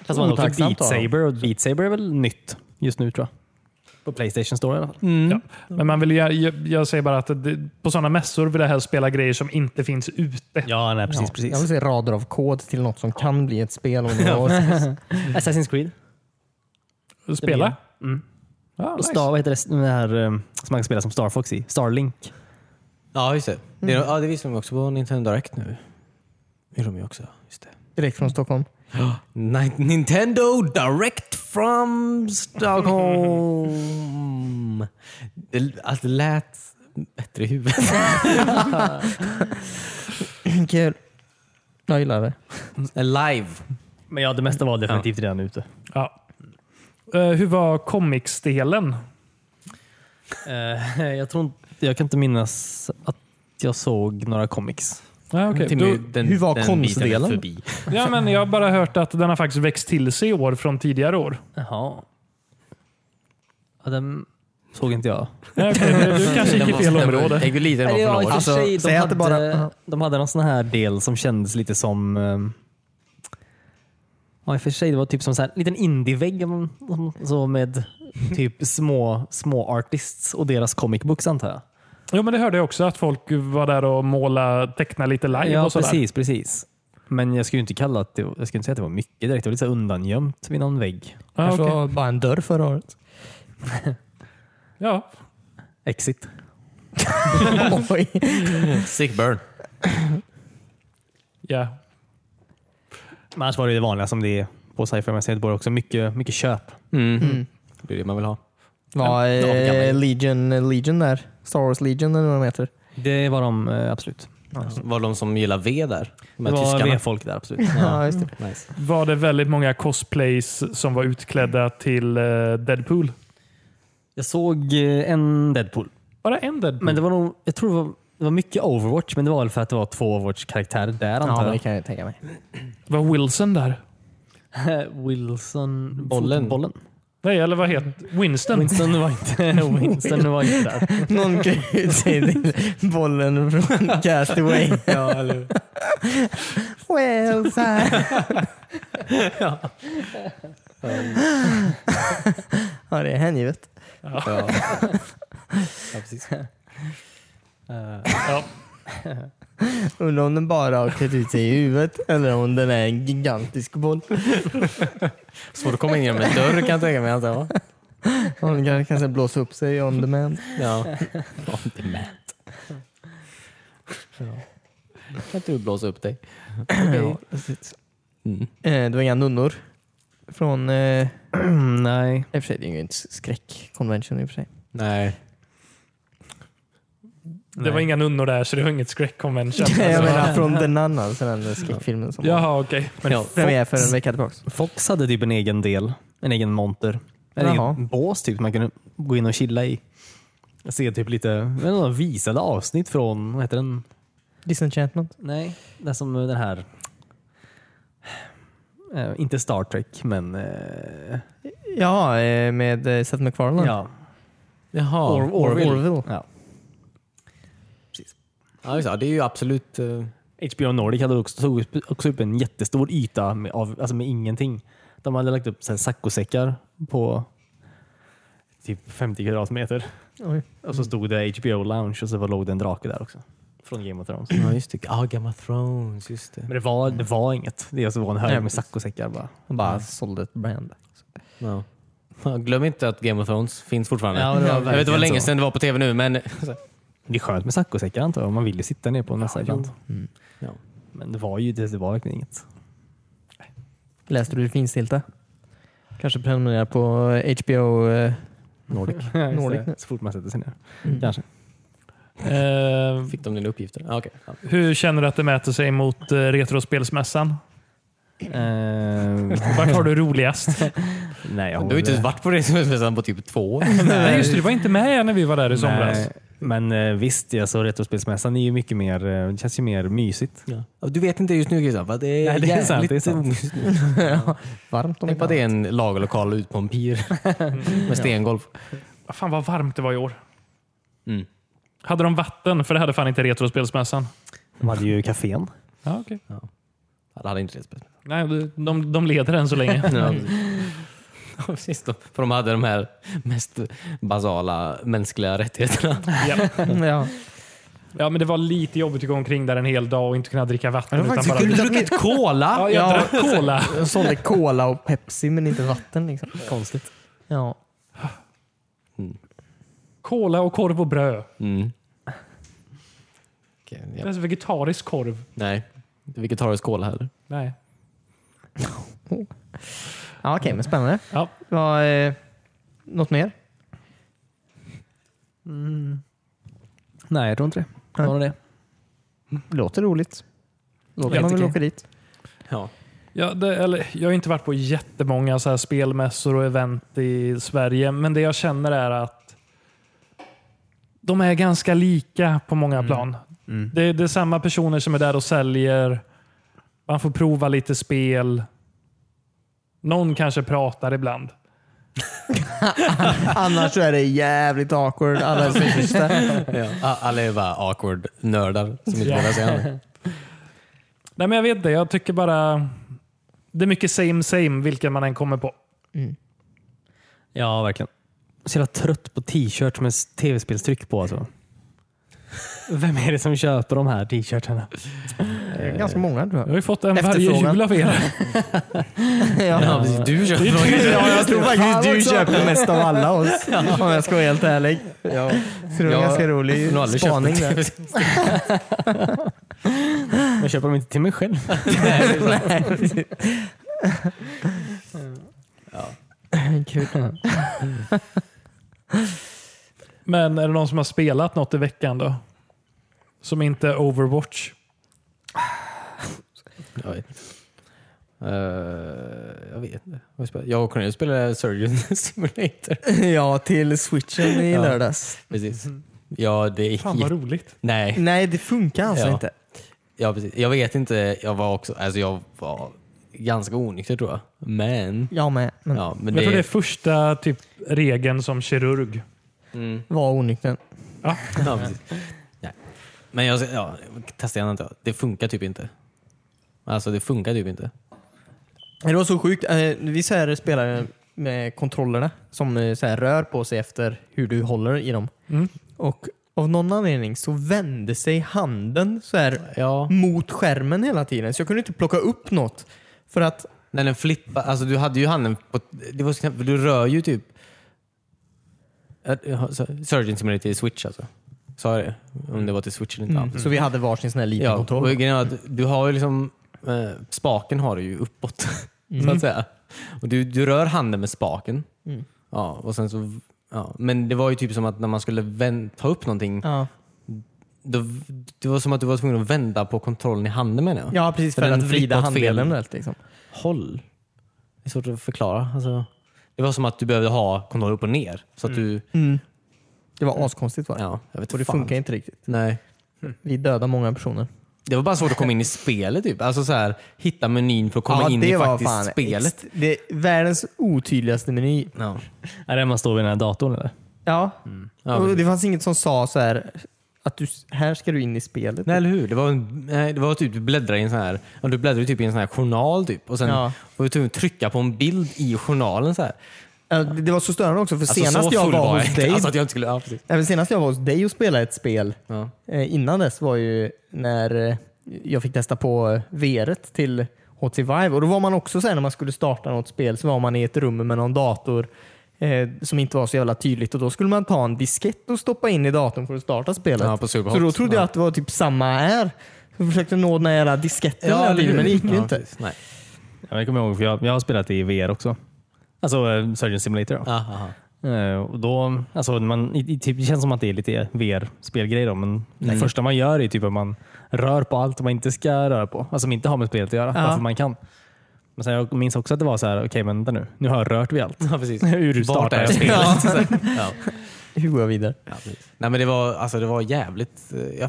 C: hade också
D: Otacksamt
C: Beat
D: av dem.
C: Saber och Beat Saber är väl nytt just nu tror jag. På Playstation Store i alla fall.
A: Men man vill ju, jag, jag säger bara att det, på sådana mässor vill jag helst spela grejer som inte finns ute.
C: Ja, nej, precis.
D: Ja, Jag vill
C: precis.
D: se rader av kod till något som kan bli ett spel. om några år.
C: Assassin's Creed.
A: Spela.
C: blir
A: Ja,
C: Mm. Och
A: nice.
C: Star, vad heter det, det här eh, som man kan spela som Star Fox i? Starlink.
B: ja just det. Det, ja, det visar de också på Nintendo Direct nu. Det är de ju också. Just det.
D: Direkt från Stockholm.
B: Ni- Nintendo Direct from Stockholm. Det, alltså, det lät bättre i huvudet.
D: Kul. Jag gillar det.
B: Live.
C: Men ja, det mesta var definitivt redan ute.
A: Ja. Eh, hur var comics-delen?
C: Eh, jag, tror inte, jag kan inte minnas att jag såg några comics.
A: Ja, okej. Då-
D: hur var konstdelen?
B: Förbi.
A: ja, men jag har bara hört att den har faktiskt växt till sig i år från tidigare år.
C: Jaha. Ja, den såg inte jag.
A: Ja, okej, du- Du kanske gick i fel område.
B: Jag lite
C: Eller ja, i och för
D: Alltså,
C: sig, de,
D: säg att
C: hade,
D: det bara-
C: de hade någon sån här del som kändes lite som... ehm, Ja, i och för sig. Det var typ som så här, en liten indievägg om- om- så med typ små, små artists och deras comic books antar jag.
A: Jo, men det hörde jag också, att folk var där och måla, teckna lite live
C: ja,
A: och sådär.
C: precis, precis. Men jag skulle ju inte kalla att det, jag skulle inte säga att det var mycket direkt. Det var lite så här undangömt vid någon vägg.
A: Ja,
D: Kanske
A: Ah, okej.
D: var bara en dörr förra året.
A: ja.
C: Exit.
D: Oj.
B: Sick burn.
A: Ja.
C: Men annars var det ju det vanliga som det är på sci-fi mässan i Göteborg också. Mycket, mycket köp. Mm.
B: Det är det man vill ha.
D: Var
B: kan man ju.
D: eh, Legion, Legion där? Star Wars Legion eller vad de heter?
C: Det var de eh, absolut.
B: Var det de som gillar V där? De
C: Det
B: här
C: var
B: tyskarna?
C: V-folk där absolut.
D: Ja, just det.
B: Nice.
A: Var det väldigt många cosplays som var utklädda till eh, Deadpool?
C: Jag såg eh, en Deadpool.
A: Bara en Deadpool?
C: Men det var nog, jag tror det var, det var mycket Overwatch, men det var väl för att det var två Overwatch-karaktärer där
D: Ja,
C: antar
D: men det
C: jag.
D: kan jag tänka mig.
A: Var Wilson där?
C: Wilson...
B: Bollen.
C: Bollen.
A: Nej, eller vad heter Winston?
C: Winston var inte, Winston var inte där.
D: Någon kan ju säga till bollen från Castaway.
C: Ja, eller,
D: Well, sir. ja, det är hängivet.
B: Ja. ja, precis.
A: Ja.
D: Undrar om den bara har klätt ut sig i huvudet eller om den är en gigantisk boll.
B: Svårt att komma in genom en dörr kan jag tänka mig. Alltså. va?
D: Om den kan kanske blåsa upp sig on demand.
B: Ja. Ja, det är mät. Kan inte du blåsa upp dig?
D: Ja, precis.
B: Mm.
D: Eh, det var inga nunnor från... Eh,
C: nej.
D: I och för sig, det är ju inte skräckkonvention i och för sig.
B: Nej.
A: Det var inga nunnor där, så det var inget skräckkonvention.
D: jag menar från den andra, alltså den skräckfilmen som var
A: Jaha, okej.
B: Men ja.
D: premiär för en vecka tillbaka.
C: Fox hade typ en egen del, en egen monter. En
D: Jaha.
C: egen bås typ, man kunde gå in och chilla i. Jag ser typ lite jag vet inte, visade avsnitt från, vad heter den?
D: Disenchantment.
C: Nej, den som den här... Eh, inte Star Trek, men... Eh,
D: Ja, eh, med eh, Seth MacFarlane.
C: ja.
B: Jaha.
C: Or-
D: Orville.
C: ja.
B: Ja, just, det. ja, det är ju absolut... eh,
C: HBO Nordic hade också, tog upp- också upp en jättestor yta med, av, alltså med ingenting. De hade lagt upp så här saccosäckar på typ 50 kvadratmeter.
D: Oj.
C: Och så stod det HBO Lounge och så var, låg det en drake där också. Från Game of Thrones.
B: Ja, just det. Ah, Game of Thrones. Just det.
C: Men det var, det var inget. Det alltså var en
D: Nej,
C: hög med
D: precis.
C: saccosäckar bara.
D: Han bara sålde ett brand.
B: Ja. Ja, Glöm inte att Game of Thrones finns fortfarande.
C: Ja, det var
B: jag vet inte
C: verkligen
B: vad länge
C: så.
B: sedan det var på tv nu, men...
C: Det är skönt med saccosäckar antar jag. Man vill ju sitta ner på en massa ibland.
B: Mm. Ja.
C: Men det var ju det, det var verkligen inget.
D: Läste du det finstilta? Kanske prenumerera på HBO. eh,
C: Nordic.
D: Nordic nu.
C: Så fort man sätter sig ner.
B: Mm.
C: Kanske.
A: Eh,
B: Fick de dina uppgifter? Ah, okay. ja.
A: hur känner du att det mäter sig mot eh, Retrospelsmässan?
C: Ehm,
A: Vart har du roligast?
C: nej, jag
B: Du har ju inte
C: håller-
B: ens varit på Retrospelsmässan på typ två år.
A: Nej, just det. Du var inte med när vi var där i somras.
C: Nej, Men eh, visst, alltså, Retrospelsmässan är ju mycket mer, eh, det känns ju mer mysigt.
B: Ja, Du vet inte just nu Christian, för det är
C: Nej, det är
B: jävligt
C: sant, det är sant.
B: omysigt.
D: Varmt om
B: Tänk på att det är en lagerlokal ut på en pir Mm, med stengolv.
A: Vad Fan vad varmt det var i år.
B: Mm.
A: Hade de vatten? För det hade fan inte Retrospelsmässan.
C: De hade ju kafén.
A: Ja, okay.
B: Ja, Det hade inte det
A: Nej, de- de, de leder än så länge.
B: Ja, precis. då. För de hade de här mest basala mänskliga rättigheterna.
A: ja.
D: ja.
A: ja, men det var lite jobbigt att gå omkring där en hel dag och inte kunna dricka vatten.
D: Det var
A: Utan bara,
D: faktiskt kul.
B: druckit
A: ja,
B: cola!
A: jag drack cola.
D: De sålde cola och Pepsi men inte vatten. Liksom.
C: Konstigt.
D: Ja.
A: Cola och korv och bröd.
B: Mm. Okej,
A: Det är
B: ja.
A: alltså vegetarisk korv.
B: Nej, vilket har cola heller.
A: Nej.
D: Ja, Okej, men spännande.
A: Ja.
D: Vad, eh, något mer?
C: Nej, jag tror inte det.
D: Nej.
C: Var det det?
D: Låter roligt. Låter
A: Jag
D: man väl
A: tycker-
D: åka dit.
B: Ja.
A: Ja, det, eller, jag har inte varit på jättemånga så här spelmässor och event i Sverige, men det jag känner är att de är ganska lika på många plan. Det, det är samma personer som är där och säljer. Man får prova lite spel. Någon kanske pratar ibland.
D: Annars så är det jävligt awkward. Alla är så tysta.
B: Ja. Alla är bara awkward nördar som inte
A: Ja.
B: vågar säga något.
A: Nej, men jag vet det. Jag tycker bara det är mycket same same vilken man än kommer på.
C: Ja, verkligen. Så jävla trött på t-shirts med s- tv-spelstryck på alltså. Vem är det som köper de här t-shirtarna?
D: Det är Ganska många tror
A: Jag
D: jag.
A: har ju fått en varje
D: Efterfrågan.
A: jul av er.
B: Ja,
D: ja.
B: precis. du köper
D: Ja, jag tror faktiskt
C: Fan
D: du
C: också.
D: köper mest av alla oss. Om jag ska vara helt ärlig.
B: Ja.
D: Så det var en
B: Ja,
D: ganska
B: jag har nog
D: rolig
B: aldrig köpt
D: spaning
B: en
D: där.
B: TV-serie.
C: Jag köper dem inte till mig själv.
D: Nej, precis. Kul.
A: Men är det någon som har spelat något i veckan då? Som inte är Overwatch?
B: Jag vet inte. Eh, jag vet inte. Vad spelar- Jag och Cornelius spelade Surgeon Simulator.
D: Ja, till switchen i lördags.
B: Precis. Ja, det är...
A: Fan vad roligt.
B: Nej,
D: Nej, det funkar alltså
B: Ja.
D: inte.
B: ja, precis. jag vet inte. Jag var också... Alltså jag var ganska onykter tror jag. Men...
D: Mm. Jag med, men
B: Ja, men
A: Jag tror det är
B: det...
A: första typ, regeln som kirurg.
B: Mm.
D: var onykter.
A: Ja.
B: Ja, precis. Nej. Men jag... Ja, testa gärna inte. Det funkar typ inte. Alltså det funkar typ inte.
D: Det var så sjukt. Eh, Vi så här spelar med kontrollerna som eh, så här rör på sig efter hur du håller i dem.
A: Mm.
D: Och av någon anledning så vände sig handen så här
B: Ja.
D: mot skärmen hela tiden. Så jag kunde inte plocka upp något. För att
B: När den flippar, alltså du hade ju handen på... Det var så knappt, för du rör ju typ... Ja, så- Surgeon Simulator i Switch alltså. Sa jag det? Om det var till Switch eller inte.
D: mm, Så vi hade varsin sån här liten
B: Ja, och
D: kontroll.
B: grejen är att du har ju liksom... Eh, spaken har du ju uppåt, så att säga. Och du, du rör handen med spaken. Ja, och sen så... Ja. Men det var ju typ som att när man skulle vän- ta upp någonting,
D: Ja.
B: då, det var som att du var tvungen att vända på kontrollen i handen menar jag.
D: ja, precis.
B: För
D: För,
B: den
D: att vrida
B: flippar åt fel.
D: handleden rätt. Liksom.
B: håll. Det är svårt att förklara. Alltså, det var som att du behövde ha kontroll upp och ner. Så att du...
D: Det var askonstigt var det.
B: Ja, jag vet
D: Och det
B: fan.
D: funkar inte riktigt.
B: Nej.
D: Vi dödade många personer.
B: Det var bara svårt att komma in i spelet. Typ. Alltså så här, hitta menyn för att komma in i faktiskt spelet.
D: ex- Det är världens otydligaste meny.
B: Ja.
C: Är det man står vid den här datorn eller?
D: Ja.
B: Ja,
D: Mm. och
B: precis.
D: det fanns inget som sa så här att du, här ska du in i spelet.
B: Nej, eller hur? Det var, en- nej, det var typ du bläddrar i en sån här, ja, du bläddrar ju typ i en sån här journal typ. och sen
D: Ja.
B: var du tvungen att trycka på en bild i journalen. Så här.
D: Ja, Äh, Det det var så störande också för
B: Alltså,
D: senast,
B: så
D: jag
B: full
D: var hos
B: jag.
D: dig,
B: Alltså, att jag inte skulle, ja, precis.
D: Nej, men senast jag var hos dig och spelade ett spel
B: Ja.
D: eh, innan dess var ju när eh, jag fick testa på eh, VR till HTC Vive. Och då var man också så här, när man skulle starta något spel så var man i ett rum med någon dator eh, som inte var så jävla tydligt och då skulle man ta en diskett och stoppa in i datorn för att starta spelet.
B: Ja, på Superhot.
D: så då trodde jag
B: Ja.
D: att det var typ samma här. Jag försökte nå den här jävla disketten
B: Ja,
D: hela
B: eller
D: tiden,
B: hur?
D: men det gick ju
B: Ja,
D: inte.
B: precis. Nej.
C: Ja, jag kommer ihåg, för jag, jag har spelat i VR också. Alltså eh, Surgeon Simulator. Då.
B: Ja, aha.
C: Eh, och då, alltså man, i, i, typ, det känns som att det är lite VR-spelgrej, då, men det första man gör är typ att man rör på allt man inte ska röra på. Alltså som inte har med spelet att göra,
D: Ja.
C: varför man kan. Men sen jag minns också att det var så här, okej men vänta nu, nu har jag rört vid allt.
B: Ja, precis.
C: Hur
B: Vart
C: startar
B: är
C: jag spelet?
B: spelet? Så här. Ja.
D: Hur går jag vidare?
B: Ja, precis. Nej men det var, alltså, det var jävligt... eh, Jag,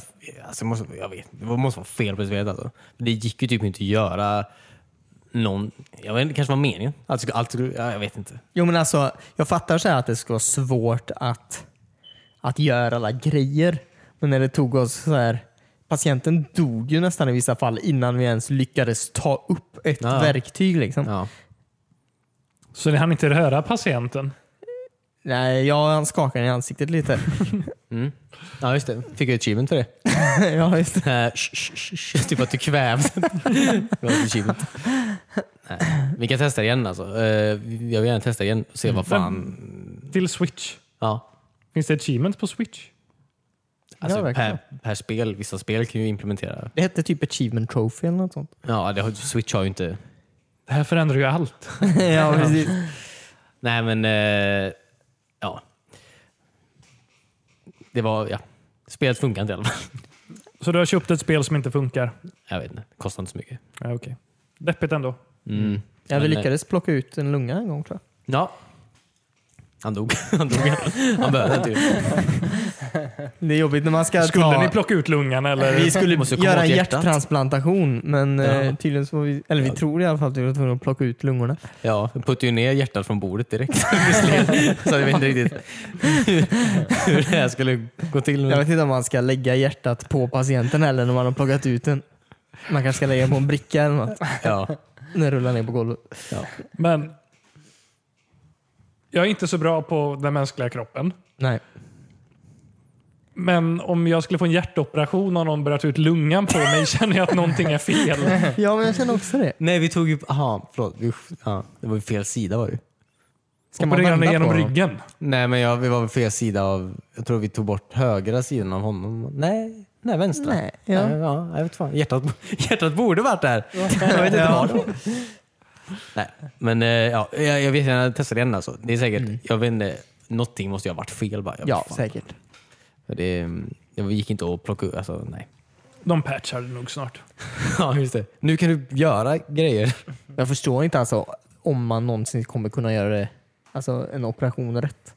B: alltså, jag måste, jag vet, det var- måste vara fel på spelet alltså. Det gick ju typ inte att göra någon... Jag vet inte, det kanske var meningen. Alltså, allt, skulle- ja, jag vet inte.
D: Jo men alltså, jag fattar så här att det ska vara svårt att, att göra alla grejer. Men när det tog oss så här, patienten dog ju nästan i vissa fall innan vi ens lyckades ta upp ett
B: Ja.
D: verktyg. Liksom.
B: Ja.
A: Så ni hann inte röra patienten?
D: Nej, jag han skakade i ansiktet lite.
B: ja, just det. Fick jag achievement för det.
D: ja, just det.
B: Eh, sh- sh- sh- sh- typ att du kvävs. Det var ett achievement. Nej. Vi kan testa igen alltså. Eh, Jag vill gärna testa igen och se vad fan...
A: Till Switch?
B: Mm. Ja.
A: Finns det achievements på Switch?
B: Alltså,
D: Ja, verkligen.
B: per, per spel. Vissa spel kan ju implementera...
D: Det hette typ achievement trophy eller något sånt.
B: Ja, det, har- Switch har ju inte...
A: Det här förändrar ju allt.
D: ja, precis.
B: Nej men, eh, ja. Det var, ja. Spelet funkar inte i alla fall.
A: Så du har köpt ett spel som inte funkar?
B: Jag vet inte, det kostar inte så mycket.
A: Ja, okej. Deppigt ändå.
B: Mm.
D: Ja, vi
B: Men, eh,
D: lyckades plocka ut en lunga en gång tror jag.
B: Ja. Han dog. Han dog. Han typ. behövde inte.
D: Det är jobbigt när man ska
A: Skulle
D: ta...
A: ni plocka ut lungan eller?
D: Vi skulle
B: Måste komma
D: göra en
B: åt hjärtat.
D: hjärttransplantation, men eh, tydligen så var vi, eller vi
B: Ja.
D: tror i alla fall att vi var tvungna att plocka ut lungorna.
B: Ja, jag puttade ju ner hjärtat från bordet direkt. Visserligen. så jag vet inte riktigt hur, hur det här skulle gå till.
D: Jag
B: Men,
D: vet inte om man ska lägga hjärtat på patienten eller när man har plockat ut den. Man kanske ska lägga den på en bricka eller något.
B: ja.
D: Den rullar ner på golvet.
A: Men jag är inte så bra på den mänskliga kroppen.
D: Nej.
A: Men om jag skulle få en hjärtoperation och någon bröt ut lungan på mig känner jag att någonting är fel.
D: Ja, men jag känner också det.
B: Nej, vi tog ju... Aha, förlåt. Vi, ja, det var ju fel sida var det ju.
D: Ska man
A: Opererade
D: vända
A: genom
D: på dem?
A: ryggen.
B: Nej, men jag, vi var på fel sida av... Jag tror vi tog bort högra sidan av honom. Nej, nej vänstra.
D: Nej, ja.
B: Nej, ja, jag vet fan. Hjärtat, hjärtat borde varit där. Jag vet inte var det var. Nej, men eh, ja, jag, jag vet jag testade igen alltså. Det är säkert, jag vet inte, någonting måste ju ha varit fel bara. Jag vet
D: Ja,
B: fan.
D: säkert.
B: För Det, det gick inte att plocka ur, alltså nej.
A: De patchar det nog snart.
B: Ja, just det. Nu kan du göra grejer.
D: Jag förstår inte alltså om man någonsin kommer kunna göra det, alltså en operation rätt.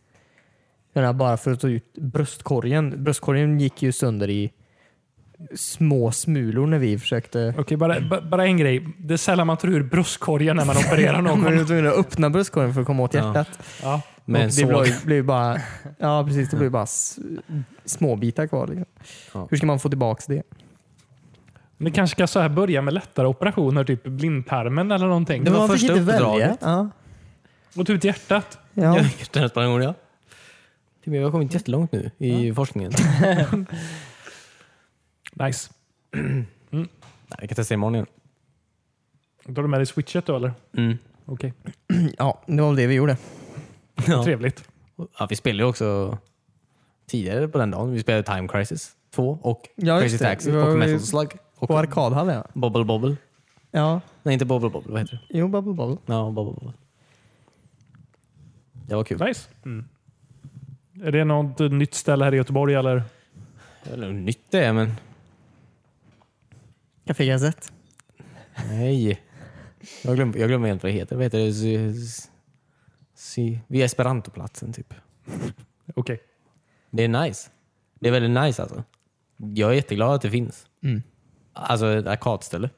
D: Jag menar, bara för att ta ut bröstkorgen. Bröstkorgen gick ju sönder i små smulor när vi försökte
A: Okej, bara, ba- bara en grej. Det är sällan man tar ur bröstkorgen när man opererar
D: Man var
A: någon.
D: ju tvungen att öppna bröstkorgen för att komma åt
B: Ja.
D: hjärtat.
A: Ja.
D: Men
B: Men
D: det blev
B: såg.
D: ju- blev ju bara, ja, precis, det blev bara s- små bitar kvar. Liksom.
B: Ja.
D: Hur ska man få tillbaka det?
A: Ni kanske ska så här börja med lättare operationer, typ blindtarmen eller någonting.
B: Det var
D: Man fick
B: första
D: inte välja.
B: uppdraget.
D: Ja.
A: Och ta ut hjärtat.
D: Ja.
B: Ja. Hjärttransplantation, ja. Typ, Jag har kommit jättelångt nu i forskningen.
A: Nice.
B: Nej, jag kan testa imorgon igen.
A: Tar du med dig switchet då eller?
B: Mm.
A: Okej,
D: ja, det var väl det vi gjorde.
B: Ja.
A: trevligt.
B: Ja, vi spelade ju också tidigare på den dagen. Vi spelade Time Crisis 2 och
D: Ja, just
B: Crazy
D: det.
B: Taxi
D: Det var
B: och
D: vi-
B: Metal Slug. Och
D: På arkadhallen ja.
B: Bobble Bobble.
D: Ja,
B: Nej, inte Bobble Bobble. Vad heter det?
D: jo, bubble, bubble.
B: Ja, Bobble Bobble. Det var kul.
A: Nice.
B: Mm.
A: Är det något nytt ställe här i Göteborg eller?
B: Jag vet inte hur nytt det är, men
D: Café Gazette.
B: nej. Jag glömmer, jag glömmer helt vad det heter. Vad heter det? Z- z- z- Vid Esperantoplatsen typ.
A: Okej.
B: Det är nice. Det är väldigt nice alltså. Jag är jätteglad att det finns.
D: Mm.
B: Alltså ett arkadställe.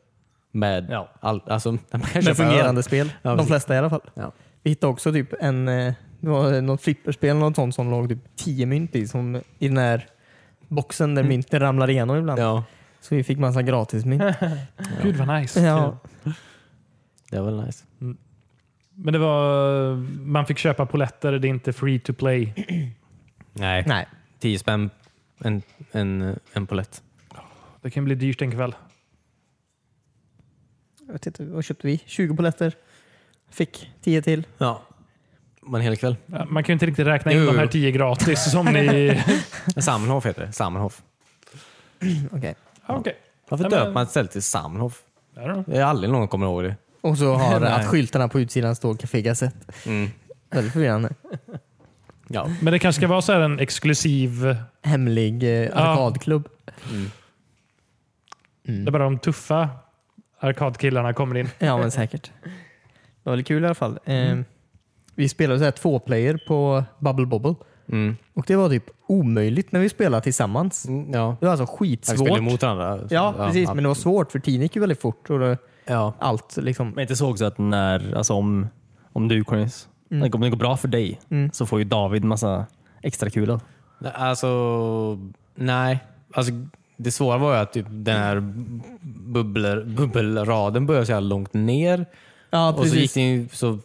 B: Med
C: Ja.
B: allt. Alltså, där man
D: Med
B: kan köpa öl.
D: fungerande spel.
B: Ja,
D: De
B: precis.
D: flesta i alla fall.
B: Ja.
D: Vi hittade också typ en, eh, det var något flipperspel eller något sånt som låg typ 10 mynt i, som i den här boxen där mynten ramlar igenom ibland.
B: Ja,
D: Så vi fick massa gratismynt.
A: Gud vad nice.
D: Ja.
B: det var nice.
A: Men det var, man fick köpa poletter, det är inte free to play.
B: Nej.
D: Nej.
B: 10 spänn en, en, en polett.
A: Det kan bli dyrt en kväll.
D: Jag vet inte, vad köpte vi? 20 poletter. Fick 10 till.
B: Ja. Man hel kväll.
A: Ja, Man kan ju inte riktigt räkna in
B: Jo,
A: de här
B: jo.
A: tio gratis som ni...
B: Samhof heter det. Samhof.
D: Okej.
A: Ja, Okej.
B: Varför
A: Nej, men-
B: döper man ett ställe till Samhof?
A: I don't know.
B: Det är aldrig någon kommer ihåg det.
D: Och så har
B: Nej.
D: att skyltarna på utsidan står Café Gazette.
B: Mm.
D: Väldigt förvirrande.
B: Ja.
A: Men det
D: Mm.
A: kanske ska vara så här en exklusiv...
D: Hemlig eh, arkadklubb.
A: Det är bara de tuffa arkadkillarna kommer in.
D: Ja, men säkert. Det var väl kul i alla fall. Eh, Vi spelade så här två player på Bubble Bobble
B: Mm.
D: och det var typ omöjligt när vi spelade tillsammans.
B: Mm, Ja.
D: Det var alltså
B: Vi spelade
D: skitsvårt.
B: mot andra.
D: Ja, precis.
B: att-
D: Men det var svårt för tiden gick ju väldigt fort och det,
B: ja.
D: allt liksom.
C: Men inte så också att när, alltså om, om du Cornelis,
D: Mm.
C: om det går bra för dig
D: Mm.
C: så får ju David massa extra kulor.
B: Nej, Alltså, nej. Alltså, det svåra var ju att typ den här bubbler, bubbelraden började så här långt ner
D: Ja,
B: och så, gick
D: precis.
B: den, ju- så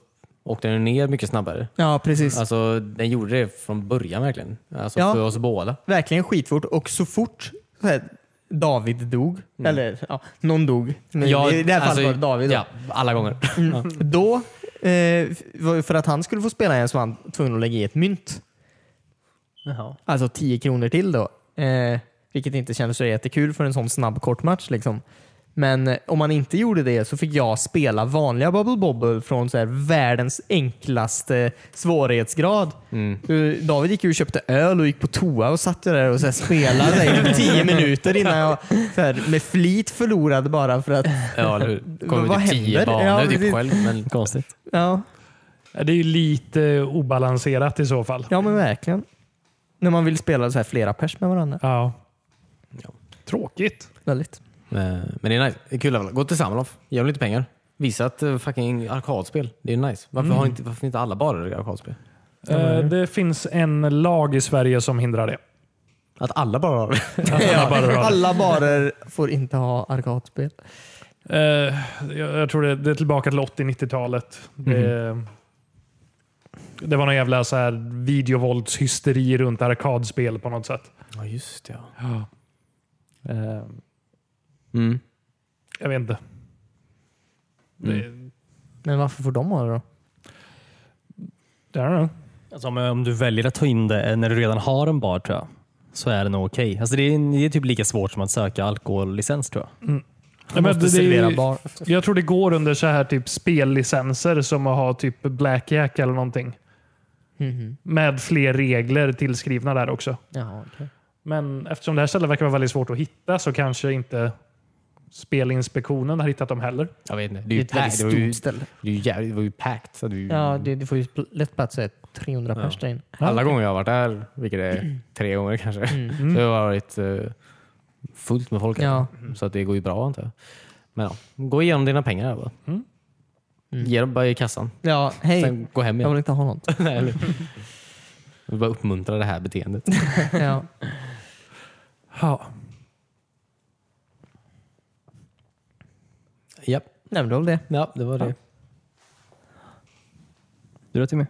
B: åkte den ner mycket snabbare.
D: Ja, precis.
B: Alltså, den gjorde det från början verkligen. Alltså
D: Ja.
B: för oss båda.
D: Verkligen skitfort och så fort så här, David dog, eller ja, någon dog, men i det här fallet
B: Mm. alltså,
D: var det David. då.
B: Ja, alla gånger.
D: Mm. Då, eh, f- var- för att han skulle få spela igen så var han tvungen att lägga i ett mynt.
C: Jaha.
D: Alltså 10 kronor till då. Eh, vilket inte kändes så jättekul för en sån snabb kortmatch. Liksom. Men eh, om man inte gjorde det så fick jag spela vanliga Bubble Bobble från så här världens enklaste svårighetsgrad. Eh, David gick ju och köpte öl och gick på toa och satt där och så här spelade i 10 minuter innan jag så här, med flit förlorade bara för att...
B: Ja, eller hur? Kommer
D: Vad
B: typ tio
D: händer?
B: banor
D: Ja,
B: typ
D: precis.
B: själv. Men
C: Konstigt.
D: Ja,
A: Det är ju lite obalanserat i så fall.
D: ja men verkligen. När man vill spela så här flera pers med varandra.
A: Ja. Tråkigt.
D: Väldigt.
B: Eh, Men det är nice. Det är kul i alla fall. Gå till Samlof. Ge dem lite pengar. Visa ett eh, fucking arkadspel. Det är nice. Varför har inte, varför inte alla bara arkadspel?
A: Eh, Det finns en lag i Sverige som hindrar det.
B: Att alla bara har det.
A: Alla bara drar.
D: Alla barer får inte ha arkadspel.
A: Eh, jag, jag tror det, det är tillbaka till 80-90-talet. Det,
D: Mm.
A: det var någon jävla så här videovåldshysteri runt arkadspel på något sätt.
B: Ja, just ja.
A: Eh,
D: Ehm.
B: Mm.
A: jag vet inte.
D: Mm. Men varför får de ha det då?
A: Det, I don't know.
C: Alltså om, om du väljer att ta in det eh, när du redan har en bar tror jag, så är det nog okej. Alltså det, är, det är typ lika svårt som att söka alkohollicens tror jag.
A: Ja, men det-
D: måste
A: det är-
D: servera bar.
A: Jag tror det går under så här typ spellicenser som att ha typ Blackjack eller någonting. Med fler regler tillskrivna där också.
D: Jaha, okej.
A: Men eftersom det här stället verkar vara väldigt svårt att hitta så kanske inte Spelinspektionen har hittat dem heller.
B: Jag vet inte.
D: Det
B: Det
D: är
B: är
D: ett väldigt
B: ju pack- det var ju-
D: stort ställe.
B: det är ju jävligt- det var ju packed. Så det är ju,
D: Ja, det, det får ju pl- lätt plats att 300 pers där inne.
B: Alla gånger jag har varit där, vilket är tre gånger kanske, så har jag varit eh, fullt med folk. här.
D: Mm. Ja.
B: Så att det går ju bra antar jag. Men ja, gå igenom dina pengar här bara. Ge dem bara i kassan.
D: Ja, Mm. hej.
B: Sen gå hem
D: Jag
B: igen.
D: vill inte ha något.
B: Nej, eller- Jag vill bara uppmuntra det här beteendet.
D: Ja.
A: Ja.
B: ja.
D: Nej, men det var väl det.
B: ja, det var det.
C: Du då Timmy?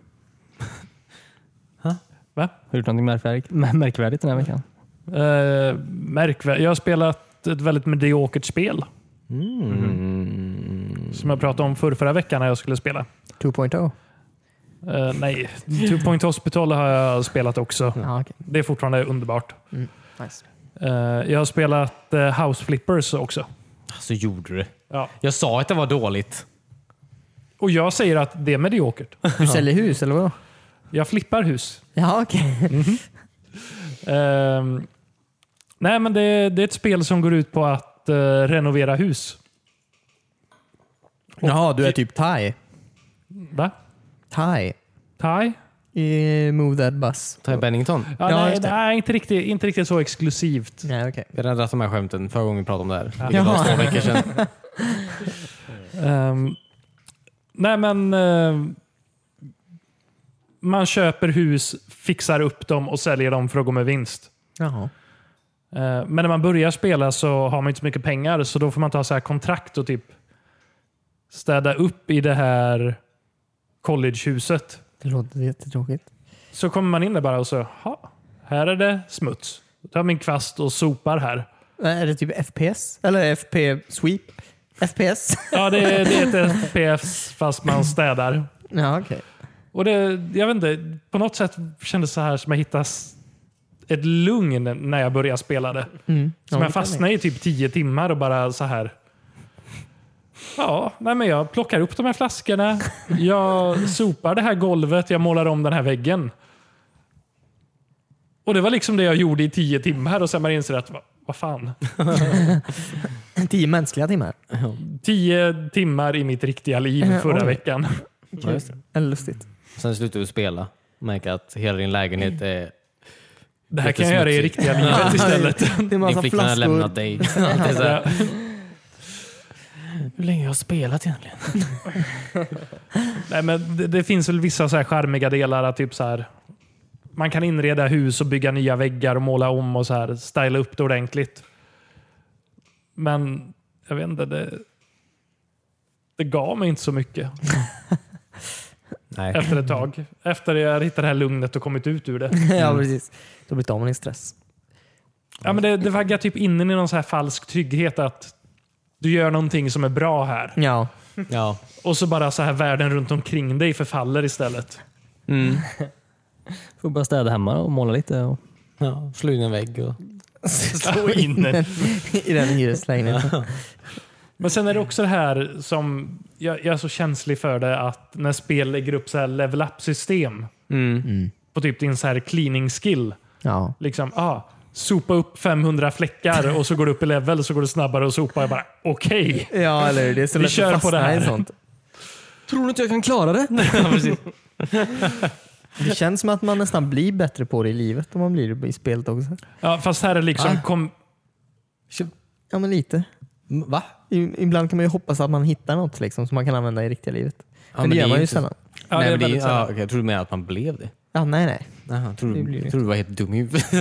A: Va?
C: Har du gjort någonting märkvärdigt, märkvärdigt den här veckan?
A: Eh, märkvär- jag har spelat ett väldigt mediokert spel
B: Mm.
A: som jag pratade om förra, förra veckan när jag skulle spela.
D: 2.0.
A: Eh, nej, Two Point Hospital har jag spelat också.
D: Ja, okej.
A: Det är fortfarande underbart.
D: Nice.
A: Eh, jag har spelat eh, House Flippers också.
B: Så gjorde du det.
A: Ja.
B: Jag sa att det var dåligt.
A: Och jag säger att det är mediokert.
D: Du säljer hus eller vadå?
A: Jag flippar hus.
D: Ja, okej.
A: Ehm, nej, men det, det är ett spel som går ut på att eh, renovera hus.
D: Jaha, du är typ thai.
A: Va?
D: Thai.
A: Thai?
D: I move that bus.
B: Ty Bennington.
A: Ja,
D: Ja,
A: nej,
D: just det.
A: nej inte, riktigt, inte riktigt så exklusivt.
D: Nej, okej.
B: Vi har dragit de här skämten förra gången vi pratade om det här. Vilket
D: Jaha.
B: var två veckor sedan.
A: Ehm, nej, men eh, man köper hus, fixar upp dem och säljer dem för att gå med vinst.
D: Jaha.
A: Eh, Men när man börjar spela så har man inte så mycket pengar, så då får man ta så här kontrakt och typ städa upp i det här collegehuset.
D: Det låter jättetråkigt.
A: Så kommer man in där bara och så, "Ha, här är det smuts. Då tar jag min kvast och sopar här.
D: Äh, Är det typ FPS? Eller FP Sweep? FPS?
A: Ja, det, är- det är ett FPS fast man städar.
D: Ja, okej.
A: Och det, jag vet inte, på något sätt kändes det så här som jag hittade s- ett lugn när jag började spela det.
D: Mm. Ja,
A: Som
D: det
A: jag
D: kan
A: fastnade i typ tio timmar och bara så här. Ja, nej men jag plockar upp de här flaskorna. Jag sopar det här golvet. Jag målar om den här väggen. Och det var liksom det jag gjorde i tio timmar och sen man inser att, vad, vad fan.
D: Tio mänskliga timmar.
A: Tio timmar i mitt riktiga liv
D: Eh,
A: förra
D: oj.
A: veckan.
D: Kul. Eller lustigt.
B: Sen slutar du spela. Märker att hela din lägenhet är...
A: Det här
B: Lite
A: kan jag göra i
B: smutsigt.
A: riktiga livet istället.
D: Det är
B: Din
D: massa
B: flickvän har
D: flaskor.
B: lämnat dig. Allt är så här. Hur länge har jag spelat egentligen?
A: Nej, men det, det finns väl vissa så här charmiga delar. Att typ så här, man kan inreda hus och bygga nya väggar och måla om och så här, styla upp det ordentligt. Men jag vet inte, det, det gav mig inte så mycket
B: Nej.
A: efter ett tag. Efter jag hittade det här lugnet och kommit ut ur det.
D: ja, precis. Då blir det av med din stress.
A: Ja, men det, det vaggar typ in i någon så här falsk trygghet att du gör någonting som är bra här.
D: Ja.
B: Ja.
A: Och så bara så här världen runt omkring dig förfaller istället.
B: Mm.
C: Får bara städa hemma och måla lite. Och...
B: ja. Slå in en vägg och...
C: Slå in den.
D: I den hyreslägenheten.
A: Men sen är det också det här som, jag, jag är så känslig för det, att när spel lägger upp så här level up-system på typ din så här cleaning skill.
D: Ja.
A: Liksom, ah, sopa upp 500 fläckar och så går du upp i level så går du snabbare och sopa. Jag bara, okej.
D: ja, eller hur? Det är så
A: Vi
D: lätt
A: kör på
D: att fastna
A: det här.
D: i sånt.
C: Tror du inte jag kan klara det?
D: Det känns som att man nästan blir bättre på det i livet om man blir det i spelet också.
A: Ja, fast här är det liksom, kom,
D: Ja, men lite.
B: Va?
D: I, ibland kan man ju hoppas att man hittar något liksom, som man kan använda i riktiga livet. men,
B: men
D: det
B: det
D: gör
B: är
D: man
B: ju
D: ju
B: inte
D: sällan.
A: ja, det
B: Nej,
A: är
B: men det, är-
A: väldigt
B: ja,
A: sällan.
B: okej, jag trodde mer att man blev det.
D: Ja, nej, nej.
B: Jaha, tror
D: Det blir
B: du,
D: det.
B: tror du var helt dum i huvudet?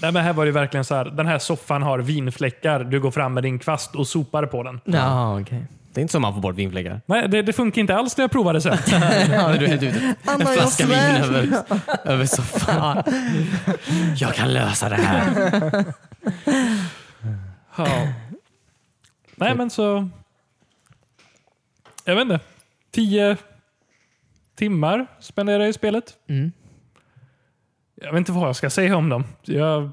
A: Nej, men här var det verkligen så här, den här soffan har vinfläckar. Du går fram med din kvast och sopar på den.
D: Ja, okej.
B: Det är inte så man får bort vinfläckar.
A: Nej, det, det funkar inte alls när jag provade sen.
B: När du hällde ut en
D: Anna, jag
B: flaska vin
D: svär!
B: över, över soffan. Jag kan lösa det här.
A: Ja. Nej, men så... Jag vet inte. Tio timmar spenderar jag i spelet.
D: Mm.
A: Jag vet inte vad jag ska säga om dem. Jag...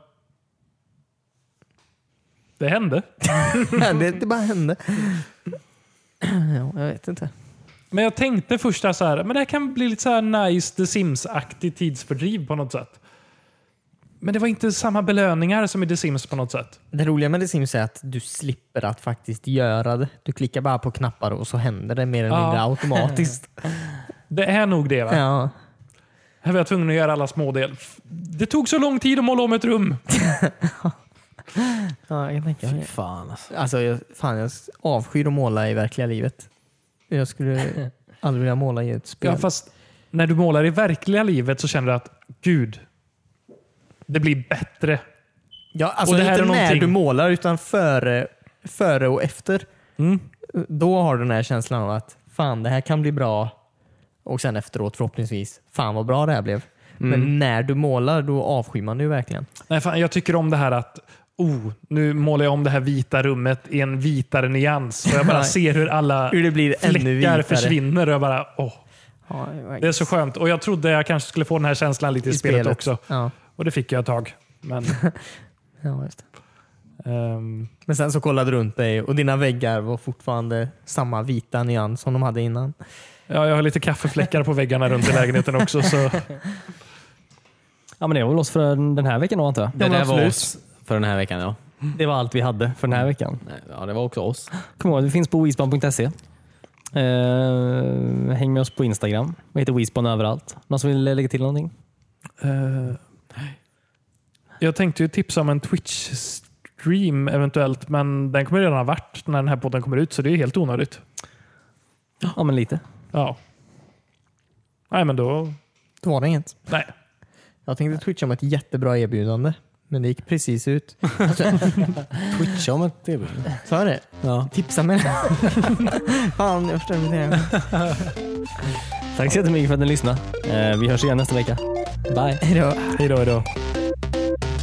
A: Det hände.
D: det, det bara hände. Ja, jag vet inte.
A: Men jag tänkte första så här, men det här kan bli lite så här nice The Sims-aktig tidsfördriv på något sätt. Men det var inte samma belöningar som i The Sims på något sätt.
D: Det roliga med The Sims är att du slipper att faktiskt göra det. Du klickar bara på knappar och så händer det mer eller
A: Ja.
D: mindre automatiskt.
A: Det är nog det va?
D: Ja.
A: Här var jag tvungen att göra alla smådel. Det tog så lång tid att måla om ett rum.
D: ja, jag tänker
B: Fy
D: det.
B: fan alltså.
D: Alltså, jag, fan, jag avskyr att måla i verkliga livet. Jag skulle aldrig vilja måla i ett spel.
A: Ja, fast när du målar i verkliga livet så känner du att gud, det blir bättre.
D: Ja, alltså
A: Och det här
D: inte
A: är någonting-
D: när du målar utan före, före och efter.
A: Mm.
D: Då har du den här känslan av att fan, det här kan bli bra. Och sen efteråt förhoppningsvis, fan vad bra det här blev.
A: Mm.
D: Men när du målar, då avskyr man det ju verkligen.
A: Nej, fan, jag tycker om det här att oh, nu målar jag om det här vita rummet i en vitare nyans. Och jag bara
D: Nej.
A: ser hur alla
D: Hur det blir ännu
A: fläckar
D: vitare.
A: försvinner. Och jag bara, åh,
D: Ja, verkligen.
A: det är så skönt. Och jag trodde jag kanske skulle få den här känslan lite i,
D: I
A: spelet, också.
D: Ja.
A: Och det fick jag ett tag. Men,
D: Ja, just det.
A: ehm,
D: Men sen så kollade du runt dig och dina väggar var fortfarande samma vita nyans som de hade innan.
A: ja, jag har lite kaffefläckar på väggarna runt i lägenheten också. Så.
C: Ja, men det var väl oss för den här veckan då antar jag.
B: Det där var oss för den här veckan. Ja,
C: Det var allt vi hade för den här veckan.
B: Nej, ja det var också oss.
C: Kom ihåg, vi finns på wisban.se. Eh, häng med oss på Instagram. Vi heter Wisban överallt. Någon som vill lägga till någonting?
A: Eh, jag tänkte ju tipsa om en Twitch-stream eventuellt, men den kommer redan ha varit när den här podden kommer ut, så det är helt onödigt.
C: Ja, men lite.
A: Ja. Nej, men då...
D: Då var det inget.
A: Nej.
D: Jag tänkte twitcha om ett jättebra erbjudande, men det gick precis ut.
B: Twitcha om ett erbjudande.
D: Sa jag det?
B: Ja.
D: Tipsa mig. Fan, jag förstår inte det.
C: Tack så jättemycket för att ni lyssnade. Eh, vi hörs igen nästa vecka. Bye!
D: Hej då.
A: Hej då, hej då.